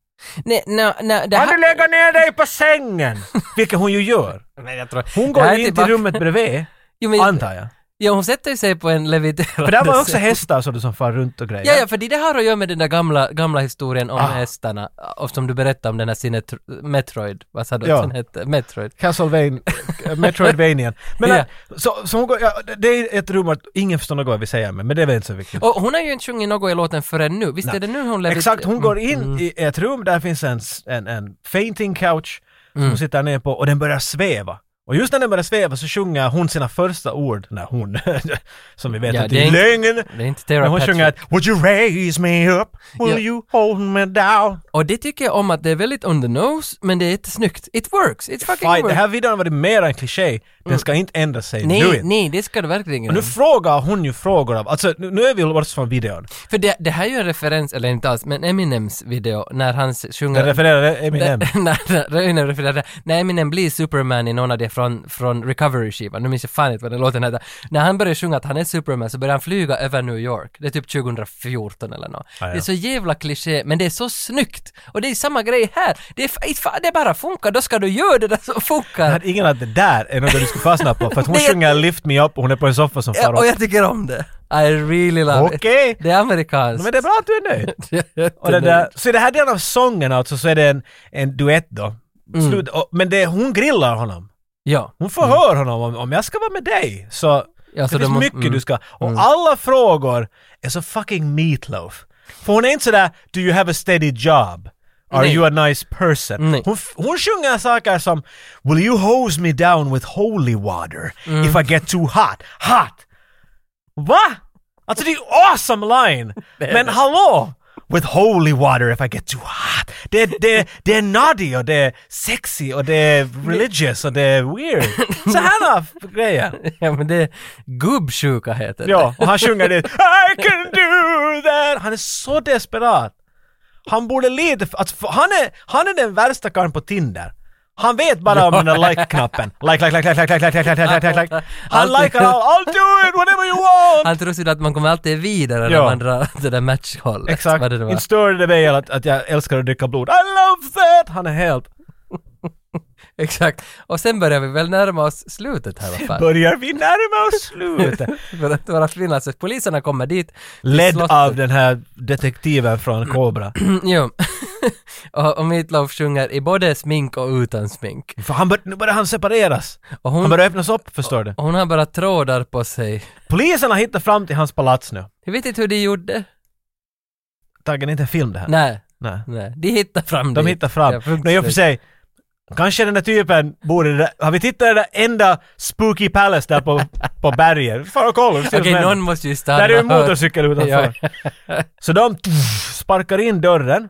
Nej, nej, nej, det
Kan du
här...
lägga ner dig på sängen? Vilket hon ju gör.
Nej, jag tror...
Hon
det
går
här är
ju in till
tillbaka-
rummet bredvid,
Jo, men,
antar jag.
ja, hon sätter ju sig på en leviterande
För där var också
säng.
hästar så du som far runt och
Ja,
grejer.
ja, för det har att göra med den där gamla, gamla historien om
Ah.
hästarna, och som du berättade om den här Sinetro- Metroid, vad sa du
Ja.
att den hette? Metroid.
Castlevania, Metroidvania. Men
Ja.
äh, så, så hon går, ja, det- det är ett rum att ingen förstår något vad vi säger, men men det är väl inte så viktigt.
Och hon har ju inte sjungit något i låten förrän nu, visst
Nej.
är det nu hon levit...
Exakt, hon går in
Mm.
i ett rum, där finns en, s- en, en fainting couch som
Mm.
hon sitter ner på och den börjar sväva. Och just när den börjar sväva så sjunger hon sina första ord, nej hon, som vi vet
Ja,
att
det
det
är
är
inte-
lögn.
Det är inte
Men
Tara
hon
Patrick.
sjunger att Would you raise me up? Will
Ja.
you hold me down?
Och det tycker jag om att det är väldigt on the nose, men det är jättesnyggt. It works, it fucking
Fine,
works.
den här videon har varit mer en kliché. Den ska inte ändra sig nu
Mm. nej,
inte.
nej, det ska det verkligen
Och nu
inte.
frågar hon ju frågor av, alltså nu, nu är vi bort från videon.
För det, det här är ju en referens, eller inte alls, men Eminems video, när han s-
Den
sjunger...
refererar Eminem.
när, när, Eminem refererar- när Eminem blir Superman i någon av de från, från Recovery-skivan, nu minns jag fan inte vad den låten heter. När han börjar sjunga att han är Superman så börjar han flyga över New York. Det är typ 2014 eller något.
ja.
Det är så jävla kliché, men det är så snyggt! Och det är samma grej här. Det, är, fa- fa- det bara funkar, då ska du göra det där som funkar.
Jag hade ingen att det där är något du skulle fastna på, för att hon
Nej, jag-
sjunger Lift Me Up och hon är på en soffa som far
Ja, och
upp.
jag tycker om det. I really love it.
Okej!
Det är amerikanskt.
Men det är bra att du är nöjd.
Jag är
Och det där,
jättenöjd.
så i den här delen av sången alltså så är det en, en duett då.
Mm.
Slut, och, men det, hon grillar honom.
Ja.
Hon förhör honom om, om jag ska vara med dig. Så
Mm. ja så
det finns
de må-
mycket
mm.
du ska... Och alla frågor är så fucking meatloaf. För hon är inte sådär “Do you have a steady job?” “Are
Nej.
you a nice person?”
Nej.
hon, f- hon sjunger saker som “Will you hose me down with holy water
Mm.
if I get too hot?” “Hot!” Va? Alltså det är ju awesome line! Men hallå! With holy water if I get too hot. Det, det, det är naughty och det är sexy och det är religious och det är weird. Så här då, grejer.
Ja, men det är gubbsjuka heter det.
Ja, och han sjunger det. I can do that! Han är så desperat. Han borde lite... Alltså, för- han, är, han är den värsta karln på Tinder. Han vet bara om den där like-knappen. Like, like, like, like, like, like, like, like, like, like, like, like. Han
Alltid.
likar all, I'll do it whatever you want!
Han tror sig att man kommer alltid vidare när
Ja.
man drar det där matchhållet.
Exakt.
Vad det nu var.
Inte störde det mig att, att jag älskar att dricka blod. I love that! Han är helt...
Exakt. Och sen börjar vi väl närma oss slutet här vad fan.
Börjar vi närma oss slutet?
För att vara Finland, så poliserna kommer dit. till
Ledd
slottet.
av den här detektiven från Cobra.
Jo. och, och Meatloaf sjunger i både smink och utan smink.
För han bör, nu börjar han separeras.
Och hon,
Han börjar öppnas upp, förstår du.
och hon har bara trådar på sig.
Polisen har hittat fram till hans palats nu.
Jag vet inte hur de gjorde.
Taggen är inte en film det här.
Nej,
Nej.
nej. De hittade fram
De
dit.
hittar fram.
Ja, punkt
Men i och för
slut.
sig, kanske den där typen borde... det där- Har vi tittat i det där enda spooky palace där på, på berget? Far och kolla, vi ser vad som
Okej,
händer.
någon måste ju stanna.
Där är ju en
och höra.
motorcykel utanför. Så de sparkar in dörren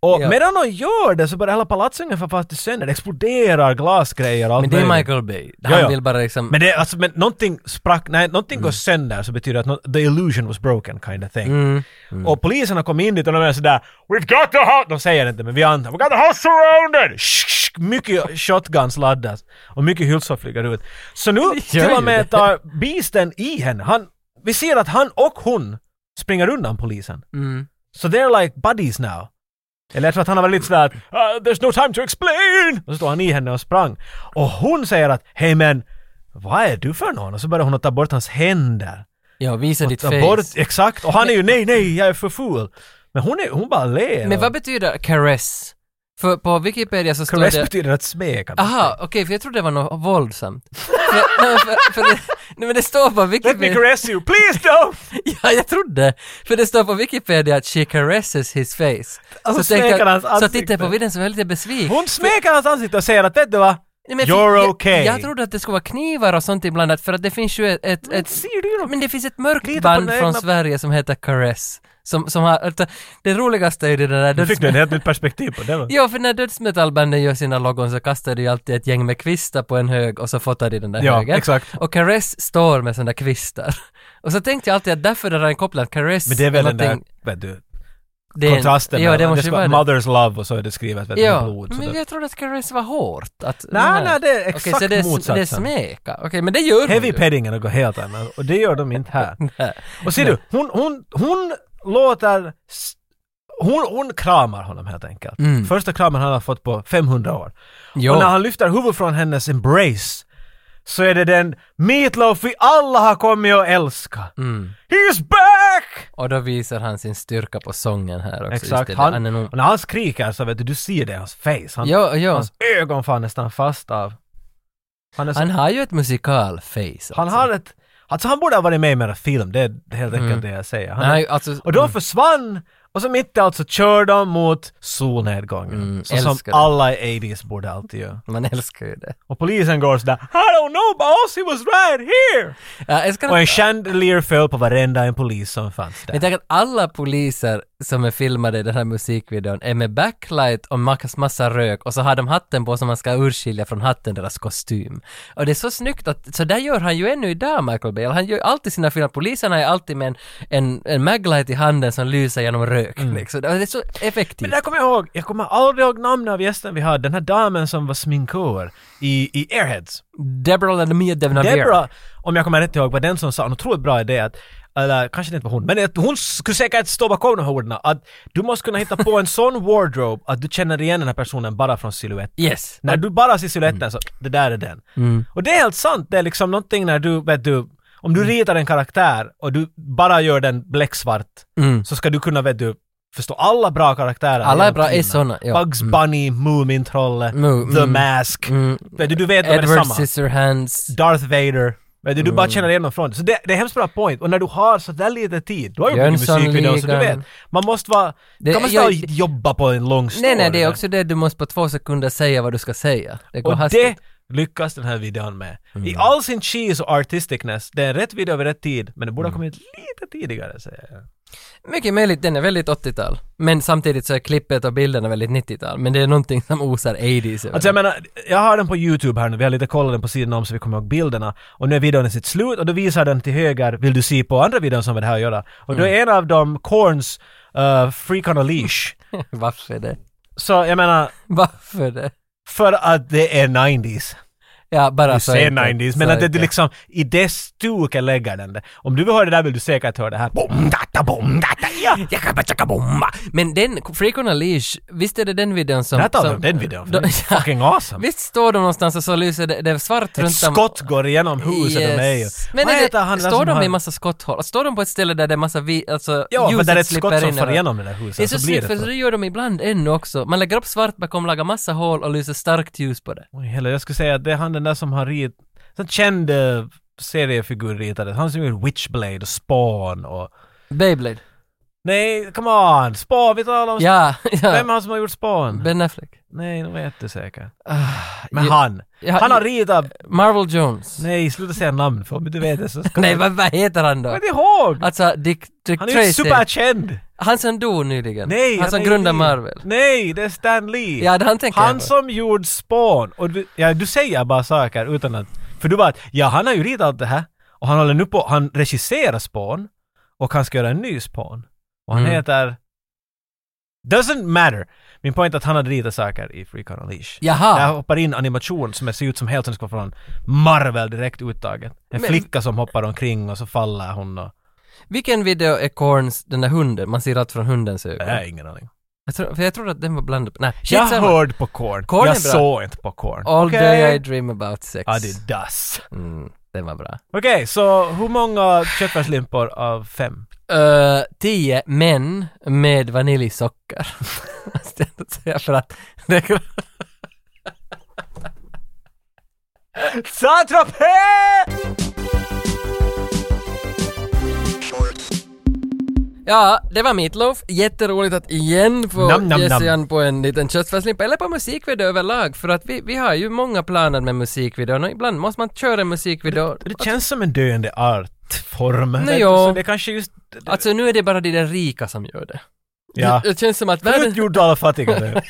Och
Ja.
medan de gör det så börjar hela palatset ungefär faktiskt sönder. Det exploderar glasgrejer och allt
Men det är
möjligt.
Michael Bay. Han
ja.
vill bara liksom...
Men det, alltså, men någonting sprack, nej, någonting går sönder så betyder det att no, the illusion was broken kind of thing.
Mm.
Och poliserna kom in dit och de är sådär “We've got the house!” De säger inte men vi antar “We've got the house surrounded!” Shh, shh, Mycket shotguns laddas och mycket hylsor flyger ut. Så nu
gör
till
ju
och med
det.
tar Beasten i henne. Han, vi ser att han och hon springer undan polisen.
Mm.
Så so they're like buddies now. Eller jag tror att han har varit lite sådär att "Uh, “There's no time to explain!” Och så står han i henne och sprang. Och hon säger att “Hej men, vad är du för någon?” Och så börjar hon att ta bort hans händer.
Ja, visa ditt
Ta
face.
bort, exakt. Och han är ju “Nej, nej, jag är för ful”. Men hon, är, hon bara ler.
Men
och-
vad betyder caress? För på Wikipedia så står
Caress
det...
betyder att smeka.
Aha, okej, för jag trodde det var något våldsamt. för, nej, för, för det, nej, men det står på
Let me
Wikipedia...
caress you, please don't!
Ja, jag trodde! För det står på Wikipedia att she caresses his face.
Alltså,
tänkte
smeker hans
så
ansikte.
tittar jag på videon så var jag lite besviken.
Hon smeker hans ansikte och säger att vet du vad?
Nej, men
You're
jag,
okay.
Jag, jag trodde att det skulle vara knivar och sånt ibland, att- för att det finns ju ett... ett, ett
Ser du
men det finns ett
Lite på
mörkt band
den
från
egna-
Sverige som heter Caress. Som, som har, alltså, det roligaste är det där
då? Fick du ett helt nytt perspektiv på det? va?
Ja, för när dödsmetallbanden gör sina logon så kastar de ju alltid ett gäng med kvistar på en hög och så fotar de den där
Ja,
högen.
exakt.
Och Caress står med sådana där kvistar. Och så tänkte jag alltid att därför är den kopplad Caress
Men det är väl den där,
någonting-
vet du,
det är en-
kontrasten
Ja, det
mellan-
måste ju
ska
vara det.
Mother's love och så är det skrivet vet du, med
Ja,
blod. Så
men
det,
jag trodde att Caress var hårt. Att
nej,
den här-
nej, det är
Okej,
exakt
så det är, sm- det är
motsatsen.
smeka. Okej, men det gör hon
Heavy
ju.
peddingen går helt annat och det gör de inte här.
Nej.
Och ser du, hon, hon, hon låter... s- Hon, hon kramar honom helt enkelt.
Mm.
Första kramen han har fått på 500 år.
Jo.
Och när han lyfter huvudet från hennes embrace så är det den Meatloaf vi alla har kommit att älska.
Mm.
He's back!
Och då visar han sin styrka på sången här också. just
Exakt.
det,
Han,
han är nog...
och när han skriker så vet du, du ser det i hans face. Han,
Jo, jo.
Hans ögon fan nästan fast av. Han, är så,
Han
han,
har ju ett musikal-face. alltså.
har ett... Alltså han borde ha varit med i mera film, det är helt enkelt
Mm.
det jag säger. Han,
Nej, alltså...
Och de försvann och så mitt i allt så kör de mot solnedgången.
Mm,
så som
älskar det.
alla i 80s borde alltid göra.
Man älskar ju det.
Och polisen går sådär I don't know boss, he was right here!
Ja, jag ska
Och en chandelier föll på varenda en polis som fanns
Jag
där.
tänker att alla poliser som är filmade i den här musikvideon är med backlight och max massa rök och så har de hatten på som man ska urskilja från hatten deras kostym. Och det är så snyggt att, så där gör han ju ännu idag Michael Bay. Han gör ju alltid sina filmer, poliserna är alltid med en, en, en maglight i handen som lyser genom rök. Liksom. Det är så
Mm. Men
effektivt.
där kommer jag ihåg, jag kommer aldrig ihåg namnet av gästen vi hade, den här damen som var sminkör i, i Airheads.
Deborah och Mia Devnavier.
Debra, om jag kommer rätt ihåg, var den som sa en otroligt bra idé att eller kanske det inte var hon, men att hon skulle säkert stå bakom de här orden att du måste kunna hitta på en sån wardrobe att du känner igen den här personen bara från silhuetten.
Yes.
När du bara ser siluetten
Mm.
så, det där är den. Och det är helt sant, det är liksom någonting när du, vet du, om
Mm.
du ritar en karaktär och du bara gör den bläcksvart,
Mm.
så ska du kunna, vet du, förstå alla bra karaktärer.
Alla är bra,
genom
är såna.
tiderna.
Ja.
Bugs Bunny, Mumintrollet,
Mu-
The
mm.
Mask.
Mm.
Vet du, du vet vad det är
Edward
samma.
Scissorhands. Mm.
Darth Vader. Men du, du bara känner igen dem från det. Så det, det är hemskt bra point. Och när du har så där lite tid, du har ju mycket
Jönssonligan.
musikvideor så du vet. Man måste vara...
Det-
kan man stå
jag-
och jobba på en lång story?
Nej, nej, det är också det du måste på två sekunder säga vad du ska säga. Det Mm. går
Och
hastigt.
det lyckas den här videon med. I all sin cheese och artisticness, det är rätt video vid rätt tid, men det
Mm.
borde ha kommit lite tidigare säger jag.
Mycket möjligt, den är väldigt 80-tal. Men samtidigt så är klippet och bilderna väldigt 90-tal. Men det är någonting som osar 80s. över
Alltså jag menar, jag har den på YouTube här nu, vi har lite kollat den på sidan om så vi kommer ihåg bilderna. Och nu är videon i sitt slut och då visar den till höger, vill du se på andra videon som har det här att göra? Och
Mm.
då är en av dem Korns uh, Freak on a Leash.
det. Varför det?
Så jag menar,
Varför det?
för att det är 90s.
Ja, bara
Du
så
säger
enkelt.
90s,
Alltså, Så
men att det, det
enkelt.
liksom, i det stuket lägger den det. Om du vill höra det där vill du säkert höra det här. Bom, data, bom, data, ja, jakabachakabomba.
Men den, Freak on a Leash, visst är det den videon som...
Där talar vi
som
om den videon, för
Då-
den är fucking awesome.
Visst står de någonstans och så lyser det, det är svart
Ett
runt om...
skott går igenom huset och mig.
Men
Vad
är
heter
det,
han där
står
som
de
har-
i massa skotthål? Står de på ett ställe där det är massa vi, alltså
Ja, för
ljuset
där är ett
slipper
skott som
in
far
överallt?
igenom det där
Det är
huset.
så
så blir
snyggt, för
det
så
så.
det gör de ibland ännu också. Man lägger upp svart bakom, lagar massa hål och lyser starkt ljus på det.
Oj, heller, jag skulle säga att det är han den där som har rit... En känd eh, seriefigur ritades. Han som gjorde Witchblade och Spawn och...
Beyblade.
Nej, come on! Spawn, vi talar om...
Ja,
Vem
ja.
är han som har gjort Spawn?
Ben Affleck.
Nej, nu vet du säkert.
Ah,
Men
ja,
han!
Ja,
Han har ritat...
Marvel Jones. Nej,
Nej, sluta säga namn för om du vet det så ska
vad, vad heter han då?
Kom inte ihåg!
Alltså Dick, Dick
Han är ju
Tracy.
superkänd!
Han som dog nyligen.
Nej!
Han som
är ju
grundade
ny.
Marvel.
Nej, det är Stan Lee!
Ja, det han tänker jag
han
på.
som gjorde Spawn! Och du, ja, du säger bara saker utan att... För du bara att, ja han har ju ritat allt det här och han håller nu på, han regisserar Spawn och han ska göra en ny Spawn. Och han
Mm.
heter... Doesn't matter! Min poäng är att han hade ritat saker i Freak on a Leash.
Jaha.
Där hoppar in animation som ser ut som helt som ska från Marvel direkt uttaget. En
Men-
flicka som hoppar omkring och så faller hon och...
Vilken video är Korns, den där hunden? Man ser allt från hundens ögon.
Jag har ingen aning.
Jag, tror, för jag trodde att den var blandad. Nej,
Jag
skitsamma.
hörde på Korn.
Korn
jag
är bra.
såg inte på Korn.
All
Okej.
day I dream about sex.
Ja, det är dass.
Mm, den var bra.
Okej, så hur många köttfärslimpor av fem?
Uh, tio män med vaniljsocker. Måste jag ändå säga för att...
Saint-Tropez!
Ja, det var Meatloaf. Jätteroligt att igen få
Nam, nam,
ge sig
nam.
an på en liten köttfärslimpa, eller på musikvideo överlag, för att vi, vi har ju många planer med musikvideon och ibland måste man köra en musikvideo.
Det känns som en döende artform. vet du,
jo.
Så det kanske just...
Alltså nu är det bara de där rika som gör det.
Ja.
Det, det känns som att
Förut
världen...
gjorde alla fattigare.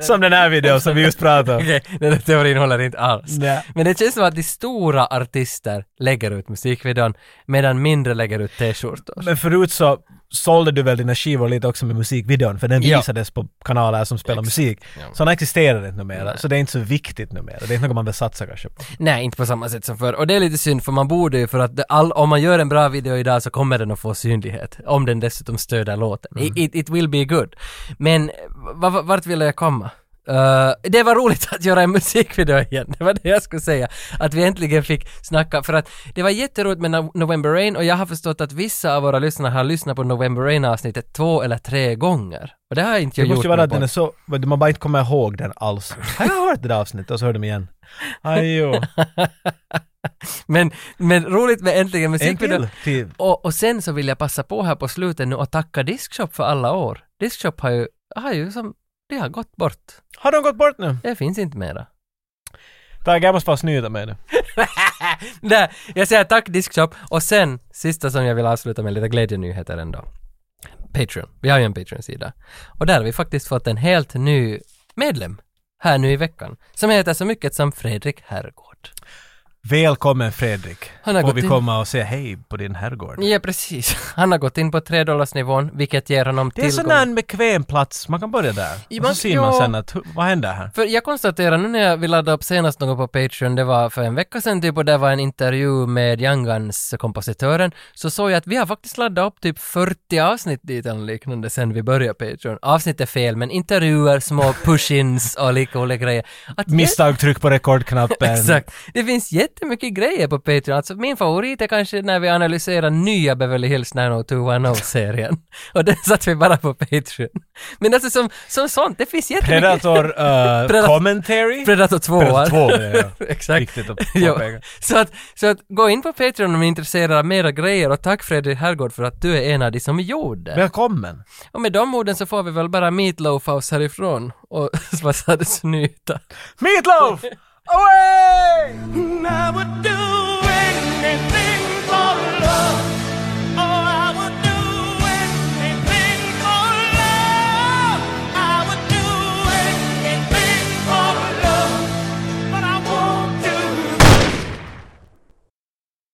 som den här videon som vi just pratade om.
Okej, den här teorin håller inte alls.
Nej.
Men det känns som att de stora artister lägger ut musikvideon, medan mindre lägger ut t-skjortor.
Men förut så sålde du väl dina skivor lite också med musikvideon för den
Ja.
visades på kanaler som spelar musik. Så den existerar inte numera, så det är inte så viktigt numera. Det är inte något man vill satsa kanske på.
Nej, inte på samma sätt som förr. Och det är lite synd för man borde ju för att det all, om man gör en bra video idag så kommer den att få synlighet. Om den dessutom stöder låten.
Mm.
It, it, it will be good. Men va- va- vart ville jag komma? Eh, det var roligt att göra en musikvideo igen, det var det jag skulle säga. Att vi äntligen fick snacka, för att det var jätteroligt med No- November Rain och jag har förstått att vissa av våra lyssnare har lyssnat på November Rain-avsnittet två eller tre gånger. Och det har inte
Det
jag gjort.
måste ju vara
med
att den är så, man bara inte kommer ihåg den alls. Jag har hört det där avsnittet och så hör de igen. Ajo,
men, men roligt med äntligen
en
musikvideo.
till. till.
Och, och sen så vill jag passa på här på slutet nu och tacka Diskshop för alla år. Diskshop har ju, har ju som, det har gått bort.
Har de gått bort nu?
Det finns inte mera.
Tack, jag måste bara snyta mig nu.
Nej, jag säger tack Diskshop och sen, sista som jag vill avsluta med lite glädjenyheter ändå. Patreon. Vi har ju en Patreon-sida. Och där har vi faktiskt fått en helt ny medlem här nu i veckan. Som heter så mycket som Fredrik Herrgård.
Välkommen Fredrik.
Han har
Får
gått
vi
in.
komma och säga hej på din herrgård?
Ja, precis. Han har gått in på 3 nivån vilket ger honom
Det är sån
tillgång...
där en bekväm plats, man kan börja där.
Ja,
Och så
man-
ser man
ja.
sen att, hu- vad händer här?
För jag konstaterar nu när jag vi laddade upp senast något på Patreon, det var för en vecka sedan typ och det var en intervju med Young Guns kompositören, så såg jag att vi har faktiskt laddat upp typ 40 avsnitt dit eller liknande sen vi började Patreon. Avsnitt är fel, men intervjuer, små push-ins och lika olika grejer. Att det-
Misstag, tryck på rekordknappen.
Exakt. Det finns jättemycket grejer på Patreon. Alltså min favorit är kanske när vi analyserar nya Beverly Hills 90210-serien. Och den satt vi bara på Patreon. Men alltså som, som sånt, det finns jättemycket.
Predator eh,
Predat-
commentary.
Predator 2.
Predator 2, ja, ja.
Exakt.
Viktigt att
Ja.
påpeka.
Så, att, så att gå in på Patreon om ni är intresserade av mera grejer och tack Fredrik Herrgård för att du är en av de som gjorde. det.
Välkommen.
Och med de orden så får vi väl bara meatloaf-house härifrån och vad sa du, snyta?
Meatloaf! Away! I would do anything